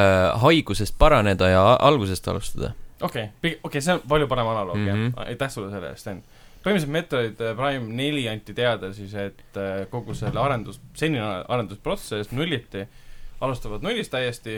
S1: haigusest paraneda ja a- algusest alustada .
S2: okei okay, , okei , see on palju parem analoog mm , -hmm.
S1: Mhm.
S2: jah . aitäh sulle selle eest , Sten . põhimõtteliselt Metroid äh, Prime neli anti teada siis , et eh, kogu selle arendus , senine arendusprotsess nulliti , alustavad nullist täiesti ,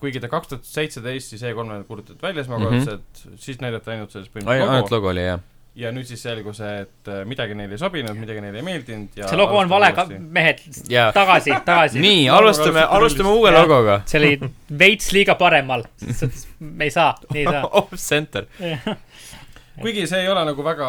S2: kuigi ta kaks tuhat seitseteist siis E3-l kuulutati välja esmakordselt mm , -hmm. siis näidati ainult sellest
S1: Mhm. ainult
S2: põhimõtteliselt logo
S1: logo oli jah .
S2: ja nüüd siis selgus , et eh, midagi neile ei sobinud , midagi neile ei meeldinud ja
S3: see logo on vale ,
S2: alustavad uuesti.
S3: mehed ,
S1: ja
S3: tagasi , tagasi .
S1: nii ,
S2: Logo
S1: alustame ,
S2: alustati
S1: alustame
S2: nullist.
S1: uue
S3: Jah.
S1: logoga .
S3: see oli veits liiga paremal , me ei saa , ei saa .
S1: *laughs* off center .
S2: kuigi see ei ole nagu väga ,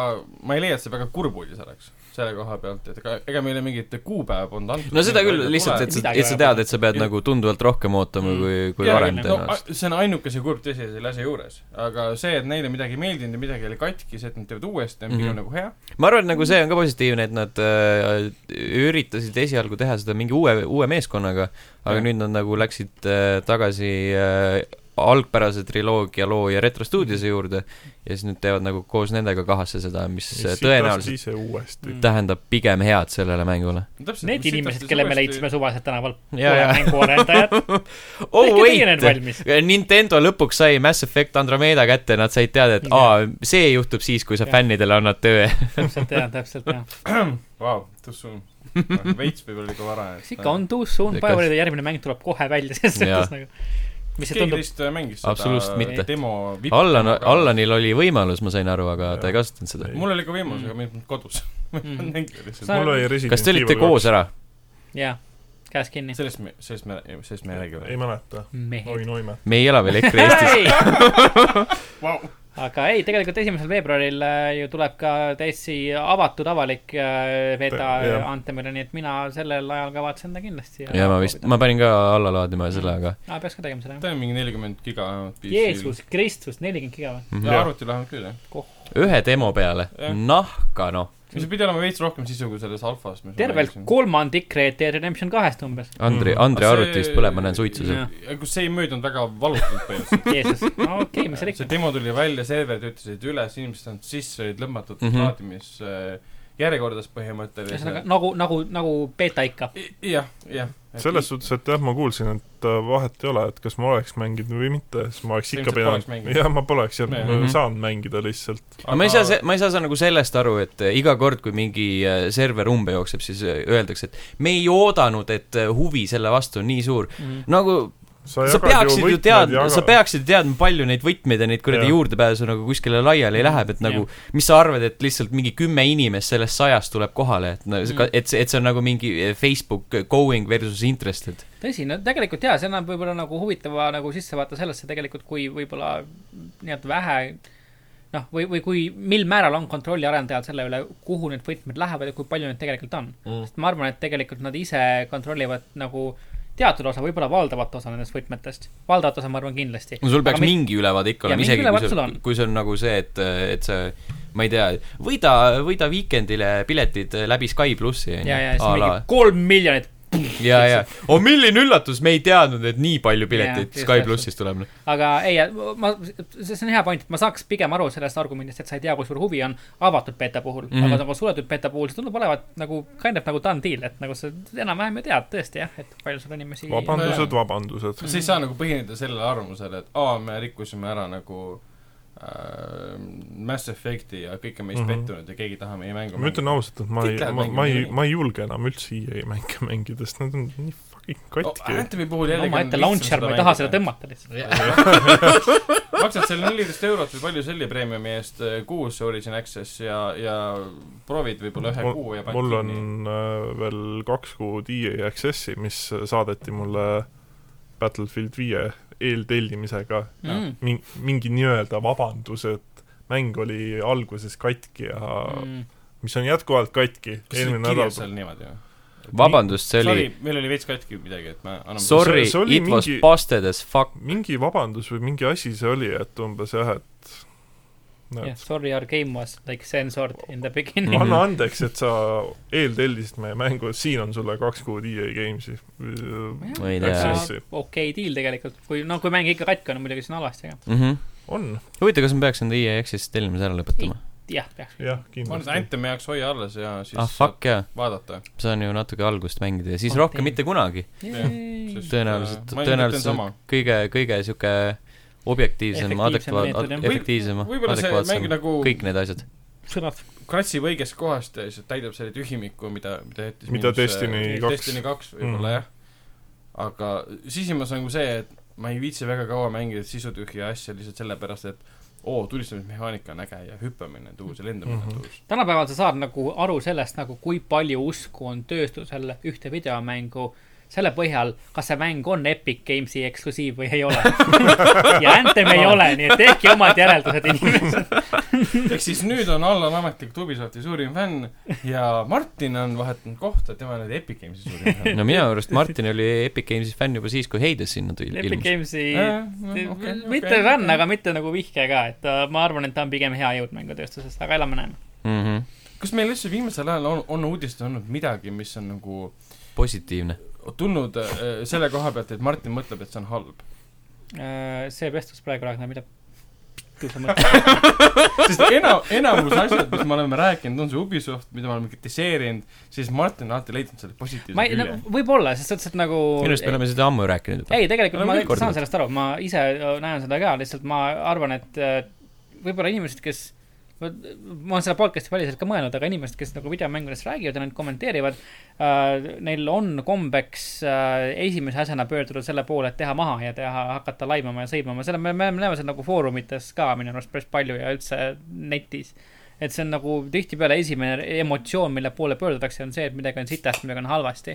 S2: ma ei leia , et see väga kurb uudis oleks selle koha pealt , et ega , ega meile mingit kuupäeva polnud antud .
S1: no seda küll , lihtsalt , et sa ,
S3: Midagi
S1: et sa
S3: vaja
S1: tead , et sa pead
S2: Ja-
S1: nagu tunduvalt rohkem ootama
S3: Mm.
S1: kui , kui
S2: Jaa,
S1: varem
S3: küll, jah.
S1: tõenäoliselt .
S2: no, . see on ainuke see kurb tõsi selle asja juures , aga see , et neile midagi ei meeldinud ja midagi oli katki , see , et nad teevad uuesti , on pigem
S1: Mhm.
S2: mm -hmm. nagu hea .
S1: ma arvan , et nagu see on ka positiivne , et nad äh, üritasid esialgu teha seda mingi uue , uue meeskonnaga , aga
S2: Jah.
S1: nüüd nad nagu läksid äh, tagasi äh, algpärase triloogia loo ja Retro Studios'e juurde ja siis nüüd teevad nagu koos nendega kahasse seda , mis tõenäoliselt
S4: ise uuesti .
S1: tähendab pigem head sellele mängule .
S3: Need inimesed , kelle me leidsime . suvaliselt tänaval .
S1: ja , *laughs* ja ,
S3: mänguarendajad .
S1: oh
S3: need
S1: wait ,
S3: valmis .
S1: Nintendo lõpuks sai Mass Effect Andromeda kätte , nad said teada , et
S3: Jah.
S1: aa , see juhtub siis , kui sa
S3: Jah.
S1: fännidele annad töö .
S3: täpselt jah , täpselt jah .
S2: Vau , too soon . *laughs* veits võib-olla liiga vara .
S3: kas ikka on too soon ,
S1: Kas-
S3: Bioware'i järgmine mäng tuleb kohe välja , *laughs* selles
S1: Jaa.
S3: suhtes nagu . mis see
S2: keegi
S3: tundub ,
S2: teist mängis seda
S1: Absoluutselt mitte. nagu-
S2: demo .
S1: Allan , Allanil oli võimalus , ma sain aru , aga ta ei kasutanud seda .
S2: mul oli ka võimalus , aga
S3: Mm.
S2: mind polnud kodus . *laughs*
S3: Mhm.
S2: sellest
S3: Sa-
S4: mul oli Resident
S1: kas te olite
S4: Evil
S1: koos ära ?
S3: jaa , käes kinni .
S2: me , sellest me , sellest me ei räägi
S4: kaks.
S2: veel .
S4: ei mäleta . oi
S3: mehed .
S4: noime .
S1: me ei ela veel EKRE
S3: *laughs*
S1: Eestis .
S4: *laughs*
S3: aga ei , tegelikult esimesel veebruaril äh, ju tuleb ka täiesti avatud avalik äh, beta
S4: Pe- jah.
S3: Antemile , nii et mina sellel ajal kavatsen ta kindlasti .
S1: ja ma vist , ma panin ka alla laadima selle , aga
S3: aa , peaks ka tegema seda jah .
S2: ta on mingi nelikümmend giga vähemalt .
S3: Jeesus Kristus , nelikümmend giga või ?
S1: Mhm.
S2: ja arvutil vähemalt küll , jah .
S1: ühe demo peale
S2: Jah. ,
S1: nahka noh ,
S2: see pidi olema veits rohkem sisu kui selles alfas .
S3: tervelt kolmandik Red Dead Redemption kahest umbes .
S1: Andri ,
S4: Mhm.
S1: Andri arvutist põleb , ma näen suitsu seal .
S3: Jah.
S2: kus see ei möödunud väga valutult põhimõtteliselt .
S3: Jeesus , okei , *laughs* mis seal
S4: *laughs*
S2: see
S3: ikka .
S2: demo tuli välja , serverid ütlesid üles , inimesed on sisse , olid lõmmatud mm
S1: Mhm.
S2: -hmm. laadimisjärjekordas põhimõtteliselt .
S3: ühesõnaga nagu , nagu , nagu beeta ikka .
S2: jah , jah ,
S4: selles suhtes , et jah , ma kuulsin , et äh, vahet ei ole , et kas ma oleks mänginud või mitte , siis ma oleks
S2: Sa
S4: ikka
S2: ilmselt poleks
S4: pidanud
S2: mänginud. ,
S4: jah , ma poleks jah , ma
S2: Mhm.
S4: saan mängida lihtsalt .
S1: aga ma ei saa , ma ei saa saa nagu sellest aru , et äh, iga kord , kui mingi äh, server umbe jookseb , siis äh, öeldakse , et me ei oodanud , et äh, huvi selle vastu on nii suur .
S4: Mhm.
S3: mm. .
S1: nagu sa peaksid ju teadma , sa peaksid teadma , palju neid võtmeid ja neid kuradi
S4: Jah.
S1: juurdepääsu nagu kuskile laiali läheb , et nagu mis sa arvad , et lihtsalt mingi kümme inimest sellest sajast tuleb kohale , et no, see-
S3: Mm.
S1: et see , et see on nagu mingi Facebook going versus interested .
S3: tõsi , no tegelikult jaa , see annab võib-olla nagu huvitava nagu sissevaate sellesse tegelikult , kui võib-olla nii-öelda vähe noh , või , või kui , mil määral on kontrolli arendajal selle üle , kuhu need võtmed lähevad ja kui palju neid tegelikult on mm. . sest ma arvan , et tegelikult nad ise kontrollivad nagu teatud osa , võib-olla valdavat osa nendest võtmetest . valdavat osa , ma arvan , kindlasti .
S1: no sul peaks mingi ülevaade ikka
S3: Jaa,
S1: olema ,
S3: mingi
S1: isegi
S3: ülevaade
S1: kui
S3: sul
S1: sul
S3: on. ,
S1: kui sul on nagu see , et , et sa , ma ei tea , võida , võida Weekendile piletid läbi Sky plussi , on
S3: ja , ja
S1: ju
S3: siis . mingi kolm miljonit ,
S1: ja , ja , oo Oh, milline üllatus , me ei teadnud , et nii palju
S3: Jaa,
S1: pileteid
S3: just
S1: Sky
S3: täpselt.
S1: plussist tuleb .
S3: aga ei , ma , see see on hea point , et ma saaks pigem aru sellest argumendist , et sa ei tea , kui suur huvi on avatud beeta puhul mm ,
S1: Mhm.
S3: -hmm. aga nagu suletud beeta puhul see tundub olevat nagu kind of nagu done deal , et nagu sa enam-vähem ju tead tõesti jah , et palju sul inimesi .
S4: vabandused , vabandused .
S2: sa ei saa nagu põhineda sellele arvamusele , et aa , me rikkusime ära nagu äh, Mass Effect'i ja kõik on meis mm
S4: Mhm.
S2: -hmm. pettunud ja keegi ei taha meie mängu
S4: ma ütlen ausalt , et ma ei
S2: Kõik lähevad ,
S4: ma , ma ei
S2: mängima. ,
S4: ma ei julge enam üldse EA mänge *laughs* mängida , sest nad on nii fucking katki .
S2: Oh, Anthemi puhul jällegi
S3: omaette launcher , ma ei taha seda . tõmmata *laughs* lihtsalt .
S2: maksad selle neliteist eurot või palju selle preemiumi eest äh, kuus Origin Access ja , ja proovid võib-olla ühe
S4: Mul-
S2: kuu ja
S4: mul on äh, veel kaks kuud EA Access'i , mis saadeti mulle Battlefield viie eeltellimisega
S3: Mm.
S4: Min- , mingi nii-öelda vabandus , et mäng oli alguses katki ja mm.
S3: Mm.
S4: mis on jätkuvalt katki .
S2: kas see oli kirjas seal niimoodi või ?
S1: vabandust , see oli
S2: Sorry , meil oli veits katki midagi , et me anname
S1: sorry ,
S4: see oli
S1: it was
S4: mingi-
S1: busted as fuck .
S4: mingi vabandus või mingi asi see oli , et umbes jah , et
S3: Yeah,
S4: näed ,
S3: sorry , our game was like censored in the beginning
S1: Mhm.
S4: anna andeks , et sa eeltellisid meie mängu , siin on sulle kaks kuud EA Games'i . Äh,
S1: Ma ei tea.
S3: mm. . okei deal tegelikult , kui , no kui mäng ikka katki on , muidugi see on halvasti , aga
S4: on ,
S1: huvitav , kas ma peaks nende EA Access tellimuse ära lõpetama ?
S3: jah , peaks .
S4: jah ,
S2: ma arvan , et
S4: kindlasti .
S2: Anthemi jaoks hoia alles ja siis
S1: ah fuck jaa ,
S2: saad vaadata .
S1: saan ju natuke algust mängida ja siis
S3: On
S1: rohkem
S3: tee.
S1: mitte kunagi .
S2: Sest,
S1: tõenäoliselt
S2: äh, , ma
S1: tõenäoliselt
S2: mõtlen sama.
S1: on kõige , kõige sihuke objektiivsem ,
S3: Efektiivsem meetod, jah.
S1: adekvaat- , efektiivsem ,
S2: võib-olla see mäng
S1: adekvaatsem ,
S2: nagu
S1: kõik need asjad .
S3: sõnad .
S2: kratsi õigest kohast ja siis täidab selle tühimiku , mida , mida jättis
S4: Mida
S2: minus,
S4: Destiny
S2: äh,
S4: kaks.
S2: Destiny kaks võib-olla mm.
S4: Mhm.
S2: jah . aga sisimas on nagu see , et ma ei viitsi väga kaua mängida sisutühja asja lihtsalt sellepärast , et oo , tulistamismehaanika on äge ja hüppamine on tuus ja lendamine on
S4: Mhm.
S2: tuus .
S3: tänapäeval sa saad nagu aru sellest nagu , kui palju usku on tööstusel ühte videomängu selle põhjal , kas see mäng on Epic Games'i eksklusiiv või ei
S1: *laughs*
S3: ole . ja Anthem ei ole , nii et tehke omad
S1: *laughs*
S3: järeldused , inimesed .
S2: ehk siis nüüd on Allan ametlik Ubisofti suurim fänn ja Martin on vahetanud kohta , tema on nüüd Epic Games'i suurim
S4: *laughs*
S2: fänn .
S1: no minu arust Martin oli Epic Games'i fänn juba siis , kui Hades sinna tuli
S3: Epic
S1: ilmus .
S3: Games'i
S1: Äh,
S3: mitte fänn , aga mitte nagu vihke ka , et ta- ma arvan , et ta on pigem hea jõud mängutööstusest , aga elame-näeme .
S1: Mhm.
S2: kas meil üldse viimasel ajal on , on uudistes olnud midagi , mis on nagu
S1: positiivne .
S2: tulnud äh, selle koha pealt , et Martin mõtleb , et see on halb .
S3: Äh, see vestlus praegu , Ragnar , mida pitu sa mõtled ?
S2: sest ena- , enamus asjad , mis me oleme rääkinud , on see Ubisoft , mida me oleme kritiseerinud , siis Martin on alati leidnud selle
S3: ma
S2: positiivse
S3: ei , nagu
S2: külje .
S3: võib-olla , selles suhtes , et nagu
S1: minu arust me oleme seda ammu rääkinud .
S3: ei , tegelikult
S1: Oleme
S3: ma
S1: kõik
S3: tegelikult saan
S1: korduvalt.
S3: sellest aru , ma ise äh, näen seda ka , lihtsalt ma arvan , et äh, võib-olla inimesed , kes , ma ma olen selle podcast'i väliselt ka mõelnud , aga inimesed , kes nagu videomängudest räägivad ja neid kommenteerivad , neil on kombeks äh, esimese asjana pöörduda selle poole , et teha maha ja teha , hakata laimama ja sõimama , selle me , me näeme seda nagu foorumites ka minu arust päris palju ja üldse netis et see on nagu tihtipeale esimene emotsioon , mille poole pöördutakse , on see , et midagi on sitast , midagi on halvasti .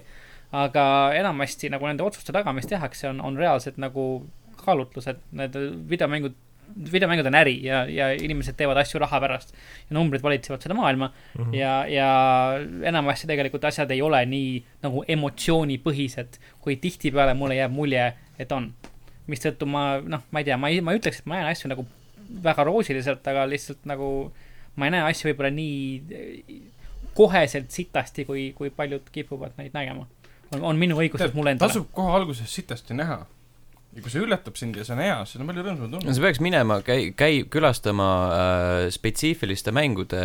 S3: aga enamasti nagu nende otsuste taga , mis tehakse , on , on reaalsed nagu kaalutlused , need videomängud , videomängud on äri ja , ja inimesed teevad asju raha pärast . ja numbrid valitsevad seda maailma mm -hmm. ja , ja enamasti tegelikult asjad ei ole nii nagu emotsioonipõhised , kui tihtipeale mulle jääb mulje , et on . mistõttu ma , noh , ma ei tea , ma ei , ma ei ütleks , et ma näen asju nagu väga roosiliselt , aga lihtsalt nagu ma ei näe asju võib-olla nii eh, koheselt sitasti , kui , kui paljud kipuvad neid nägema . on , on minu õigustus mulle endale .
S2: tasub kohe alguses sitasti näha . ja kui see üllatab sind ja see on hea , siis on palju rõõmsam
S1: no
S2: tunne .
S1: sa peaks minema , käi , käi külastama äh, spetsiifiliste mängude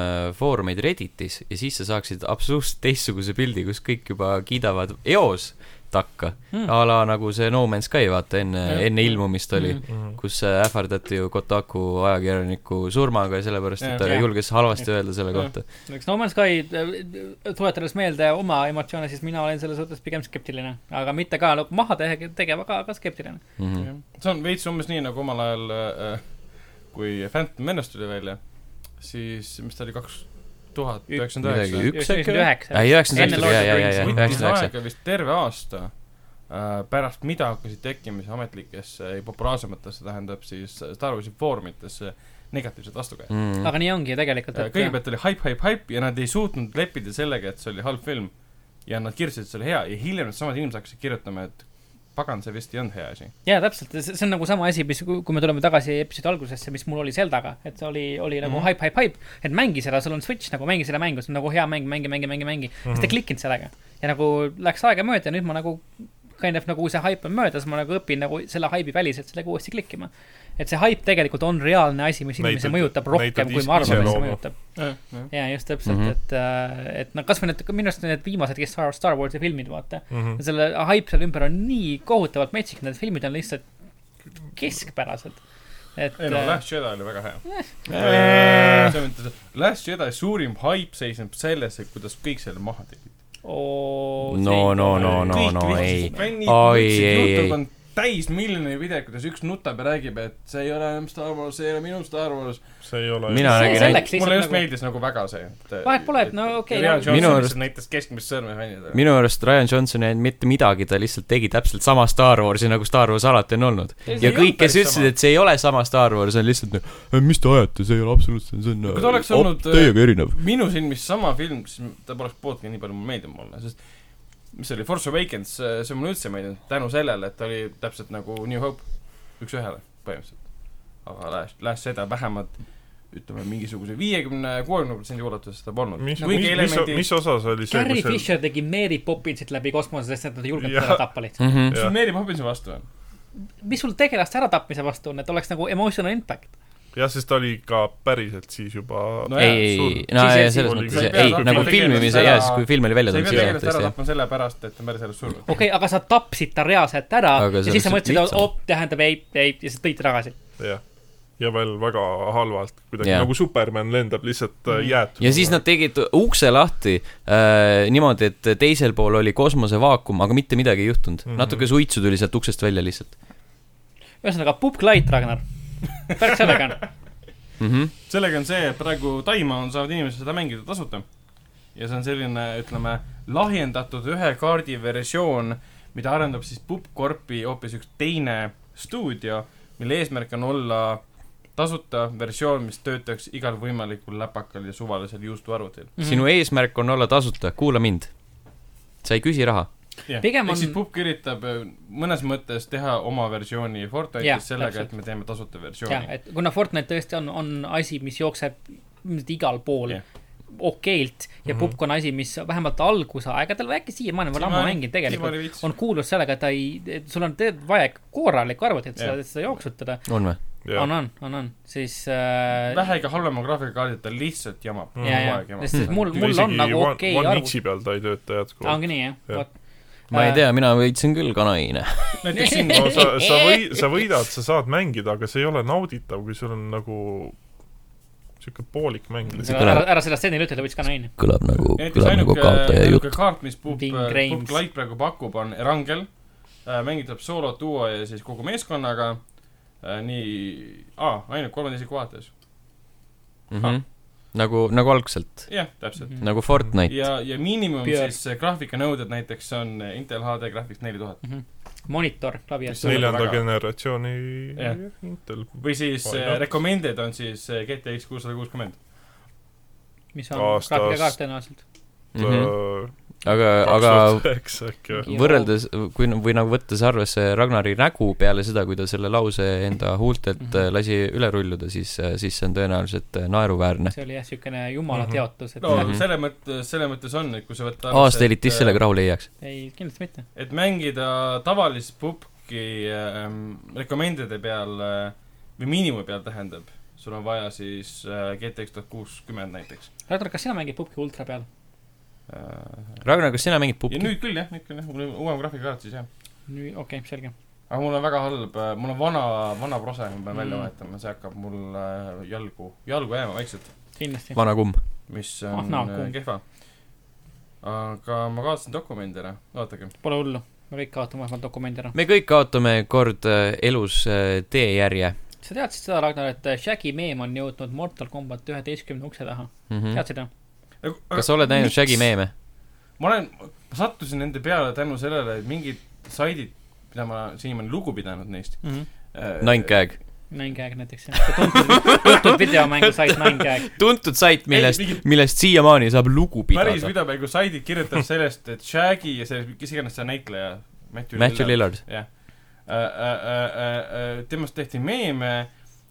S1: alamfoorumeid Redditis ja siis sa saaksid absoluutselt teistsuguse pildi , kus kõik juba kiidavad eos takka mm. . a la nagu see No Man's Sky , vaata , enne
S3: Jah. ,
S1: enne ilmumist oli mm. ,
S4: mm .
S1: kus ähvardati ju Kotaku ajakirjaniku surmaga ja sellepärast , et ta
S3: Jah.
S1: julges halvasti öelda selle
S2: Jah.
S1: kohta .
S3: eks No Man's Sky , tuletades meelde oma emotsioone , siis mina olen selles suhtes pigem skeptiline , aga mitte ka nagu maha tege- tegema , aga ka skeptiline .
S1: Mhm.
S2: jah. see on veits umbes nii nagu omal ajal äh, , kui Phantom Menace tuli välja , siis , mis ta oli , kaks tuhat üheksakümmend
S1: midagi ,
S2: üheksa .
S1: üks äkki
S3: üheksakümmend
S1: või ?
S3: üheksa .
S1: ei , üheksakümmend
S3: Enne
S1: üheksa , jaa , jaa , jaa , jaa ,
S2: võttis
S1: üheksakümmend üheksa .
S2: aega vist terve aasta äh, pärast mida hakkasid tekkima siis ametlikesse ja populaarsematesse , tähendab siis Star Warsi foorumitesse negatiivsed vastukajad .
S1: Mhm. Mm.
S3: aga nii ongi ju tegelikult , et
S2: kõigepealt oli haip , haip , haip ja nad ei suutnud leppida sellega , et see oli halb film . ja nad kirjutasid selle hea ja hiljem needsamad inimesed hakkasid kirjutama , et pagan , see vist ei olnud hea asi .
S3: jaa , täpselt , see on nagu sama asi , mis , kui me tuleme tagasi episoodi algusesse , mis mul oli Zeldaga , et oli , oli nagu
S2: Mhm.
S3: mm -hmm. hype , hype , hype , et mängi seda , sul on Switch nagu , mängi seda mängu , see on nagu hea mäng , mängi , mängi , mängi , mängi mm . -hmm. siis ta ei klikkinud sellega ja nagu läks aega mööda ja nüüd ma nagu , kind of nagu see hype on möödas , ma nagu õpin nagu selle haibi väliselt sellega uuesti klikkima . et see hype tegelikult on reaalne asi , mis inimesi
S4: Näitab-
S3: mõjutab rohkem ,
S4: näitab
S3: kui
S4: is-
S3: me arvame , et see
S4: iseloomu.
S3: mõjutab .
S2: ja
S3: jaa , just täpselt mm ,
S1: Mhm.
S3: -hmm. et äh, , et noh , kasvõi need , minu arust need viimased , kes Star, Star Warsi filmid , vaata .
S4: -hmm.
S3: Ja selle haip seal ümber on nii kohutavalt metsik , need filmid on lihtsalt keskpärased . et
S2: ei no
S3: äh,
S2: Last Jedi oli väga hea .
S4: Äh.
S2: selles mõttes , et Last Jedi suurim haip seisneb selles , et kuidas kõik selle maha tegid .
S3: oo,
S1: no ,
S3: see-
S1: no , no , no , no ei . Oi, ei, ei.
S2: Youtube on täis miljoni videot , kuidas üks nutab ja räägib , et see ei ole enam Star Wars , see ei ole minu Star Wars .
S4: see ei ole .
S1: Mina
S3: see
S1: nägin
S3: selleks
S2: mulle
S3: lihtsalt
S2: just
S3: nagu-
S2: meeldis nagu väga see .
S3: Vahet pole, et no okei, no-
S1: Minu
S2: minu
S1: arust-
S2: arust näitas keskmist sõrme fännidele .
S1: minu arust Ryan Johnson ei teinud mitte midagi , ta lihtsalt tegi täpselt sama Star Warsi , nagu Star Wars alati on olnud .
S2: Ei, see
S1: ja
S2: ei
S1: kõik ,
S2: olnud
S1: kes
S2: päris
S1: ütlesid ,
S2: sama.
S1: et see ei ole sama Star Wars , on lihtsalt nagu , mis te ajate , see ei ole absoluutselt , see on
S2: Kui ta oleks
S1: op-
S2: olnud, äh,
S1: täiega erinev .
S2: minu silmis sama film , siis ta poleks pooltki nii palju mulle meeldinud mulle , sest mis see oli , Force Awakens , see mulle üldse ei meeldinud tänu sellele , et ta oli täpselt nagu New Hope , üks-ühele põhimõtteliselt . aga Last , Last seda vähemalt ütleme mingisuguse viiekümne , kuuekümne protsendi ulatuses ta polnud .
S4: mis ,
S2: kuigi
S4: mis , mis ,
S2: elemendid ,
S4: mis osas oli see ,
S3: Carrie
S4: kus
S3: Fisher tegi Mary Poppinsit läbi kosmose , sest et nad ei julgenud
S4: Jah.
S3: teda tappa lihtsalt .
S1: Mm
S2: mis sul Mary Poppinsi vastu on ?
S3: mis sul tegelaste äratapmise vastu on , et oleks nagu emotional impact ?
S4: see , jah , sest ta oli ka päriselt siis juba
S1: ei ,
S2: No jaa,
S1: ei , ei
S4: suur- ,
S1: no
S3: Siis
S1: ei,
S3: ei-
S1: selles
S4: siis
S1: mõttes
S4: oli-
S1: ei , ei ,
S4: Sa ei
S1: nagu
S4: pea
S1: filmimise
S2: tegelast
S1: jaa ,
S2: ära-
S1: siis kui film oli välja
S2: sa ei
S1: tulnud ,
S2: pea
S1: siis jah ,
S2: tegelikult ära
S1: tõesti jah .
S2: tapma sellepärast , et ta on päris elus surnud .
S3: okei okay, , aga sa tapsid ta reaalselt ära
S1: Aga
S3: ja
S1: see
S3: siis sa
S1: on
S3: mõtlesid , et
S1: lihtsalt
S3: op , tähendab ei , ei , ja sa tõid ta tagasi .
S4: jah , ja veel väga halvalt , kuidagi
S1: Jah.
S4: yeah. nagu Superman lendab lihtsalt mm. jäätunud .
S1: ja siis nad tegid ukse lahti äh, niimoodi , et teisel pool oli kosmosevaakum , aga mitte midagi ei juhtunud mm .
S4: Mhm.
S1: -hmm. natuke suitsu tuli sealt uksest välja lihtsalt
S3: ühesõnaga , pukk light , Ragnar . värk sellega on .
S1: mm . -hmm.
S2: sellega on see , et praegu taima on , saavad inimesed seda mängida tasuta . ja see on selline , ütleme , lahjendatud ühe kaardi versioon , mida arendab siis PubCorpi hoopis üks teine stuudio , mille eesmärk on olla tasuta versioon , mis töötaks igal võimalikul läpakal ja suvalisel juustuarvutil .
S1: sinu eesmärk on olla tasuta , kuula mind . sa ei küsi raha .
S3: Pigem
S2: ehk
S3: on-
S2: siis Pub üritab öö, mõnes mõttes teha oma versiooni
S3: Jah,
S2: Fortnite'ist sellega ,
S3: täpselt.
S2: et me teeme tasuta
S3: jah ,
S2: versiooni .
S3: et kuna Fortnite tõesti on , on asi , mis jookseb ilmselt igal pool
S2: Jah.
S3: yeah. okeilt ja mm -hmm. Pupk on asi , mis vähemalt algusaegadel või äkki siiamaani , ma olen ammu mänginud tegelikult , on kuulus sellega , et ta ei , sul on tegelikult vaja ikka korralikku arvutit , et
S2: Jah.
S3: seda , seda jooksutada .
S1: on või ?
S4: jah
S3: on , on , on , on , siis äh,
S2: vähega halvema graafikaardiga ta lihtsalt jamab .
S4: Mhm.
S3: ja , ja , sest mul , mul on nagu okei
S4: arvuti .
S3: arvuti .
S4: OneX-i peal ta ei tööta jätkuvalt .
S3: ongi nii , jah ,
S4: Jah.
S3: vot .
S1: ma ei
S3: Äh,
S1: tea , mina võitsin küll kanaiine .
S2: näiteks siin
S4: no sa ,
S1: *laughs*
S4: sa või- , sa võidad , sa saad mängida , aga see ei ole nauditav , kui sul on nagu sihuke poolik mäng .
S1: See
S3: ära
S1: kõlab- ,
S3: ära seda stseeni ütle , ta võttis ka naine .
S1: kõlab nagu ,
S2: Ja näiteks
S1: kõlab nagu
S2: ainuke ,
S1: kaotaja
S2: ainuke
S1: jutt .
S2: kaart , mis Pub ,
S3: Bing
S2: Pub
S3: Rains.
S2: Light praegu pakub , on Erangel . mängitab soolo , duo ja siis kogu meeskonnaga . nii , aa , ainult kolmanda isiku vaates .
S1: Mhm. nagu , nagu algselt ,
S2: jah , täpselt .
S3: Mhm.
S1: nagu Fortnite .
S2: Mhm. ja , ja miinimum
S3: Pure.
S2: siis äh, graafikanõuded näiteks on äh, Intel HD Graphics neli tuhat .
S3: monitor ,
S2: See
S3: klaviatuur
S2: Mis .
S4: neljanda
S2: väga-
S4: generatsiooni
S2: Jah.
S4: Intel .
S2: või siis
S4: Why
S2: äh,
S4: not?
S2: recommended on siis äh, GTX kuussada kuuskümmend .
S3: mis on
S4: Aastast-
S3: graafikakaart tõenäoliselt .
S1: Mhm. aga ,
S4: Äh, kaks
S1: aga
S4: tuhat üheksa äkki või ?
S3: Mingi-
S1: võrreldes , kui , või nagu võttes arvesse Ragnari nägu peale seda , kui ta selle lause enda huultelt
S3: Mhm.
S1: äh, lasi üle rulluda , siis , siis see on tõenäoliselt äh, naeruväärne .
S3: see oli jah , siukene jumala
S4: Mhm.
S3: teotus , et
S2: no
S1: Mhm.
S2: selles mõttes , selles mõttes on , et äh, kui sa võtad
S1: aasta elitis sellega rahule ei jääks .
S3: ei , kindlasti mitte .
S2: et mängida tavalist pubki ähm, recommend'ide peal äh, või miinimumi peal tähendab , sul on vaja siis äh, GTX tuhat kuuskümmend näiteks
S3: Ragnar , kas sina mängid Pupki ultra peal ?
S2: äh, .
S1: Ragnar , kas sina mängid
S2: ja
S1: pubki ?
S2: nüüd küll jah , nüüd küll jah , mul on uuem graafikakaart siis jah .
S3: okei okay, , selge .
S2: aga mul on väga halb , mul on vana , vana prose , ma pean mm. välja
S3: Mm.
S2: vahetama , see hakkab mul äh, jalgu , jalgu jääma vaikselt ,
S3: kindlasti .
S1: vana kumm .
S2: mis
S3: Ah,
S2: on
S3: naa,
S2: äh,
S3: kumb.
S2: kehva . aga ma kaotasin dokumendi ära , vaadake .
S3: Pole hullu , me kõik kaotame vahepeal dokumendi ära .
S1: me kõik kaotame kord äh, elus äh, teejärje
S3: sa teadsid seda , Ragnar , et äh, Shaggy meem on jõudnud Mortal Combat üheteistkümne ukse taha mm. ?
S1: mm . -hmm.
S3: teadsid jah ?
S1: kas sa oled näinud Shaggy ? meeme ?
S2: ma olen , ma sattusin nende peale tänu sellele , et mingid saidid , mida ma siiamaani lugu pidanud neist äh,
S1: Ninegag .
S3: Ninegag näiteks , jah . tuntud , tuntud videomängusait Ninegag .
S1: tuntud sait , millest
S2: Ei, mingid- ,
S1: millest siiamaani saab lugu
S2: päris
S1: pidada .
S2: videomängu saidid kirjutab *laughs* sellest , et Shaggy ja see , kes iganes see näitleja , Matthew
S1: Matthew
S2: Lillard ,
S1: Lillard .
S2: jah . Äh, temast tehti meeme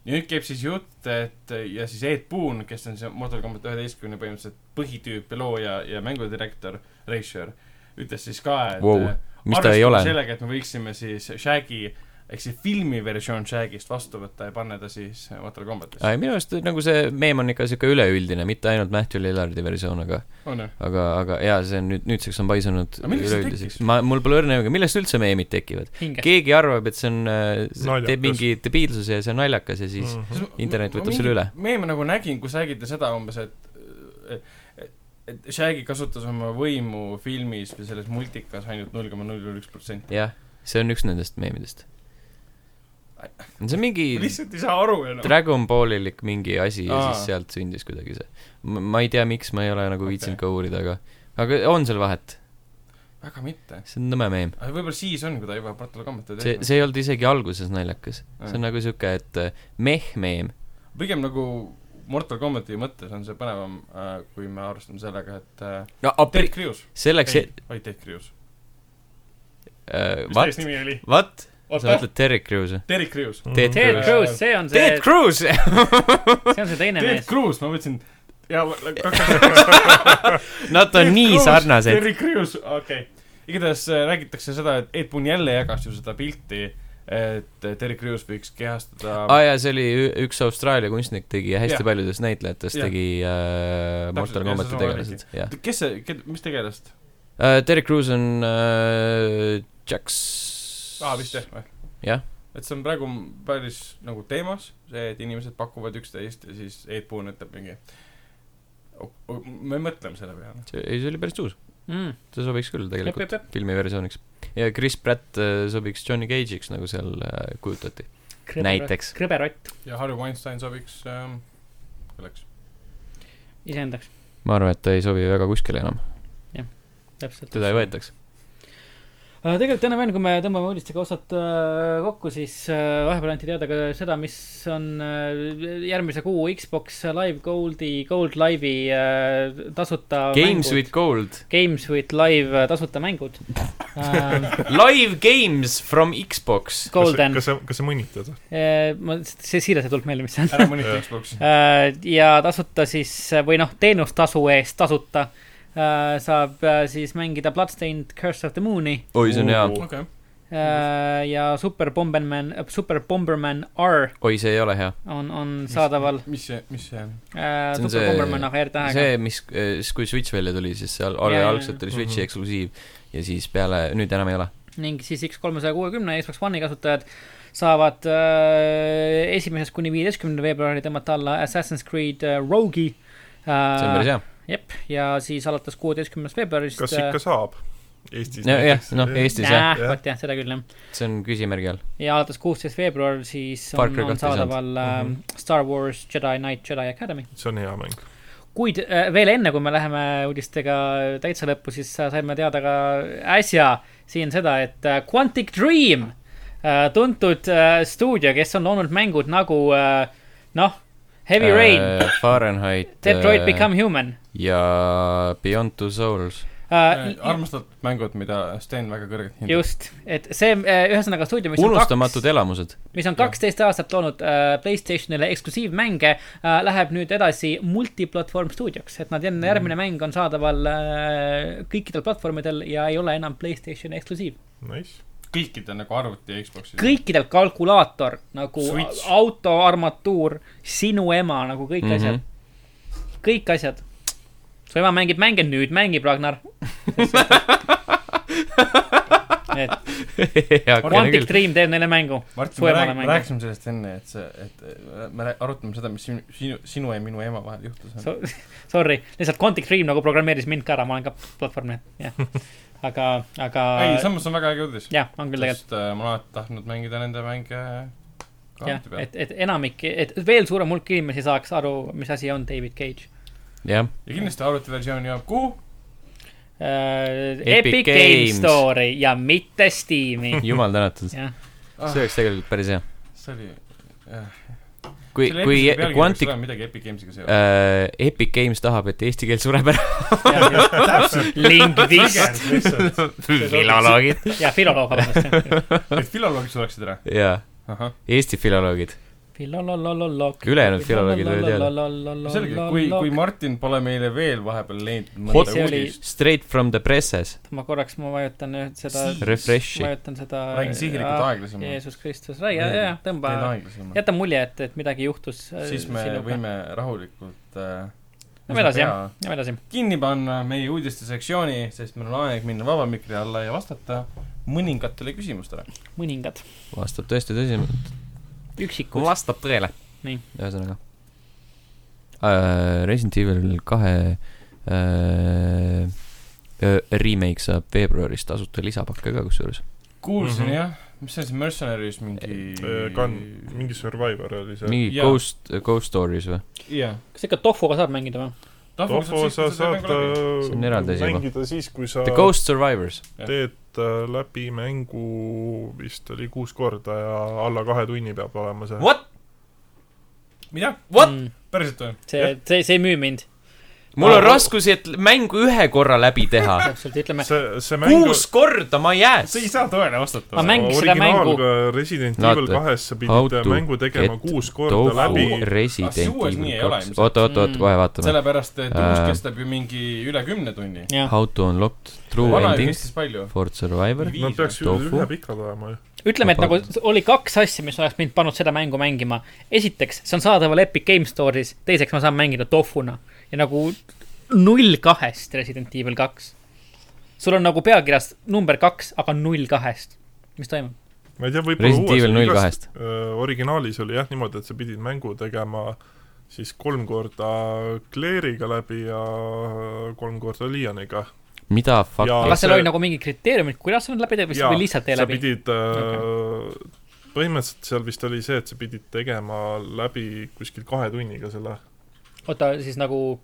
S2: ja nüüd käib siis jutt , et ja siis Ed Boon , kes on see Mortal Combat üheteistkümne põhimõtteliselt põhitüüp ja looja ja mängudirektor , režissöör , ütles siis ka , et
S1: Wow.
S2: äh,
S1: mis ta ei
S2: arvestame
S1: ole ?
S2: sellega , et me võiksime siis Shaggy ehk siis filmiversioon Shagist vastu võtta ja panna ta siis Mortal Combatisse .
S1: ei , minu arust nagu see meem on ikka sihuke üleüldine , mitte ainult Matthew Lillardi versioon , aga ,
S2: on ju ?
S1: aga , aga jaa , see on nüüd , nüüdseks on paisunud
S2: Aga millest see
S1: üleüldiseks . ma , mul pole õrna aimugi , millest üldse meemid tekivad .
S3: hinges .
S1: keegi arvab , et see on ,
S4: Naljakas.
S1: teeb mingi debiilsuse ja see on naljakas ja siis
S4: Mhm.
S1: mm. internet võtab selle üle.
S2: me ma nagu nägin , kus räägiti seda umbes , et et- et Shaggy kasutas oma võimu filmis või selles multikas ainult null koma null null üks protsenti .
S1: jah , see on üks nendest meemidest . see on
S2: *laughs*
S1: mingi
S2: ma lihtsalt ei saa aru enam .
S1: Dragon Ballilik mingi asi ja
S2: Aa.
S1: siis sealt sündis kuidagi see . ma ei tea , miks , ma ei ole nagu
S2: Okei.
S1: viitsinud ka uurida , aga , aga on seal vahet ,
S2: väga mitte .
S1: see on nõme meem .
S2: aga võib-olla siis on , kui ta juba Portal Combat'i
S1: see ,
S2: tegi .
S1: see ei olnud isegi alguses naljakas , see on nagu sihuke , et äh, meh meem .
S2: pigem nagu Mortal Combati mõttes on see põnevam , kui me arvestame sellega , et äh,
S1: no
S2: Ted
S1: apri- ,
S2: Crews ,
S1: selleks , e-
S2: ei , vaid Ted Crews . mis ta
S1: vat ,
S2: ees nimi oli ?
S1: vat , sa
S2: oota ,
S1: mõtled Terry Crews'e ?
S2: Terry Crews .
S1: Ted
S3: Ted
S1: Cruz .
S3: Cruz , see on see
S1: Ted , Cruz , *laughs*
S3: see on see teine
S2: Terry
S3: mees .
S2: Crews , ma mõtlesin , jaa ,
S1: *laughs*
S2: kaks
S1: nad on nii sarnased .
S2: Terry Crews , okei okay. . igatahes äh, räägitakse seda , et Ed Boon jälle jagas ju seda pilti , et Terry Crews võiks kehastada
S1: aa jaa , see oli ü- üks Austraalia kunstnik tegi hästi
S2: Jah.
S1: paljudest näitlejatest
S2: Jah.
S1: tegi äh, Mortal
S2: Täpselt, ja
S1: Combati
S2: seesama
S1: tegelased , jah .
S2: kes see , ked- , mis tegelast ?
S1: Äh, Terry Crews on äh, Jax
S2: aa , vist jah või ?
S1: Jah. .
S2: et see on praegu päris nagu teemas , see , et inimesed pakuvad üksteist ja siis Ed Boon ütleb mingi o- o- me mõtleme selle peale .
S1: see, ei , see oli päris uus ,
S3: jep ,
S1: see sobiks küll tegelikult
S3: Mm. jep , jep .
S1: filmi versiooniks . ja Chris Pratt äh, sobiks Johnny Cage'iks , nagu seal äh, kujutati . Näiteks.
S3: krõberott
S2: ja Harry Weinstein sobiks ähm, selleks .
S3: iseendaks ,
S1: ma arvan , et ta ei sobi väga kuskile enam ,
S3: täpselt .
S1: teda ei võetaks .
S3: Äh, tegelikult enam-vähem , kui me tõmbame uudistega osad äh, kokku , siis äh, vahepeal anti teada ka seda , mis on äh, järgmise kuu Xbox Live Goldi , Gold Live'i äh, tasuta
S1: Games
S3: mängud.
S1: with gold ,
S3: Games with Live äh, tasuta mängud äh, .
S1: live games from Xbox .
S3: Golden ,
S4: kas sa , kas sa mõnitad ?
S3: äh, ma , see siiralt ei tulnud meelde , mis see on .
S2: ära mõnita Xbox'i .
S3: Äh, ja tasuta siis või noh , teenustasu eest tasuta äh, saab äh, siis mängida Bloodstained Curse of the Moon'i
S1: oi , see on hea .
S4: Oo.
S2: okei ,
S3: äh, ja Super Bomberman , Super Bomberman R
S1: oi , see ei ole hea .
S3: on , on saadaval
S2: mis see , mis see on ?
S3: äh, .
S1: See on
S3: Super
S1: see-
S3: see... Bomberman AR tähega .
S1: see , mis , siis kui Switch välja tuli , siis seal oli
S3: Jaa, jaa,
S1: algselt oli Switchi
S4: Mhm.
S1: eksklusiiv ja siis peale , nüüd enam ei ole .
S3: ning siis X kolmesaja kuuekümne Xbox One'i kasutajad saavad äh, esimesest kuni viieteistkümnenda veebruari tõmmata alla Assassin's Creed äh, Rogue'i
S1: see on
S3: äh,
S1: päris hea .
S3: jep , ja siis alates kuueteistkümnest veebruarist
S4: kas ikka saab ? Eestis
S1: jah , noh ,
S4: jah.
S1: Eestis jah ,
S3: jah ,
S4: jah.
S3: vot jah , seda küll jah .
S1: see on küsimärgi all .
S3: ja alates kuusteist veebruar siis
S1: Far
S3: on,
S1: Cry
S3: on
S1: kahte ei saanud.
S3: saadaval äh,
S4: Mhm.
S3: Star Wars Jedi Knight Jedi Academy .
S4: see on hea mäng .
S3: kuid äh, veel enne , kui me läheme uudistega täitsa lõppu , siis äh, saime teada ka äsja siin seda , et äh, Quantic Dream , tuntud äh, stuudio , kes on loonud mängud nagu äh, noh ,
S1: Äh,
S3: Heavy Rain ,
S1: Fahrenheit .
S3: Detroit Become Human . Äh,
S1: ja Beyond Two Souls .
S2: Äh, armastatud mängud , mida Sten väga kõrgelt hindab .
S3: just , et see äh, ühesõnaga stuudio , mis on kaks
S1: unustamatud elamused . *laughs*
S3: mis on kaksteist aastat olnud äh, Playstationile eksklusiivmänge äh, , läheb nüüd edasi multiplatvorm stuudioks , et nad
S2: Mhm.
S3: enne järgmine mäng on saadaval äh, kõikidel platvormidel ja ei ole enam Playstationi eksklusiiv .
S4: Nice .
S2: kõikidel nagu arvuti ja Xbox'il .
S3: kõikidel kalkulaator nagu
S2: Switch.
S3: auto , armatuur , sinu ema nagu kõik mm
S1: Mhm.
S3: -hmm. asjad , kõik asjad . su ema mängib mänge , nüüd mängib Ragnar et Quantic
S1: küll .
S3: Dream teeb neile mängu .
S2: Martin ,
S3: Su
S2: me
S3: emale
S2: räägime ,
S3: mängib.
S2: rääkisime sellest enne , et see , et äh, me rää- arutame seda , mis sinu , sinu , sinu ja minu ema vahel juhtus .
S3: *laughs* Sorry , lihtsalt Quantic Dream nagu programmeeris mind ka ära , ma olen ka platvormil ,
S2: *laughs*
S3: jah . aga , aga
S2: ei , samas on väga äge uudis .
S3: jah , on küll tegelikult .
S2: sest äh, ma olen alati tahtnud mängida nende mänge äh,
S3: jah
S2: kaarti , peal .
S3: et , et enamik , et veel suurem hulk inimesi saaks aru , mis asi on David Cage .
S1: jah ,
S2: ja kindlasti arvutiversioon jõuab kuhu ?
S1: Epic
S3: Epic, Äh, Epic Game
S1: Games.
S3: Store'i ja mitte
S1: *laughs*
S3: Steam'i .
S1: jumal tänatud .
S3: jah , Ah.
S1: see oleks tegelikult päris hea .
S2: see oli ,
S1: kui ,
S2: selle
S1: kui e-
S2: episoodi pealkiri võiks
S1: Quantic
S2: olla midagi Epic Games'iga seotud .
S1: äh, , Epic Games tahab , et eesti keel sureb ära .
S4: täpselt . *laughs*
S3: lingvist
S4: lihtsalt .
S1: filoloogid .
S3: ja filoloog , vabandust .
S1: Äh.
S2: et filoloogid suleksid ära ?
S1: jaa ,
S2: ahah ,
S1: Eesti filoloogid .
S3: filololololog .
S1: Ülejäänud filoloogid võivad jääda.
S2: selge , kui , kui . Martin pole meile veel vahepeal leidnud
S1: Hot-
S2: mõnda
S3: See oli-
S2: uudist ,
S1: Straight from the presses .
S3: ma korraks , ma vajutan nüüd seda ,
S1: Refresh'i .
S3: vajutan seda .
S2: räägin
S3: äh,
S2: sihilikult . aeglasemalt ,
S3: Jeesus Kristus , räägi ,
S2: Ei,
S3: jaa , tõmba
S2: teen , aeglasemalt .
S3: jäta mulje , et , et midagi juhtus . äh,
S2: siis me . võime rahulikult äh,
S3: Lähme edasi, jah. Lähme edasi .
S2: kinni panna meie uudistesektsiooni , sest meil on aeg minna vaba mikri alla ja vastata mõningatele küsimustele .
S3: mõningad ,
S1: vastab tõesti tõsi ,
S3: üksikud .
S1: vastab tõele .
S3: Nii.
S1: ühesõnaga uh, . Resident Evil kahe uh, remake saab veebruaris tasuta lisapakke ka kusjuures .
S2: kuulsin mm -hmm.
S4: Mhm.
S2: jah , mis see on see Mercenaries mingi
S4: kann- , Äh, mingi Survivor oli see .
S1: mingi
S2: Jaa.
S1: Ghost , Ghost Stories või ?
S2: jah .
S3: kas ikka tofuga saab mängida või ?
S2: Noh,
S4: Tofu sa saad
S1: See on eraldi
S4: äh,
S1: asi juba.
S4: mängida siis , kui sa
S1: The Ghost Survivors .
S4: teed äh, läbi mängu vist oli kuus korda ja alla kahe tunni peab olema see .
S2: What ? mida ?
S1: What ??
S2: päriselt või ?
S3: Mm, see , see , see ei müü mind ,
S1: mul on
S4: Aga-
S1: raskusi , et mängu ühe korra läbi
S2: *laughs*
S1: teha .
S3: täpselt , ütleme .
S4: see , see mäng
S1: kuus korda , ma ei jää .
S2: see ei saa tõele vastata
S3: Ma . mängiks seda mängu-
S4: originaalga Resident
S1: Vaata.
S4: Evil kahes sa
S1: How
S4: pidid
S1: to
S4: mängu tegema
S1: get
S4: kuus korda
S1: Tofu
S4: läbi .
S1: Resident
S2: Ah, see uues nii
S1: Evil
S2: ei ole
S1: kaks ,
S2: ilmselt.
S1: oot , oot , oot ,
S3: Mm.
S1: kohe vaatame .
S2: sellepärast , et
S1: Äh.
S2: uus kestab ju mingi üle kümne tunni .
S3: jah ,
S1: How to unlock true
S2: vana ju
S1: endings
S2: kestis palju .
S1: for survivor .
S2: Viis
S4: Nad peaks ju
S1: Tofu.
S4: ühe pikad olema ju .
S3: ütleme , et
S1: Ma
S3: nagu oli kaks asja , mis oleks mind pannud seda mängu mängima . esiteks , see on saadaval Epic Game Store'is , teiseks ma saan mängida tofuna ja nagu null kahest Resident Evil kaks . sul on nagu pealkirjas number kaks , aga null kahest . mis toimub ?
S4: ma ei tea , võib-olla
S1: Resident Evil null
S4: igast-
S1: kahest .
S4: Öö, originaalis oli jah niimoodi , et sa pidid mängu tegema siis kolm korda Claire'iga läbi ja kolm korda Leoniga .
S1: mida fuck
S4: Ja-
S1: ja,
S3: kas seal
S4: see-
S3: oli nagu mingid kriteeriumid , kuidas sa need läbi teed või või lihtsalt ei
S4: sa
S3: läbi ?
S4: pidid okay. , põhimõtteliselt seal vist oli see , et sa pidid tegema läbi kuskil kahe tunniga selle .
S3: oota , siis nagu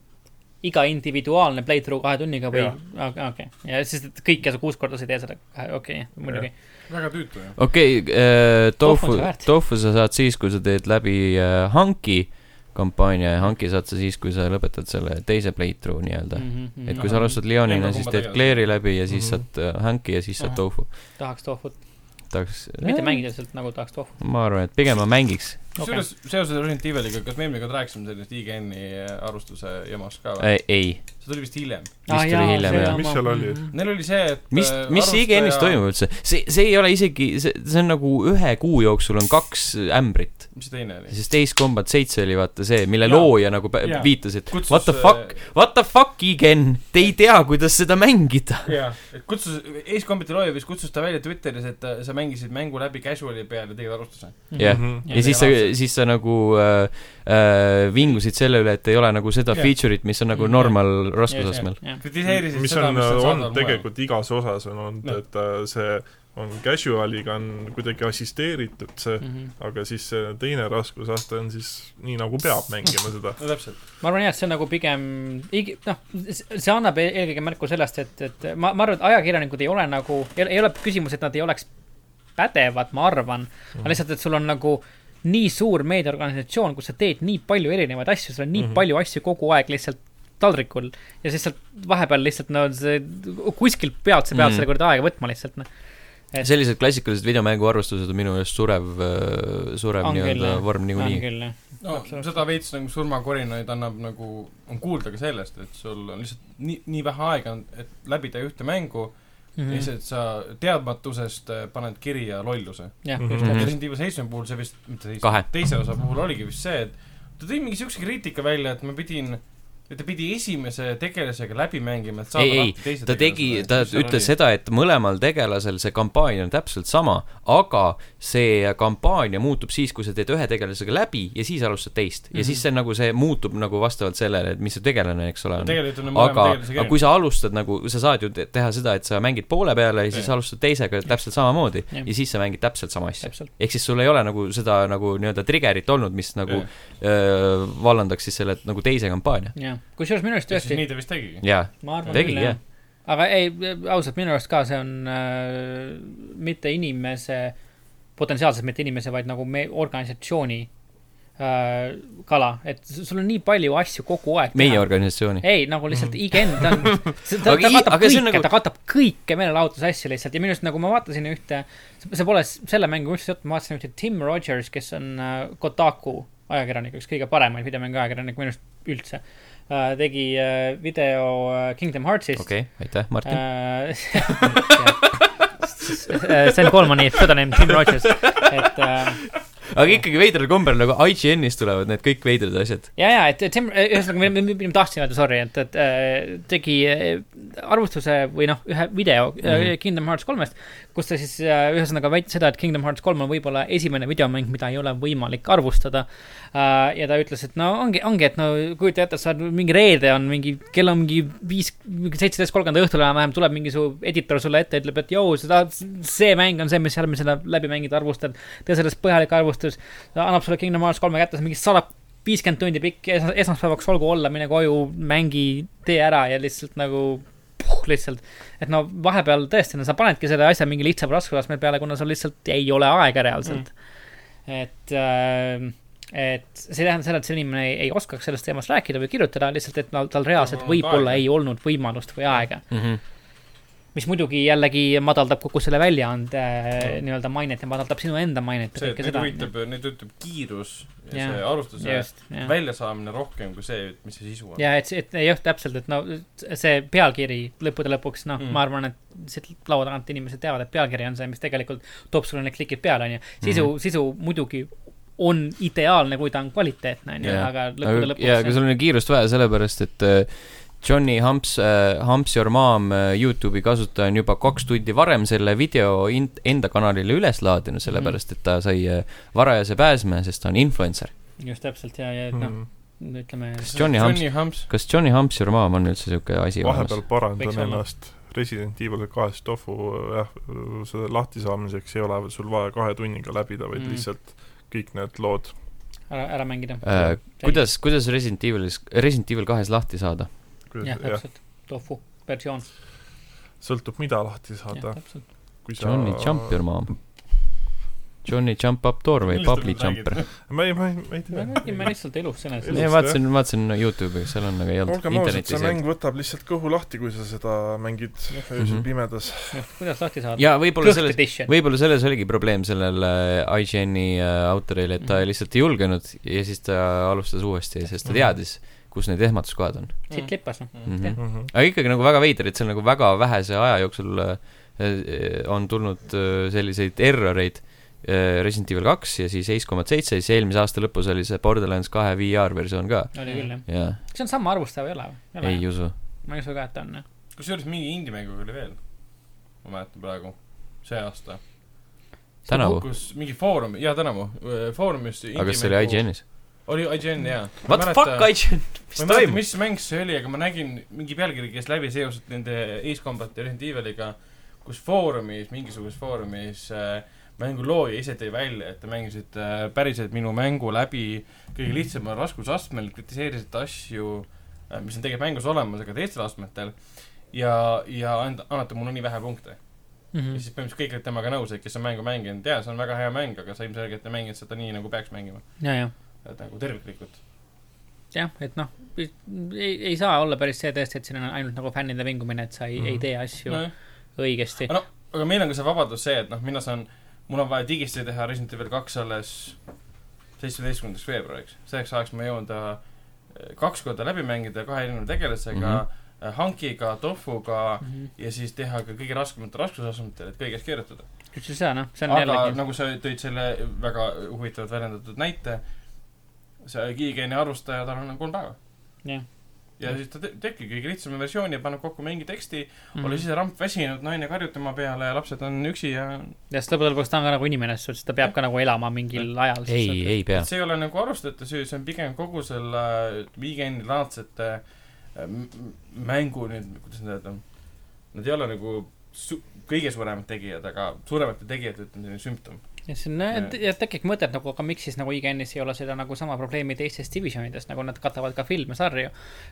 S3: iga individuaalne playthrough kahe tunniga või
S4: Jah. ?
S3: okei , ja siis et kõike sa kuus korda sa ei tee seda , okei , muidugi .
S2: väga tüütu ju .
S1: okei okay, ,
S3: Tofu
S1: tofu
S3: on see väärt. ,
S1: tofu sa saad siis , kui sa teed läbi äh, hanki kampaania ja hanki saad sa siis , kui sa lõpetad selle teise playthrough nii-öelda . et kui sa
S2: Ahah.
S3: Mhm.
S1: alustad Leonina ,
S2: Kumba
S1: siis
S2: tegema?
S1: teed Claire'i läbi ja siis
S4: Mhm.
S1: saad äh, hanki ja siis saad
S3: Ahah.
S1: tofu .
S3: tahaks tohvut ,
S1: tahaks ,
S3: mitte mängida lihtsalt nagu tahaks tohvut .
S1: ma arvan , et pigem ma mängiks .
S2: kusjuures seoses Resident Eviliga , kas me eelmine kord rääkisime sellest IGN-i arvustuse jamast ka või ?
S1: ei ,
S2: see tuli vist hiljem .
S1: vist tuli hiljem, jah.
S4: Mis seal oli?
S3: Mhm.
S2: Neil oli see , et äh,
S1: mis ,
S4: Äh,
S1: mis IGN-is toimub üldse ? see , see ei ole isegi , see , see on nagu ühe kuu jooksul on kaks ämbrit .
S2: mis see teine oli ?
S1: siis Days Combat seitse oli vaata see , mille
S2: Jaa.
S1: looja nagu pä-
S2: Jaa.
S1: viitas , et
S2: Kutsus,
S1: what the
S2: äh,
S1: fuck , what the fuck , Igen , te ei tea , kuidas seda mängida .
S2: jah , äh, et kutsus , Ace Combati looja vist kutsus ta välja Twitteris , et äh, sa mängisid mängu läbi casual'i peal ja tegid arvustuse .
S3: Mhm.
S1: jah ,
S4: Mhm.
S1: ja siis sa
S2: reaalselt. ,
S1: siis sa nagu äh, äh, vingusid selle üle , et ei ole nagu seda
S2: Jah.
S1: feature'it , mis on nagu
S2: Mhm.
S1: normal raskusastmel ..
S2: kritiseerisid
S4: mis
S2: seda ,
S4: on ,
S2: mis on
S4: on
S2: saadaval mujal .
S4: tegelikult igas osas on olnud ,
S2: Noh.
S4: et äh, see on casual'iga on kuidagi assisteeritud see ,
S3: Mm. Mhm.
S4: aga siis see teine raskusaste on siis nii , nagu peab mängima seda .
S2: no täpselt .
S3: ma arvan jah , et see on nagu pigem , noh , see annab e- eelkõige märku sellest , et , et ma , ma arvan , et ajakirjanikud ei ole nagu , ei ole küsimus , et nad ei oleks pädevad , ma arvan . aga lihtsalt , et sul on nagu nii suur meediaorganisatsioon , kus sa teed nii palju erinevaid asju , sul on nii mm
S4: Mhm.
S3: -hmm. palju asju kogu aeg lihtsalt taldrikul ja siis sealt vahepeal lihtsalt no see , kuskilt pealt sa pead mm
S1: Mhm.
S3: -hmm. selle kuradi aega võtma lihtsalt noh .
S1: sellised klassikalised videomängu arvustused on minu meelest surev , surev
S3: On küll,
S1: nii-öelda
S3: jah.
S1: vorm niikuinii .
S3: küll jah ,
S2: no seda veits nagu surmakorinaid annab nagu , on kuulda ka sellest , et sul on lihtsalt nii , nii vähe aega on , et läbida ühte mängu mm. . lihtsalt sa teadmatusest äh, paned kirja lolluse .
S3: jah ,
S4: Mhm.
S3: just
S4: Mhm.
S3: täpselt .
S2: Resident Evil seitsme puhul see vist , mitte
S1: Kahe.
S2: seitsme , teise osa puhul oligi vist see , et ta tõi mingi siukse kriitika välja , et ma pidin , et ta pidi esimese tegelasega läbi mängima , et saada
S1: Ei, ei,
S2: lahti teise
S1: ta tegi , ta
S2: mis seal
S1: ütles
S2: oli.
S1: seda , et mõlemal tegelasel see kampaania on täpselt sama , aga see kampaania muutub siis , kui sa teed ühe tegelasega läbi ja siis alustad teist . ja
S2: Mhm.
S1: siis see nagu , see muutub nagu vastavalt sellele , et mis see tegelane , eks ole , on .
S2: tegelikult on mõlema
S1: aga ,
S2: tegelasega
S1: aga kui sa alustad nagu , sa saad ju te- teha seda , et sa mängid poole peale ja siis
S2: Jah.
S1: alustad teisega täpselt samamoodi
S3: Jah.
S1: ja siis sa mängid täpselt sama asja .
S3: täpselt .
S1: ehk siis sul ei ole nagu seda nagu nii-öelda trigger'it olnud , mis nagu
S2: Jah.
S1: öö, vallandaks siis selle nagu teise kampaania .
S3: jah , kusjuures minu arust
S2: Ehk siis
S3: tõesti ,
S2: nii ta vist tegigi .
S1: jaa ,
S3: ma arvan
S1: tegi,
S3: küll
S1: jah.
S3: jah . aga ei , ausalt , minu arust ka see on äh, mitte inimese , potentsiaalselt mitte inimese , vaid nagu me organisatsiooni äh, kala , et s- sul on nii palju asju kogu aeg .
S1: meie organisatsiooni .
S3: ei , nagu lihtsalt IGN , ta
S1: *laughs*
S3: on , ta,
S1: Mm. Aga
S3: ta
S1: i-
S3: katab
S1: aga see
S3: kõike
S1: on ,
S3: nagu...
S1: nagu-
S3: ta katab kõike meelelahutuse asju lihtsalt ja minu arust nagu ma vaatasin ühte , see pole s- selle mängu üldse seotud , ma vaatasin ühte Tim Rogers , kes on äh, Kotaku ajakirjanik , üks kõige paremaid videomängu ajakirjanik minu arust üldse äh, , tegi äh, video äh, Kingdom Heartsist
S1: okei okay, , aitäh , Martin .
S3: Äh, *laughs* Sam Colmani pseudonym Tim Rogers , et äh,
S1: aga ikkagi veidral kombel nagu IGN-ist tulevad need kõik veidrad asjad .
S3: ja , ja , et Tim , ühesõnaga , me , me , me tahtsime öelda , sorry , et , et äh, tegi äh, arvustuse või noh , ühe video mm
S1: Mhm.
S3: -hmm. Kingdom Hearts kolmest , kus ta siis äh, ühesõnaga väitis seda , et Kingdom Hearts kolm on võib-olla esimene videomäng , mida ei ole võimalik arvustada äh, . ja ta ütles , et no ongi , ongi , et no kujuta ette , sa oled mingi reede on mingi , kell on mingi viis , seitseteist kolmkümmend õhtul enam-vähem tuleb mingi su editor sulle ette , ütleb , et jõu , seda , see mäng on see , mis seal , mis seda läbi mängida arvustad . tee sellest põhjalik arvustus , annab sulle Kingdom Hearts kolme kätte , see on mingi sada viiskümmend tundi pikk es esmaspäevaks olgu olla , mine koju , mängi , tee ära ja lihtsalt nagu puh, lihtsalt . et no vahepeal tõesti , no sa panedki selle asja mingi lihtsa raskusastme peale , kuna sul lihtsalt ei ole aega reaalselt mm. . et äh, , et see ei tähenda seda , et see inimene ei, ei oskaks sellest teemast rääkida või kirjutada , lihtsalt et tal , tal reaalselt
S2: Tal polnud
S3: võib-olla
S2: aega.
S3: ei olnud võimalust või aega .
S1: Mm -hmm.
S3: mis muidugi jällegi madaldab kogu selle väljaande mm. nii-öelda mainet ja madaldab sinu enda mainet ja
S2: see , et
S3: kõike
S2: neid
S3: seda .
S2: huvitab , neid huvitab kiirus ja
S3: Jaa.
S2: see arvustuse
S3: just , jah .
S2: väljasaamine rohkem kui see , et mis see sisu on .
S3: ja et , et jah , täpselt , et no see pealkiri lõppude lõpuks , noh
S2: Mm.
S3: mm. , ma arvan , et siit laua tagant inimesed teavad , et pealkiri on see , mis tegelikult toob sulle need klikid peale , onju . sisu
S1: Mhm.
S3: mm , -hmm. sisu muidugi on ideaalne , kui ta on kvaliteetne , onju ,
S1: Jaa.
S3: aga lõppude lõpuks .
S1: ja , aga sul on ju kiirust vaja , sellepärast et äh, Johnny Humps äh, , Humps Your Mom äh, Youtube'i kasutaja on juba kaks tundi varem selle video in- , enda kanalile üles laadinud ,
S3: Mhm.
S1: sellepärast et ta sai äh, varajase pääsme , sest ta on influencer .
S3: just täpselt ja , ja et noh ,
S1: Mhm.
S4: mm. .
S3: ütleme .
S1: Kas Johnny Humps-
S2: Johnny Humps .
S1: kas Johnny Humps Your Mom on üldse niisugune asi
S4: vahepeal
S3: Võiks
S4: parandan
S3: olla.
S4: ennast . Resident Evil kahest tofu , jah , selle lahtisaamiseks ei ole sul vaja kahe tunniga läbida , vaid
S3: Mm.
S4: mm. lihtsalt kõik need lood .
S3: ära , ära mängida
S1: olemas äh, ? kuidas , kuidas Resident Evilis , Resident Evil kahes lahti saada ?
S3: jah ,
S4: jah ,
S3: täpselt , tofu versioon ,
S4: sõltub , mida lahti
S3: jah ,
S4: saada .
S3: täpselt .
S1: Johnny Jump Your Mom . Johnny Jump Up Door või Bubbly Jumper ??
S4: ma ei , ma ei , ma ei
S3: me räägime
S4: tea .
S3: lihtsalt elust enesest .
S4: Elust,
S1: ei , vaatasin , vaatasin Youtube'i , seal on , aga ei olnud .
S4: olgem ausad , see
S1: internetis ei olnud .
S4: mäng võtab lihtsalt kõhu lahti , kui sa seda mängid
S1: Mhm.
S4: öösel pimedas .
S3: kuidas lahti saada ?
S1: ja võib-olla selles ,
S3: edition .
S1: võib-olla selles oligi probleem sellel äh, IGN-i äh, autoril , et ta
S3: Mhm.
S1: lihtsalt ei julgenud ja siis ta alustas uuesti , sest ta
S4: Mhm.
S1: teadis , kus need ehmatuskohad on
S3: siit lipas , noh .
S1: mm . -hmm.
S4: Mhm.
S1: aga ikkagi nagu väga veider , et seal nagu väga vähese aja jooksul äh, äh, on tulnud äh, selliseid erroreid äh, Resident Evil kaks ja siis Ace Combat seitse , siis eelmise aasta lõpus oli see Borderlands kahe VR versioon ka .
S3: oli küll , jah .
S1: jaa ,
S3: kas see on sama arvustaja või ei ole või ?
S1: ei usu .
S3: ma ei usu ka , et ta on jah .
S2: kusjuures mingi indie-mänguga oli veel , ma mäletan praegu , see aasta .
S1: tänavu ,
S2: kus mingi foorum , jaa tänavu , foorumis
S1: aga kas see oli ? IGN-is ?
S2: oli IGN , jaa .
S1: What the fuck , IGN ,
S2: ma
S1: mis
S2: ei mäleta ,
S1: toimub ?
S2: mis mäng see oli , aga ma nägin mingi pealkiri käis läbi seoses nende Ace Combat ja Resident Eviliga , kus foorumis , mingisuguses foorumis äh, mängu looja ise tõi välja , et te mängisite äh, päriselt minu mängu läbi kõige lihtsamal raskusastmel , kritiseerisite asju , mis on tegelikult mängus olemas , aga teistel astmetel , ja , ja and- , annate mulle nii vähe punkte .
S1: Mhm.
S2: ja siis põhimõtteliselt kõik olid temaga nõus , et kes on mängu mänginud , jaa , see on väga hea mäng , aga sa ilmselgelt ei mänginud seda nii , nagu peaks mängima .
S3: ja , ja ,
S2: et nagu terviklikult .
S3: jah , et noh , ei , ei saa olla päris see tõesti , et siin on ainult nagu fännide vingumine , et sa ei mm. , ei tee asju no.
S2: nojah ,
S3: õigesti .
S2: Mhm. aga meil on ka see vabadus see , et noh , mina saan , mul on vaja digisse teha Resident Evil kaks alles seitsmeteistkümnendaks veebruariks . selleks ajaks ma jõuan ta eh, kaks korda läbi mängida kahe erineva tegelasega mm , -hmm. hankiga , tofuga
S3: Mhm.
S2: ja siis teha ka kõige raskematel raskusastmetel , et kõigest keerutada .
S3: üldse ei saa noh , see on
S2: aga
S3: jällegi .
S2: nagu sa tõid selle väga huvitavalt väljendatud näite , see giigeeni arvustaja , tal on kolm päeva .
S3: jah .
S2: ja siis ta te- teebki kõige lihtsama versiooni ja paneb kokku mingi teksti mm ,
S3: Mhm.
S2: -hmm. olles ise ramp väsinud , naine karjub tema peale ja lapsed on üksi ja
S3: ja sest lõppude lõpuks ta on ka nagu inimene , selles suhtes , et ta peab ka nagu elama mingil ajal .
S1: ei , ei pea
S2: et . see ei ole nagu arvustajate süü , see on pigem kogu selle weekend'i laadsete äh, m- m- mängu nüüd , kuidas nüüd öelda , nad ei ole nagu su- , kõige suuremad tegijad , aga suuremate tegijate ütleme selline sümptom .
S3: ja see on , ja tekib mõte , et nagu , aga miks siis nagu IGN-is ei ole seda nagu sama probleemi teistes divisjonides , nagu nad katavad ka filme , sarju .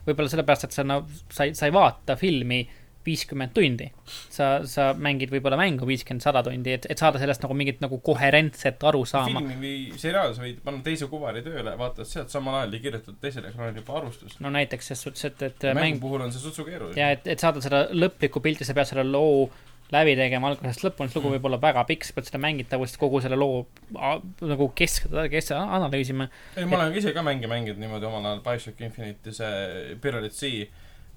S3: võib-olla sellepärast , et sa no, , sa ei , sa ei vaata filmi viiskümmend tundi . sa , sa mängid võib-olla mängu viiskümmend , sada tundi , et , et saada sellest nagu mingit nagu koherentset arusaama .
S2: filmi või seriaalis võid panna teise kuvari tööle , vaatad sealt samal ajal ja kirjutad teisele ekraanile juba arvustus .
S3: no näiteks ses suhtes , et , et
S2: mängu
S3: mäng
S2: mäng... puhul on see sutsu keeruline .
S3: ja et , et saada seda lõplikku pilti , sa pead selle loo läbi tegema algusest lõpuni , see lugu võib olla väga pikk , sa pead seda mängitavust kogu selle loo a- nagu kesk , kes analüüsima .
S2: ei , ma olen ka ise ka mänge mänginud niimoodi omal ajal , BioShock Infinite'i see Pirate Sea ,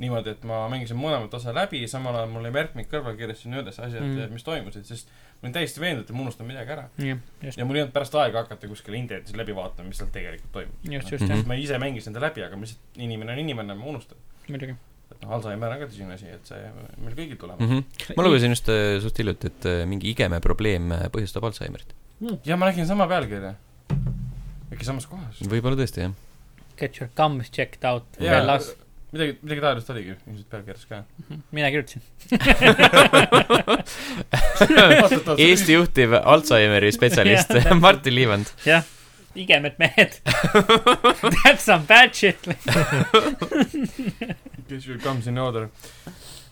S2: niimoodi , et ma mängisin mõlemat osa läbi , samal ajal mul oli märkmik kõrval , kirjutasin üles asjad
S3: Mm.
S2: mm. , mis toimusid , sest ma olin täiesti veendunud , et ma unustan midagi ära .
S3: jah , just ,
S2: ja mul ei olnud pärast aega hakata kuskil internetis läbi vaatama , mis seal tegelikult toimub .
S3: just , just
S1: Mhm.
S3: jah ,
S2: ma ise mängisin ta läbi , aga ma lihtsalt , inimene on inimene , ma unustan .
S3: muidugi .
S2: et noh , Alžeimer on ka tõsine asi , et see meil kõigil tuleb mm .
S1: Mm -hmm. ma lugesin just äh, suht hiljuti , et äh, mingi igeme probleem äh, põhjustab Alžeimerit .
S2: -hmm. ja ma nägin sama pealkirja . äkki samas kohas ?
S1: võib-olla tõesti , jah .
S3: Get your gums checked out
S2: Jaa.
S3: yeah. , las ,
S2: midagi , midagi taolist oligi ilmselt pealkirjas ka .
S3: mina kirjutasin .
S1: Eesti juhtiv Alžeimeri spetsialist Martin Liivand .
S3: jah , igemed mehed . That's some bad shit .
S2: Get your gums in order .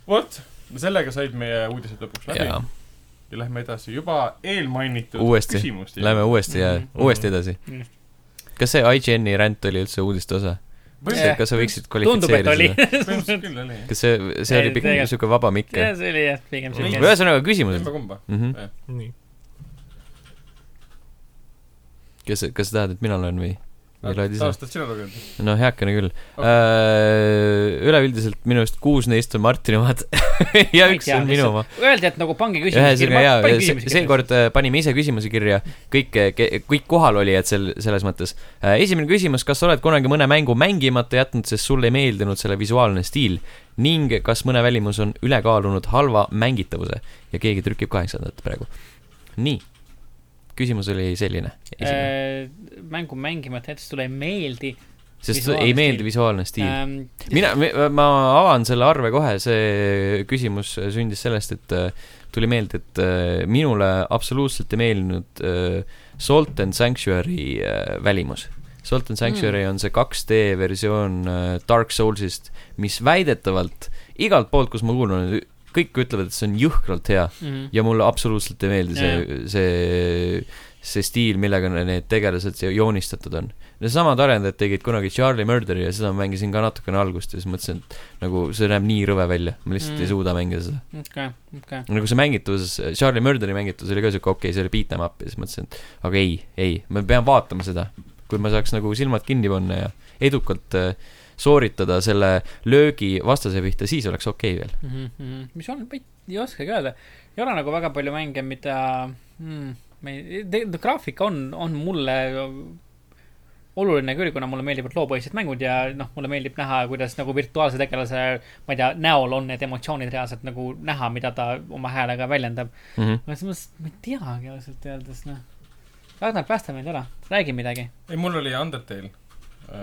S2: vot , sellega said meie uudised lõpuks läbi ja,
S1: jaa ,
S2: ja lähme edasi juba eelmainitud
S1: Uuesti.
S2: küsimuste
S1: lähme uuesti ja
S3: Mhm.
S1: uuesti edasi
S3: Mhm. .
S1: kas see IGN-i ränd oli üldse uudiste osa ?
S3: Jah.
S1: kas sa võiksid
S3: tundub , et
S1: kvalifitseerida
S3: oli
S1: seda ?.
S2: põhimõtteliselt küll oli .
S1: kas see , see
S3: Ei,
S1: oli pigem
S3: tegelikult-
S1: niisugune vaba mikk ?
S3: jah , see oli jah , pigem
S2: Ei.
S3: selline .
S1: ühesõnaga , küsimused
S2: kumba . kumba .
S1: Mhm.
S4: nii .
S1: kes , kas sa tahad , et mina loen või ? või loed ise ?
S2: oled sina lugenud ?
S1: no heakene küll okay. . Üleüldiselt minu arust kuus neist on Martini omad *laughs* ja
S3: Ma ei
S1: üks
S3: tea,
S1: on minu
S3: lihtsalt-
S1: oma .
S3: Öeldi , et nagu pange küsimusi
S1: ühesõnaga jaa ,
S3: kirja .
S1: seekord äh, panime ise küsimusi kirja , kõik , kõik kohalolijad sel , selles mõttes . esimene küsimus , kas sa oled kunagi mõne mängu mängimata jätnud , sest sulle ei meeldinud selle visuaalne stiil ning kas mõne välimus on ülekaalunud halva mängitavuse ja keegi trükib kaheksandat praegu . nii , küsimus oli selline .
S3: Äh, mängu mängimata jättes sulle ei meeldi . ähm,
S1: sest
S3: visuaalne
S1: ei meeldi
S3: stiil. Äh,
S1: visuaalne stiil .
S3: mina
S1: mina , ma avan selle arve kohe , see küsimus sündis sellest , et äh, tuli meelde , et äh, minule absoluutselt ei meeldinud äh, Salt and Sanctuary äh, välimus . Salt and Sanctuary mm. on see 2D versioon äh, Dark Soulsist , mis väidetavalt igalt poolt , kus ma kuulan , kõik ütlevad , et see on jõhkralt hea
S3: mm. .
S1: ja mulle absoluutselt ei meeldi see , see , see stiil , millega ne- need tegelased siia joonistatud on . Needsamad arendajad tegid kunagi Charlie Murderi ja seda ma mängisin ka natukene algust ja siis mõtlesin , et nagu see näeb nii rõve välja , ma lihtsalt
S3: Mm.
S1: mm. ei suuda mängida seda .
S3: okei , okei .
S1: nagu see mängituses , Charlie Murderi mängitus oli ka siuke okei okay, , see oli beat em up ja siis mõtlesin , et aga ei , ei , ma pean vaatama seda . kui ma saaks nagu silmad kinni panna ja edukalt äh, sooritada selle löögi vastase pihta , siis oleks okei okay veel .
S3: Mhm, mis on , ei oskagi öelda . ei ole nagu väga palju mänge , mida mm, , ma ei , tegelikult graafika on , on mulle oluline küll , kuna mulle meeldivad loopõhised mängud ja noh , mulle meeldib näha , kuidas nagu virtuaalse tegelase , ma ei tea , näol on need emotsioonid reaalselt nagu näha , mida ta oma häälega väljendab .
S1: Mm -hmm.
S3: aga selles mõttes , ma ei teagi ausalt öeldes , noh . Ragnar , päästa meid ära , räägi midagi .
S2: ei , mul oli Undertale ,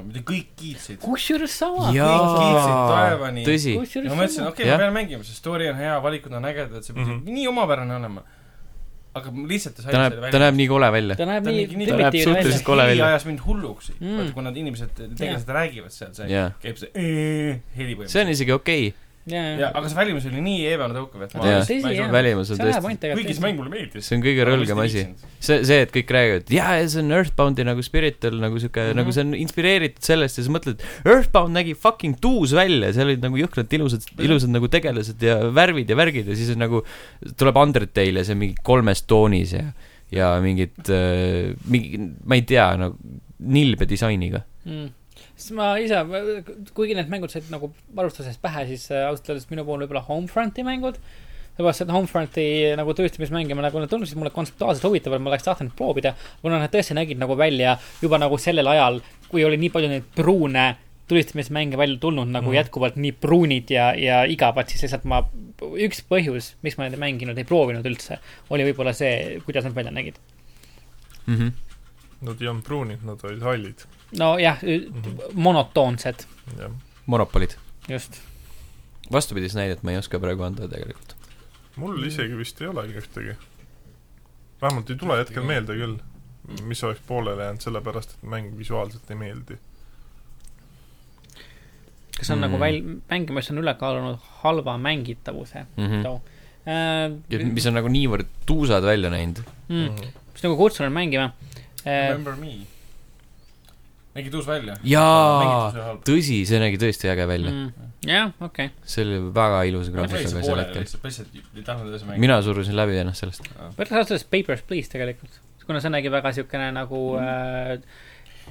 S2: mida kõik kiitsid .
S3: kusjuures sama .
S2: taevani.
S1: tõsi ,
S2: ja
S3: kusjuures
S2: ma mõtlesin ,
S3: sama .
S2: okei okay, ,
S1: Jah.
S2: ma pean mängima , see story on hea , valikud on ägedad , see pidi mm
S4: Mhm.
S2: -hmm. nii omapärane olema . aga ma lihtsalt ei
S1: ta näeb , ta näeb nii kole välja .
S3: ta näeb
S2: ta
S3: nii
S2: nägi nii- ta
S1: näeb
S3: primitiivne välja
S1: suhteliselt . kole välja.
S2: ajas mind hulluks
S3: Mm.
S2: mm. , kui nad inimesed , tegelased räägivad seal , see
S1: jaa ,
S2: käib see "Ee"
S1: see
S2: heli
S1: on
S2: põhimõtteliselt .
S1: isegi okei
S2: jaa , aga see välimus oli nii eebane tõukav , et ma
S1: Jaa.
S2: ma ei
S3: Tõsi,
S1: okay. ,
S2: saanud-
S3: jah.
S1: välimus on
S3: see läheb
S1: tõesti ,
S3: ainult tegelikult
S2: kuigi see mäng mulle meeldis .
S1: see on kõige rõlgem asi . see , see , et kõik räägivad , jaa , see on Earthboundi nagu spiritual nagu siuke
S3: Mhm.
S1: mm , -hmm. nagu see on inspireeritud sellest ja sa mõtled , Earthbound nägi fucking tuus välja , seal olid nagu jõhkralt ilusad ,
S3: Mhm.
S1: ilusad nagu tegelased ja värvid ja värgid ja siis on nagu , tuleb Undertale ja see on mingi kolmes toonis ja , ja mingid äh, , mingi , ma ei tea , nagu nilbe disainiga .
S3: mm. siis ma ise , kuigi need mängud said nagu alustuses pähe , siis äh, ausalt öeldes minu puhul võib-olla Homefronti mängud . sellepärast , et Homefronti äh, nagu tööstamismänge ma nagu , need tundusid mulle kontseptuaalselt huvitavad , ma oleks tahtnud proovida . kuna nad tõesti nägid nagu välja juba nagu sellel ajal , kui oli nii palju neid pruune tulistamismänge välja tulnud nagu mm.
S4: Mhm.
S3: jätkuvalt nii pruunid ja , ja igavad , siis lihtsalt ma , üks põhjus , miks ma neid ei mänginud , ei proovinud üldse , oli võib-olla see , kuidas nad välja nägid .
S1: mm . -hmm.
S4: Nad ei olnud pruunid , nad olid hallid .
S3: nojah , monotoonsed ,
S4: jah .
S1: monopolid .
S3: just .
S1: vastupidist näidet ma ei oska praegu anda tegelikult .
S4: mul isegi vist ei olegi ühtegi . vähemalt ei tule hetkel meelde küll , mis oleks pooleli jäänud , sellepärast et mäng visuaalselt ei meeldi .
S3: kas on mm. nagu
S1: Mm.
S3: väl- , mängimist on üle kaalunud halva mängitavuse
S1: Mm -hmm.
S3: Too- äh, .
S1: mis on nagu niivõrd tuusad välja näinud .
S3: mm, . mis nagu kutsunud mängima äh, .
S2: Remember me . nägi tuus välja .
S1: jaa ,. tõsi , see nägi tõesti äge
S3: Mm.
S1: välja .
S3: jah , okei .
S1: see oli väga ilus
S2: ma
S1: graafik ,
S2: jäin
S1: aga
S2: see
S1: sel
S2: pooleli
S1: hetkel .
S2: lihtsalt , lihtsalt ei tahtnud edasi mängida .
S1: mina surusin läbi ennast sellest .
S3: ma ütleks ausalt öeldes Papers , Please tegelikult . kuna see nägi väga siukene nagu
S1: Mm.
S3: äh,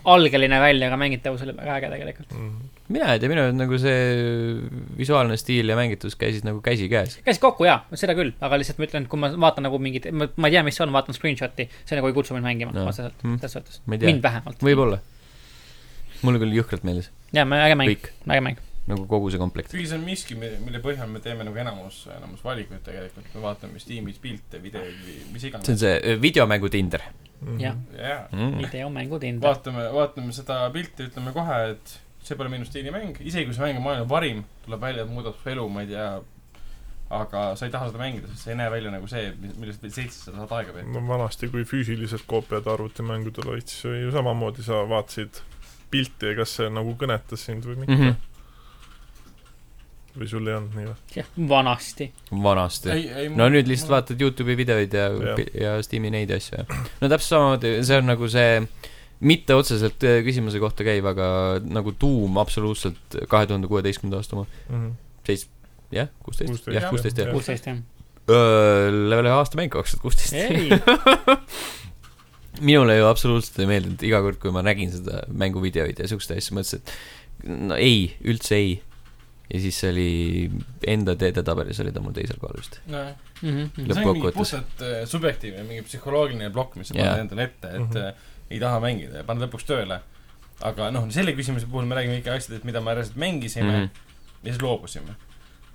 S3: algeline välja , aga mängitavus oli väga äge tegelikult .
S4: Mhm.
S1: mina ei tea , minu arust nagu see visuaalne stiil ja mängitus käisid nagu käsikäes .
S3: käis kokku jaa , seda küll , aga lihtsalt ma ütlen , kui ma vaatan nagu mingit , ma ma ei tea , mis see on , vaatan screenshot'i , see nagu ei kutsu mind mängima
S1: No.
S3: no. otseselt
S1: Mm.
S3: mm. , selles suhtes .
S1: Ma ei tea.
S3: mind vähemalt .
S1: võib-olla . mulle küll jõhkralt meeldis
S3: jaa , äge mäng ,
S1: kõik ,
S3: äge mäng .
S1: nagu kogu see komplekt .
S2: kuigi see on miski , mille põhjal me teeme nagu enamus , enamus valikuid tegelikult , me vaatame , mis tiimis pilte , videoid või mis
S1: see on
S2: iganes .
S1: see ö, videomängu Tinder
S4: Mhm.
S3: jah ,
S2: jaa ,
S1: mm. .
S3: videomängud hindavad .
S2: vaatame , vaatame seda pilti , ütleme kohe , et see pole minu stiilimäng , isegi kui see mäng on maailma parim , tuleb välja , et muudab su elu , ma ei tea , aga sa ei taha seda mängida , sest see ei näe välja nagu see , millest veel seitsesada saad aega veeta .
S4: no vanasti , kui füüsilised koopiad arvutimängudel olid , siis oli ju samamoodi , sa vaatasid pilti ja kas see nagu kõnetas sind või mitte mm .
S1: Mhm.
S4: -hmm. või sul ei olnud nii või ?
S3: jah , vanasti .
S1: vanasti . no nüüd lihtsalt . vaatad Youtube'i videoid ja
S4: Jah. ,
S1: ja Steam'i neid asju ja . no täpselt samamoodi , see on nagu see , mitte otseselt ö, küsimuse kohta käiv , aga nagu tuum absoluutselt kahe tuhande kuueteistkümnenda aasta oma .
S4: Mhm.
S1: seits- , jah , kuusteist ,
S4: 16,
S1: jah , kuusteist jah .
S4: jah.
S3: kuusteist jah .
S1: Level ühe aasta mäng kaks tuhat kuusteist .
S3: ei ,
S1: *laughs* minule ju absoluutselt ei meeldinud iga kord , kui ma nägin seda mänguvideoid ja siukseid asju , mõtlesin , et no ei , üldse ei . ja siis see oli enda teedetabelis oli ta mul teisel kohal vist .
S2: nojah ,
S3: mhmh ,
S2: see on mingi
S1: Lõppkokkuvõttes.
S2: puhtalt äh, subjektiivne , mingi psühholoogiline plokk , mis sa
S1: Jaa.
S2: paned endale ette , et mm
S4: Mhm.
S2: -hmm. ei taha mängida ja paned lõpuks tööle . aga noh , selle küsimuse puhul me räägime ikka asjadest , mida me reaalselt mängisime mm . -hmm.
S1: Mhm.
S2: ja siis loobusime .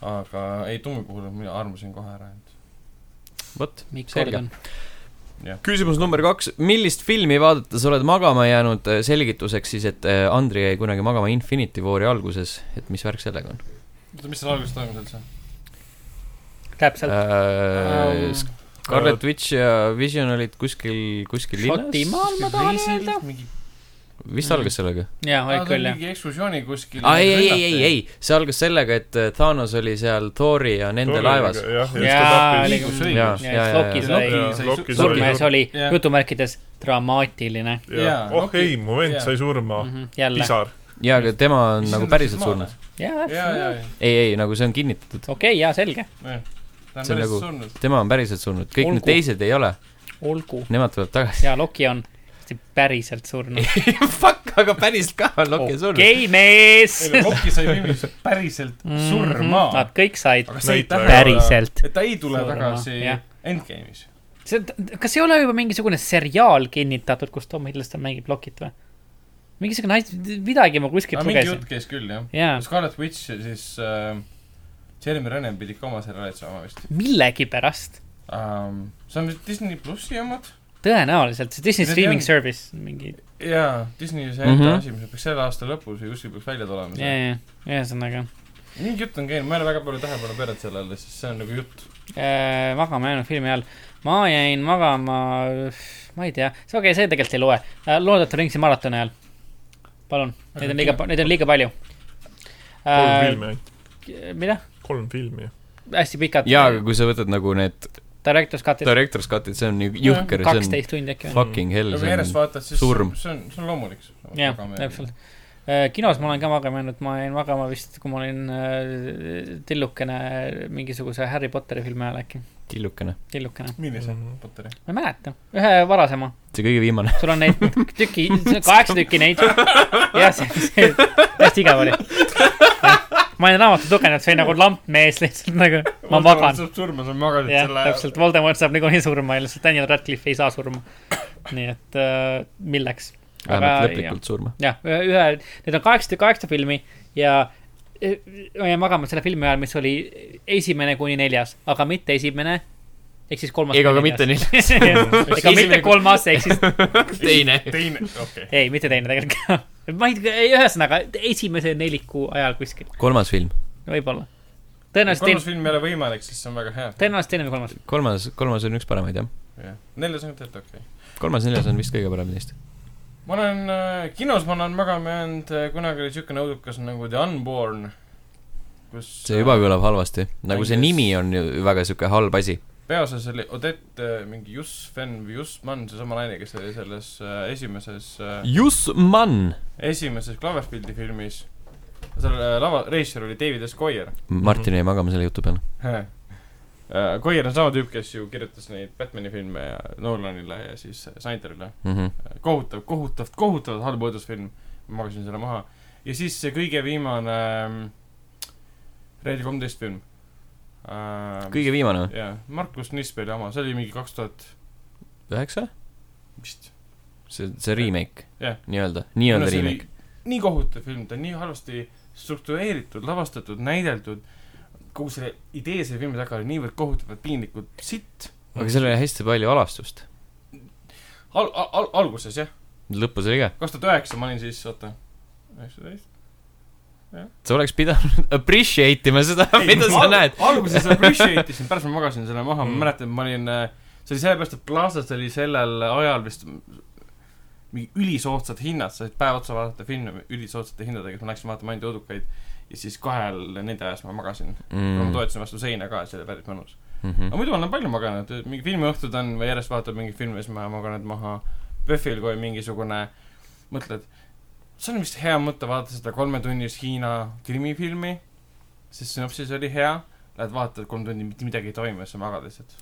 S2: aga ei , Tumi puhul mina armusin kohe ära , et
S1: vot .
S3: miks
S1: Selge.
S3: kord on .
S1: küsimus number kaks , millist filmi vaadates oled magama jäänud , selgituseks siis , et eh, Andri jäi kunagi magama Infinity War'i alguses , et mis värk sellega on ?
S2: oota , mis seal alguses toimus üldse ?
S3: täpselt .
S1: Äh,
S3: Ähm,
S1: Scarlet Witch ja Vision olid kuskil , kuskil linnas ,
S3: Šotimaal ma tahan öelda .
S2: mingi ,
S1: vist algas sellega ?
S3: jaa ,
S2: aa ,
S3: olid
S2: see oli
S3: küll jah .
S2: mingi ekskursiooni kuskil .
S1: aa , ei , ei , ei , ei , see algas sellega , et eh, Thanos oli seal Thori ja nende laevas .
S4: jah , ja
S3: jaa , oli
S4: siis
S2: Liigus,
S3: küll .
S2: liigus.
S1: jaa ,
S3: Ja
S1: jaa ,
S3: siis
S1: jaa
S3: Loki ,
S4: ta
S3: sai-
S4: tappis .
S2: sai-
S4: Lokis
S3: surnuaias
S4: oli .
S3: oli
S2: Jah.
S3: jutumärkides dramaatiline .
S2: Jaa,
S4: oh
S2: Loki-
S4: ei , mu vend
S2: jaa.
S4: sai surma .
S3: Mhm, jälle .
S4: pisar .
S1: jaa , aga tema on
S2: Mis
S1: nagu
S2: on
S1: päriselt
S2: siis maale?
S1: surnud .
S3: jaa ,
S2: jaa , jaa ,
S3: täpselt .
S1: ei , ei , nagu see on kinnitatud .
S3: okei , jaa , selge .
S2: jaa . ta on
S1: See on
S2: päriselt
S1: nagu-
S2: surnud .
S1: tema on päriselt surnud , kõik
S3: Olgu.
S1: need teised ei ole ,
S3: olgu .
S1: nemad tulevad tagasi . *laughs*
S3: jaa , Loki on tõesti päriselt surnud .
S1: Fuck , aga päriselt ka on Loki surnud .
S3: okei , mees .
S2: Loki sai filmis
S1: *laughs*
S2: päriselt
S1: Mhm.
S2: surma .
S3: Nad kõik said
S2: aga see ei
S4: Näitleja.
S2: tähenda ,
S3: päriselt .
S2: et ta ei tule
S3: Surma,
S2: surma. tagasi
S3: jah.
S2: Endgame'is .
S3: see , kas ei ole juba mingisugune seriaal kinnitatud , kus Tom Hiddleston mängib Lokit või ? mingisugune asi , midagi ma kuskilt
S2: aga mingi
S3: lugesin
S2: jutt . käis küll , jah .
S3: jaa ,
S2: Scarlet Witch ja siis äh, Jeremy Renner pidi ka oma seriaali saama vist
S3: millegipärast .
S2: um, . see on vist Disney plussi omad ?
S3: tõenäoliselt , see Disney
S2: Need
S3: streaming
S2: on-
S3: service , mingi ,
S2: jaa , Disney see
S1: Mhm.
S2: enda asi , mis peaks selle aasta lõpus või kuskil peaks välja tulema .
S3: jaa , jaa , ühesõnaga .
S2: mingi jutt on käinud , ma ei ole väga palju tähelepanu pööranud sellele , sest see on nagu jutt .
S3: Äh, magama jäänud filmi all . ma jäin magama , ma ei tea , see okei okay, , see tegelikult ei loe . Äh, loodetav ring siin maratoni ajal . palun , neid on liiga , neid on liiga palju . Äh,
S4: kolm filmi ainult .
S3: mida ?
S4: kolm filmi .
S3: hästi pikad .
S1: jaa , aga kui sa võtad nagu need
S3: Director's Cut'id ,
S1: director's cut'id , see on ju jõhker , see
S3: kaksteist tundi äkki
S1: on
S3: või ?
S1: fucking hell ,
S2: kui
S1: see
S2: järjest
S1: on
S2: vaatad , siis
S1: surm.
S2: see on , see on loomulik . Nagu
S3: jah , täpselt . kinos ma olen ka magama jäänud , ma jäin magama vist , kui ma olin äh, tillukene mingisuguse Harry Potteri filmi ajal äkki .
S1: tillukene .
S3: tillukene .
S2: millise
S4: Mhm.
S2: Potteri ?
S3: ma ei mäleta , ühe varasema ,
S1: see kõige viimane .
S3: sul on neid tüki , kaheksa tükki neid . jah , see , see , hästi igav oli . ma olin raamatu lugenud , see oli nagu lamp mees lihtsalt nagu , ma magan .
S2: saab surma , sa magasid
S3: jah ,
S2: selle .
S3: täpselt , Voldemort saab niikuinii surma ja lihtsalt Daniel Radcliffe ei saa surma . nii et äh, milleks ?
S1: vähemalt lõplikult surma .
S3: jah , ühe , need on kaheksa , kaheksa filmi ja eh, ma jäin magama selle filmi ajal , mis oli esimene kuni neljas , aga mitte esimene , ehk siis kolmas .
S1: ega ka mitte nii .
S3: *laughs* neljas . ega
S1: Esimene
S3: mitte
S1: kuni-
S3: kolmas , ehk siis ,
S1: teine .
S2: teine , okei .
S3: ei , mitte teine tegelikult . ma ei , ei ühesõnaga esimese neliku ajal kuskil ,
S1: kolmas film .
S3: võib-olla .
S2: kolmas
S3: tõenäoliselt ,
S2: film ei ole võimalik , siis see on väga hea .
S3: tõenäoliselt teine või kolmas .
S1: kolmas , kolmas on üks paremaid jah .
S2: neljas on tegelikult okei .
S1: kolmas , neljas on vist kõige parem neist .
S2: ma olen äh, , kinos ma olen magama jäänud , kunagi oli siukene õudukas nagu The Unborn , kus äh,
S1: see juba kõlab halvasti . nagu see nimi on ju väga sihuke halb asi .
S2: peaosas oli Odette äh, mingi Jussfen või Jussmann , seesama naine , kes oli selles äh, esimeses äh, ,
S1: Jusman .
S2: esimeses Cloverfieldi filmis . seal äh, lava , reisijal oli David S. Goyer .
S1: Martin jäi magama selle jutu peale .
S2: Goyer on Äh, sama tüüp , kes ju kirjutas neid Batman'i filme ja Nolanile ja siis Snyderile .
S1: Mhm.
S2: kohutav , kohutav , kohutavalt halb õudusfilm , ma magasin selle maha . ja siis see kõige viimane ähm, Reede kolmteist film äh, .
S1: kõige viimane või ?
S2: jah , Markus Nisbeli oma , see oli mingi kaks tuhat
S1: üheksa ?
S2: vist .
S1: see , see remake
S2: Jah. .
S1: nii-öelda , nii-öelda remake .
S2: nii kohutav film , ta on nii halvasti struktureeritud , lavastatud , näideldud , kogu selle idee selle filmi taga oli niivõrd kohutavalt piinlikult sitt
S1: aga seal oli hästi palju alastust .
S2: al- , al- , al- , alguses jah ,
S1: lõpus oli ka .
S2: kaks tuhat üheksa ma olin siis , oota , üheksateist .
S1: sa oleks pidanud *laughs* appreciate ima seda , mida sa näed .
S2: alguses appreciate isin , pärast ma magasin selle maha ,
S4: Mm.
S2: ma mäletan , ma olin , see oli sellepärast , et Plaza's oli sellel ajal vist mingi ülisoodsad hinnad , sa said päev otsa vaadata filme ülisoodsate hindadega , siis ma läksin vaatama ainult õudukaid ja siis kahel nende ajas ma magasin mm. .
S1: Mhm.
S2: ma toetasin vastu seina ka , see oli päris mõnus . aga muidu ma olen palju maganud , mingi filmiõhtud on või järjest vaatad mingeid filme , siis ma magan need maha . PÖFFil , kui mingisugune , mõtled , see on vist hea mõte vaadata seda kolmetunnist Hiina krimifilmi , sest sünopsis oli hea , lähed vaatad kolm tundi , mitte midagi ei toimu ja sa magad lihtsalt .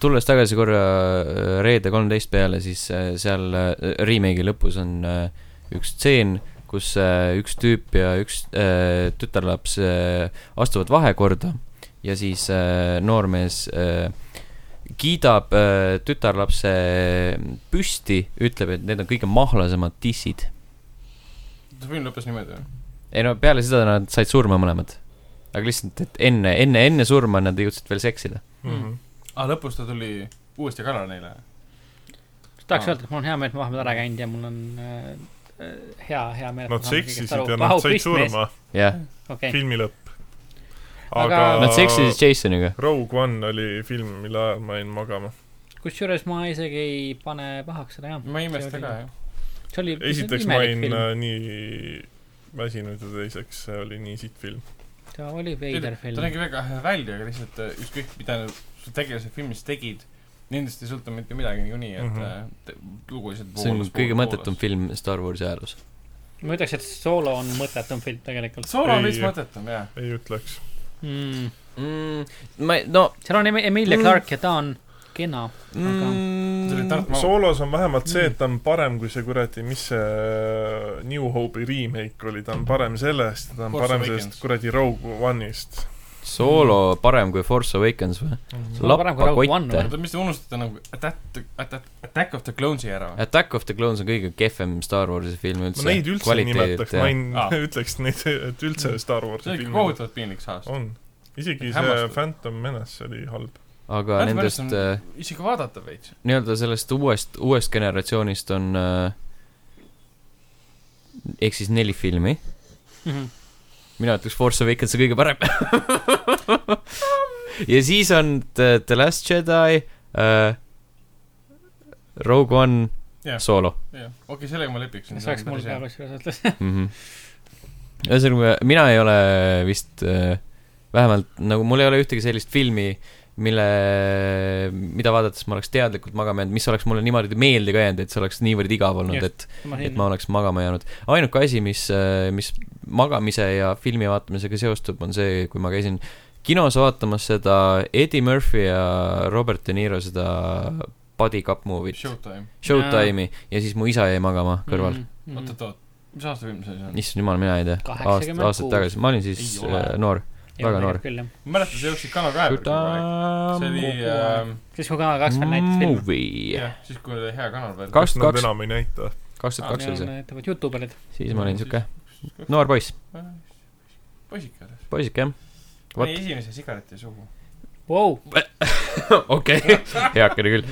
S1: tulles tagasi korra äh, Reede kolmteist peale , siis äh, seal äh, remake'i lõpus on äh, üks stseen , kus äh, üks tüüp ja üks äh, tütarlaps äh, astuvad vahekorda ja siis äh, noormees äh, kiidab äh, tütarlapse äh, püsti , ütleb , et need on kõige mahlasemad tissid .
S2: film lõppes niimoodi või ?
S1: ei no peale seda nad said surma mõlemad . aga lihtsalt , et enne , enne , enne surma nad jõudsid veel seksida .
S4: Mhm.
S2: aa , Ah, lõpus ta tuli uuesti kallale neile .
S3: tahaks
S2: Aa.
S3: öelda , et mul on hea meel , et ma vahepeal ära käinud ja mul on äh, äh, hea , hea meel .
S4: Nad seksisid ja nad said . surma ,
S1: jah ,
S3: okei ,
S4: filmi lõpp .
S3: Aga-
S4: aga
S1: nad seksisid Jasoniga .
S4: Rogue One oli film , mille ajal ma jäin magama .
S3: kusjuures ma isegi ei pane pahaks seda enam .
S2: ma ei imesta ka , jah .
S3: see oli
S4: esiteks ma olin äh, nii väsinud ja teiseks see oli nii sitt film .
S3: ta oli
S2: ta
S3: veider film .
S2: nägi väga hea välja , aga lihtsalt äh, ükskõik , mida sa tegelased filmis tegid , nendest ei sõltu mitte midagi niikuinii , et mm
S4: Mhm.
S2: -hmm. te, lugu lihtsalt
S1: see on kõige mõttetum film Star Warsi ajaloos .
S3: ma ütleks , et Solo on mõttetum film tegelikult
S2: soolo on
S4: Ei-
S2: veits mõttetum , jah .
S4: ei ütleks .
S3: mm. .
S1: ma , no
S3: seal on Em- Emilia
S1: Mm.
S3: Clarke ja ta on kena .
S2: see oli
S1: mm, .
S2: Tartu Mm. Maa .
S4: soolos on vähemalt see , et ta on parem kui see kuradi , mis see äh, New Hope'i remake oli , ta on parem sellest , ta on
S2: Force
S4: parem
S2: Awakens.
S4: sellest kuradi Rogue One'ist .
S1: Soolo parem kui Force Awakens või ? lappakotte .
S2: oota , mis te unustate nagu Attack , Attack , Attack of the Clones'i ära või ?
S1: Attack of the Clones on kõige kehvem Star Warsi film üldse .
S4: ma neid üldse ei nimetaks , ma ei
S2: Aa. Mm.
S4: ütleks neid , et üldse Star
S2: see
S4: Warsi
S2: oli ikka
S4: film
S2: kohutavalt piinlik saast .
S4: on . isegi see
S2: Hämmastav.
S4: Phantom Menace oli halb .
S1: aga
S2: Märts
S1: nendest
S2: Märts
S1: äh,
S2: isegi vaadata veits .
S1: nii-öelda sellest uuest , uuest generatsioonist on äh, ehk siis neli filmi . mina ütleks Force Awakens on kõige parem . ja siis on The, the Last Jedi äh, , Rogue One
S2: Jah.
S1: yeah. , Solo .
S2: jah , okei , sellega ma lepiksin .
S3: see oleks mul ka . kusjuures ütles .
S1: Mhm. ühesõnaga , mina ei ole vist äh, , vähemalt nagu mul ei ole ühtegi sellist filmi , mille , mida vaadates ma oleks teadlikult magama jäänud , mis oleks mulle niimoodi meelde ka jäänud , et see oleks niivõrd igav olnud , et , et ma oleks magama jäänud . äh, ainuke asi , mis , mis magamise ja filmi vaatamisega seostub , on see , kui ma käisin kinos vaatamas seda Eddie Murphy ja Robert De Niro seda Body Cup movie'it ,
S2: Showtime ,
S1: Showtime'i ja siis mu isa jäi magama
S3: Mm-hmm.
S1: kõrval mm .
S3: Mhm.
S2: oot , oot , oot , mis aasta film see siis
S1: -hmm.
S2: on ?
S1: issand jumal , mina ei tea , aast,
S3: 86.
S1: aastaid tagasi , ma olin siis
S2: Ei ole.
S1: äh, noor . väga noor.
S3: küll jah .
S2: ma mäletan , sa jooksid Kanal kahe peal kogu aeg . see oli äh, ,
S3: siis kui Kanal kaks veel
S1: Mm.
S3: näitas filme .
S1: movie ,
S2: jah , siis kui oli hea kanal veel .
S1: kaks tuhat
S4: Nad
S1: kaks ,
S4: enam ei näita .
S1: kaks tuhat kaks oli see ,
S3: ettevõtjad , Youtuberid .
S1: siis ma olin siuke noor poiss ,
S2: poisike alles .
S1: poisike jah . Vot.
S2: pani esimese sigareti suhu .
S3: Vau ,
S1: okei , *laughs* heakene küll .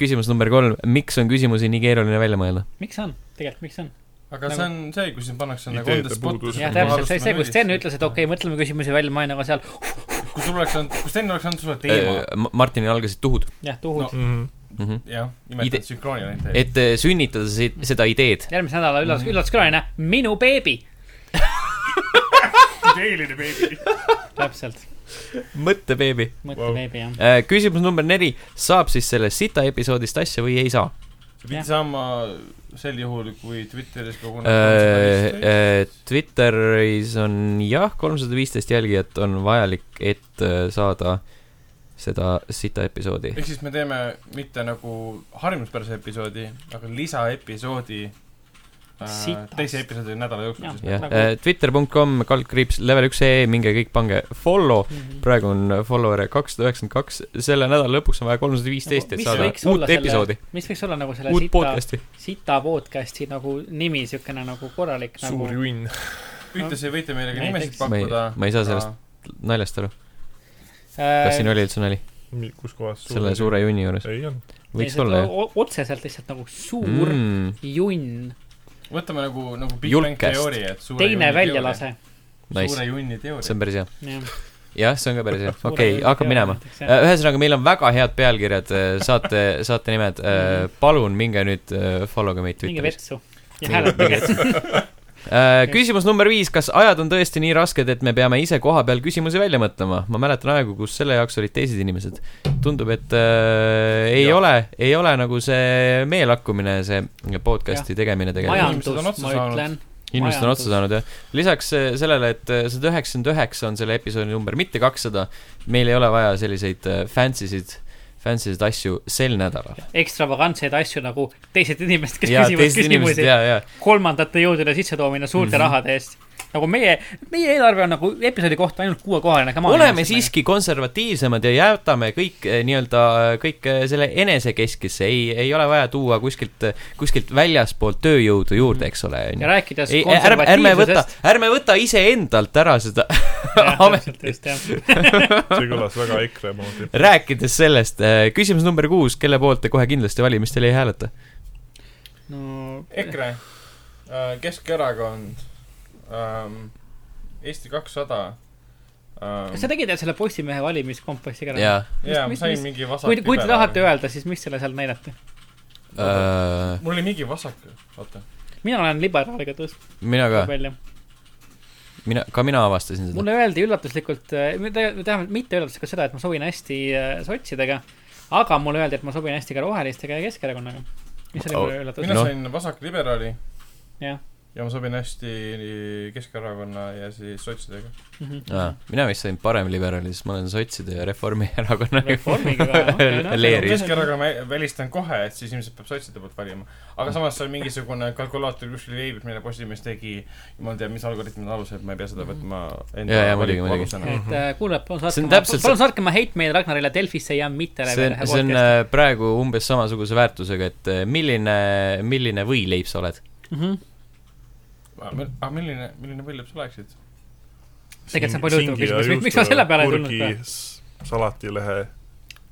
S1: küsimus number kolm , miks on küsimusi nii keeruline välja mõelda ?
S3: miks on , tegelikult miks on ?
S2: aga
S3: Nagu-
S2: see on see , kui sind pannakse nagu
S4: Ideede
S2: on the spot
S4: puudus.
S3: jah , täpselt , see oli see , kus Sten ütles , et okei , mõtleme küsimusi välja , ma olin aga seal ,
S2: kui sul oleks olnud , kui Sten oleks andnud sulle teema ,
S1: Äh, Martinil algasid tuhud
S3: jah , tuhud
S2: No.
S3: no. .
S4: Mhm.
S1: mm . -hmm.
S2: jah ,
S1: Ide-
S2: nimetad sünkrooni ainult .
S1: et äh, sünnitada siit seda ideed .
S3: järgmise nädala üllas , üllatuskülaline , minu beebi .
S4: ideeline beebi .
S3: täpselt ,
S1: mõtle , beebi .
S3: mõtle
S4: Vau.
S3: beebi jah .
S1: Äh, küsimus number neli , saab siis sellest sita episoodist asja või ei saa ?
S2: see pidi
S3: Jah.
S2: saama sel juhul , kui Twitteris
S1: Äh,
S2: koguneb .
S1: Twitteris on jah , kolmsada viisteist jälgijat on vajalik , et äh, saada seda sita episoodi .
S2: ehk siis me teeme mitte nagu harjumuspärase episoodi , aga lisaepisoodi äh,
S3: Sitast.
S2: teise episoodi nädala jooksul
S3: Jah.
S2: siis .
S1: jah Äh,
S3: Nagu- ,
S1: twitter.com , kaldkriips , level üks ee , minge kõik pange follow ,
S3: Mhm.
S1: praegu on follower'e kakssada üheksakümmend kaks , selle nädala lõpuks on vaja kolmsada viisteist , et
S3: Mis
S1: saada
S3: võiks olla
S1: uut
S3: selle-
S1: episoodi ,
S3: mis võiks olla nagu selle
S1: uut
S3: sita ,
S1: podcast'i .
S3: sita podcast'i nagu nimi , siukene nagu korralik nagu
S4: *laughs* suur . junn .
S2: ühtlasi võite meile ka nimesid
S3: Näiteks-
S1: ma ei
S2: pakkuda .,
S1: ma ei saa sellest naljast aru ,
S3: Äh,
S1: kas siin oli üldse nali ,
S4: kus kohas ?
S1: selle suure junni juures ,
S4: ei olnud .
S1: võiks olla jah .
S3: otseselt lihtsalt nagu suur mm. junn ,
S2: võtame nagu , nagu Big Bang
S1: Julkest.
S2: Theory , et suure
S3: teine
S2: junni teooria-
S3: väljalase .
S1: Nice ,
S2: suure junni
S1: see
S2: teooria .
S1: on päris hea ,
S3: jah ,
S1: jah , see on ka päris hea , okei , hakkab minema . Äh, ühesõnaga , meil on väga head pealkirjad , saate , saate nimed , palun minge nüüd äh, follow ge meid
S3: minge
S1: Twitteris .
S3: vetsu ja hääletage .
S1: Äh, küsimus number viis , kas ajad on tõesti nii rasked , et me peame ise koha peal küsimusi välja mõtlema ? ma mäletan aegu , kus selle jaoks olid teised inimesed . tundub , et äh, ei ja.
S2: Jah.
S1: ole , ei ole nagu see meelakkumine , see podcast'i ja. tegemine tegelikult .
S2: Inimesed on
S3: majandus ,
S2: otsa
S3: ma
S2: saanud.
S3: ütlen .
S1: inimesed on otsa saanud , jah . lisaks äh, sellele , et sada üheksakümmend üheksa on selle episoodi number , mitte kakssada , meil ei ole vaja selliseid äh, fancy sid , fancy sid asju sel nädalal .
S3: ekstravagantseid asju nagu teised inimesed , kes
S1: ja
S3: küsivad
S1: teised inimesed , Mhm.
S3: küsimusi
S1: ja , ja
S3: kolmandate jõudude sissetoomine suurte mm -hmm. rahade eest . nagu meie , meie eelarve on nagu episoodi kohta ainult kuuekohaline .
S1: oleme . siiski konservatiivsemad ja jätame kõik eh, nii-öelda , kõik eh, selle enesekeskesse , ei , ei ole vaja tuua kuskilt , kuskilt väljaspoolt tööjõudu juurde , eks ole ,
S3: ja
S1: on ju .
S3: rääkides
S1: ei , ärme , ärme võta , ärme võta iseendalt ära seda , *laughs*
S3: konservatiivsusest .
S4: see kõlas väga EKRE moodi .
S1: rääkides sellest , küsimus number kuus , kelle poolt te kohe kindlasti valimistel ei hääleta ?
S3: no
S2: EKRE , Keskerakond , Eesti kakssada .
S3: kas sa tegid selle Postimehe valimiskompassi ka ära ?
S1: jaa ,
S2: jaa , ma
S3: mis-
S2: sain
S3: mis-
S2: mingi vasak .
S3: kui , kui te tahate . öelda , siis mis selle seal näidati ?
S1: Äh,
S2: mul oli mingi vasak , oota .
S3: mina olen liberaaliga tõstnud
S1: mina ka ,
S3: välja .
S1: mina , ka mina avastasin seda .
S3: mulle öeldi üllatuslikult , äh, tähendab mitte üllatuslikult seda , et ma sobin hästi äh, sotsidega , aga mulle öeldi , et ma sobin hästi ka rohelistega ja Keskerakonnaga . mis oli
S1: Oh.
S3: mulle üllatus
S2: mina
S1: Noh.
S2: sain vasakliberaali
S3: Jah.
S2: ja ma sobin hästi Keskerakonna ja siis sotsidega .
S3: mm
S1: Aa,
S3: -hmm. .
S1: mina vist sain paremliberaali , sest ma olen sotside ja Reformierakonnaga
S3: Reformiga noh, või?
S1: *laughs*
S3: Okei, no.
S1: leeris .
S2: Keskerakonna ma välistan kohe , et siis ilmselt peab sotside poolt valima . aga
S1: Mm.
S2: samas see on mingisugune kalkulaator kuskil veebis , mille Postimees tegi . jumal teab , mis algoritmide alusel , ma ei pea seda võtma enda
S1: Jaa, jaa, Mm-hmm. muidugi, Mm-hmm.
S2: valiku
S1: muidugi.
S2: alusena.
S3: et äh, kuule , palun
S1: See
S3: saatke
S1: on , täpselt
S3: palun saatke oma hate meil Ragnarile Delfisse ja mitte
S1: see on , see on äh, praegu umbes samasuguse väärtusega , et äh, milline , milline võileib sa oled .
S3: on .
S2: aga aga milline , milline võljapp sa oleksid ?
S3: *laughs* Tegelikult see on palju huvitavam küsimus. Miks- miks ma selle peale ei tulnud kohe? ?
S4: salatilehe ,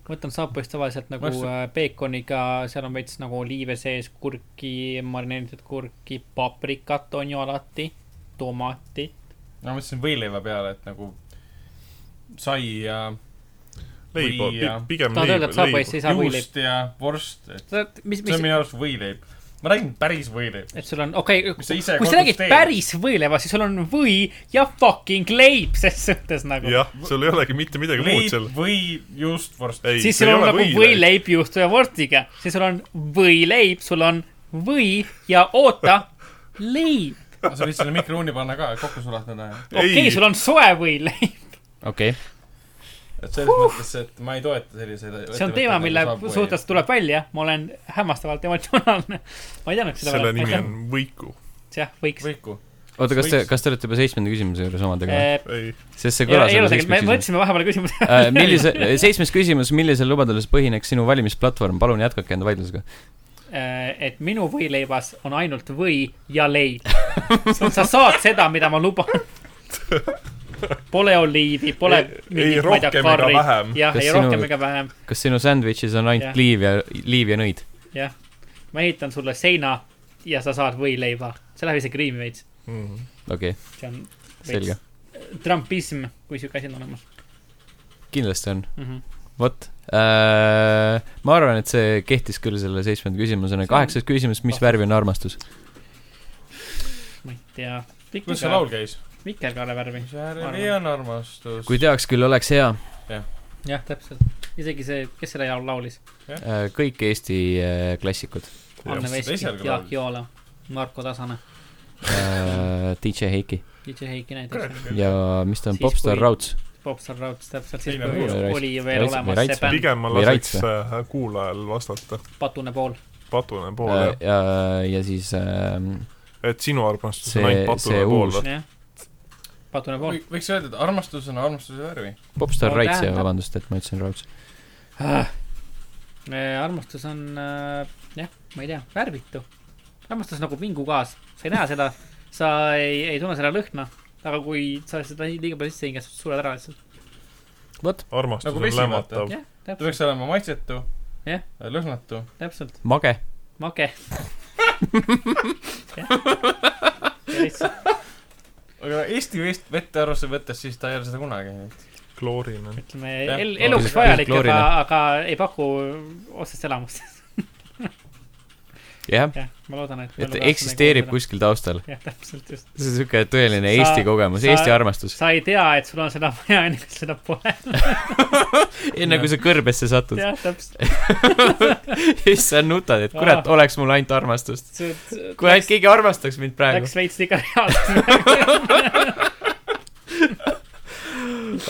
S3: ma võtan saapoist tavaliselt nagu
S2: Ma just-
S3: äh, peekoniga , seal on veits nagu oliive sees , kurki , marineeritud kurki , paprikat on ju alati , tomatit .
S2: ma mõtlesin võileiva peale , et nagu sai ja
S4: leiba
S2: Või, jah. ,
S4: pigem
S3: tahad öelda ,
S4: leiba
S3: et ,
S4: leiba
S3: saapoist . ei saa võileib ?
S2: juust ja vorst , et
S3: mis ,
S2: see on
S3: mis ,
S2: minu arust võileib . ma räägin päris võileib .
S3: et sul on , okei okay, ,
S2: mis sa ise
S3: kui sa räägid päris võileiva , siis sul on või ja fucking leib ses suhtes nagu .
S4: jah , sul ei olegi mitte midagi muud seal
S2: leib . või juustvorst .
S4: ei ,
S3: siis sul on nagu võileib juustu ja vorstiga , siis sul on võileib , sul on või ja oota , leib .
S2: sa võid selle mikrouuni panna ka , kokku sulatada ja
S3: okei okay, ,
S4: Ei.
S3: sul on soe võileib .
S1: okei okay. .
S2: et selles huh. mõttes , et ma ei toeta selliseid nagu
S3: see on
S4: nagu
S3: teema , mille suhtes tuleb välja , ma olen hämmastavalt emotsionaalne . ma ei teadnud seda
S4: selle nimi . on
S3: *laughs*
S4: Võiku .
S3: jah , võiks .
S2: võiku .
S1: oota , kas te , kas te olete juba seitsmenda küsimuse juures omadega või ?
S3: ei
S4: ei ,
S1: sest see
S3: ole
S1: kõlas
S3: Äh, ei ole
S1: nagu
S3: tegelikult , me
S1: seitsmes küsimus .
S3: võtsime vahepeal küsimuse .
S4: Äh,
S3: *laughs*
S1: millise , *laughs* seitsmes küsimus , millisel lubadusel põhineks sinu valimisplatvorm , palun jätkake enda vaidlusega .
S3: Äh, et minu võileibas on ainult või ja leib . sa saad seda , mida ma
S4: *laughs*
S3: luban . Pole oliivi , pole
S4: Ei- ei rohkem ega vähem.
S3: jah ,
S1: Kas
S3: ei
S1: sinu-
S3: rohkem ega vähem ,
S1: kas sinu sandwich'is on ainult
S3: Jah.
S1: liiv ja , liiv ja nõid ?
S3: jah . ma ehitan sulle seina ja sa saad võileiba . see läheb isegi riimi veits .
S4: mhm.
S1: okei okay, ,
S3: see on
S1: selge ..
S3: Trumpism , kui siuke asi on olemas
S1: kindlasti on ,
S3: mm . -hmm.
S1: vot äh, . ma arvan , et see kehtis küll selle seitsmenda küsimusena . kaheksas küsimus , mis värvi on armastus ?
S3: ma ei tea .
S2: kuidas see laul käis ?
S3: Vikerkaare värvi .
S2: mis värvi on armastus ?
S1: kui teaks küll , oleks hea
S3: jah , täpselt . isegi see , kes selle jaol laulis ?
S1: äh, . kõik Eesti äh, klassikud
S3: Anne
S2: seda
S3: Veski
S2: ise ka ,
S3: Jaak
S2: laulis.
S3: Joola , Marko Tasane ,
S1: äh, . DJ Heiki
S3: DJ Heiki näiteks ,
S1: ja mis ta on ,
S3: Siis
S1: Popstar
S3: kui-
S1: Rauds .
S3: Popstar Rauds täpselt , siis
S2: Teine
S3: kui
S1: pool.
S3: oli ju veel
S1: Raits-
S3: olemas
S1: või
S3: see
S1: Raits-
S3: bänd ,
S4: pigem ma
S1: Või
S4: laseks
S1: Raits
S4: äh, kuulajal vastata ,
S3: Patune pool .
S4: patune poole
S1: Äh, ja , ja siis äh,
S4: äh, , et sinu armastus
S1: see-
S4: on ainult
S1: see
S4: patune pool
S1: uus- .
S3: jah , Patune pool .
S2: Või- võiks öelda , et armastus on armastuse värvi .
S1: Popstar
S3: No
S1: Rauds ja
S3: tähendab-
S1: vabandust , et ma ütlesin Rauds .
S3: armastus on äh, jah , ma ei tea , värvitu . armastus nagu vingugaas , sa ei näe seda , sa ei , ei tunne seda lõhna , aga kui sa seda liiga palju sisse hingad , sa sured ära lihtsalt .
S4: armastus
S2: Nagu
S4: on
S2: vesi,
S4: lämmatav
S2: vaata. .
S3: jah ,
S2: ta peaks
S3: täpselt ,
S2: olema maitsetu
S3: Jah. ,
S2: lõhnatu ,
S3: täpselt ,
S1: mage ,
S3: mage .
S1: *laughs*
S2: aga Eesti vest- , vett arvesse võttes , siis ta ei ole seda kunagi .
S4: kloorine .
S3: ütleme
S2: Jah.
S3: el, eluks
S1: Pisut-
S3: vajalik ,
S1: pisut
S3: aga
S1: kloorine. ,
S3: aga ei paku otsest elamust . *laughs*
S1: jah .
S3: jah , ma loodan , et .
S1: et eksisteerib . kuskil taustal .
S3: jah , täpselt just .
S1: see on siuke tõeline
S3: Sa-
S1: Eesti kogemus ,
S3: sa-
S1: Eesti armastus .
S3: sa ei tea , et sul on seda vaja , *laughs* enne kui seda pole .
S1: *laughs* enne kui sa kõrbesse satud , *laughs*
S3: jah , täpselt .
S1: siis sa nutad , et kurat , oleks mul ainult armastust . kui ainult
S3: Ah. Läks
S1: keegi armastaks mind praegu .
S3: läks veits liiga *laughs* reaalseks .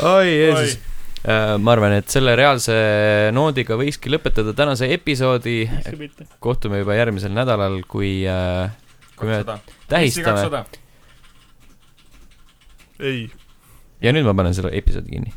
S1: oi Jeesus . ma arvan , et selle reaalse noodiga võikski lõpetada tänase episoodi . kohtume juba järgmisel nädalal , kui äh, Kui me
S2: kakssada . Eesti
S1: tähistame .
S2: kakssada .
S4: ei ,
S1: ja nüüd ma panen selle episoodi kinni .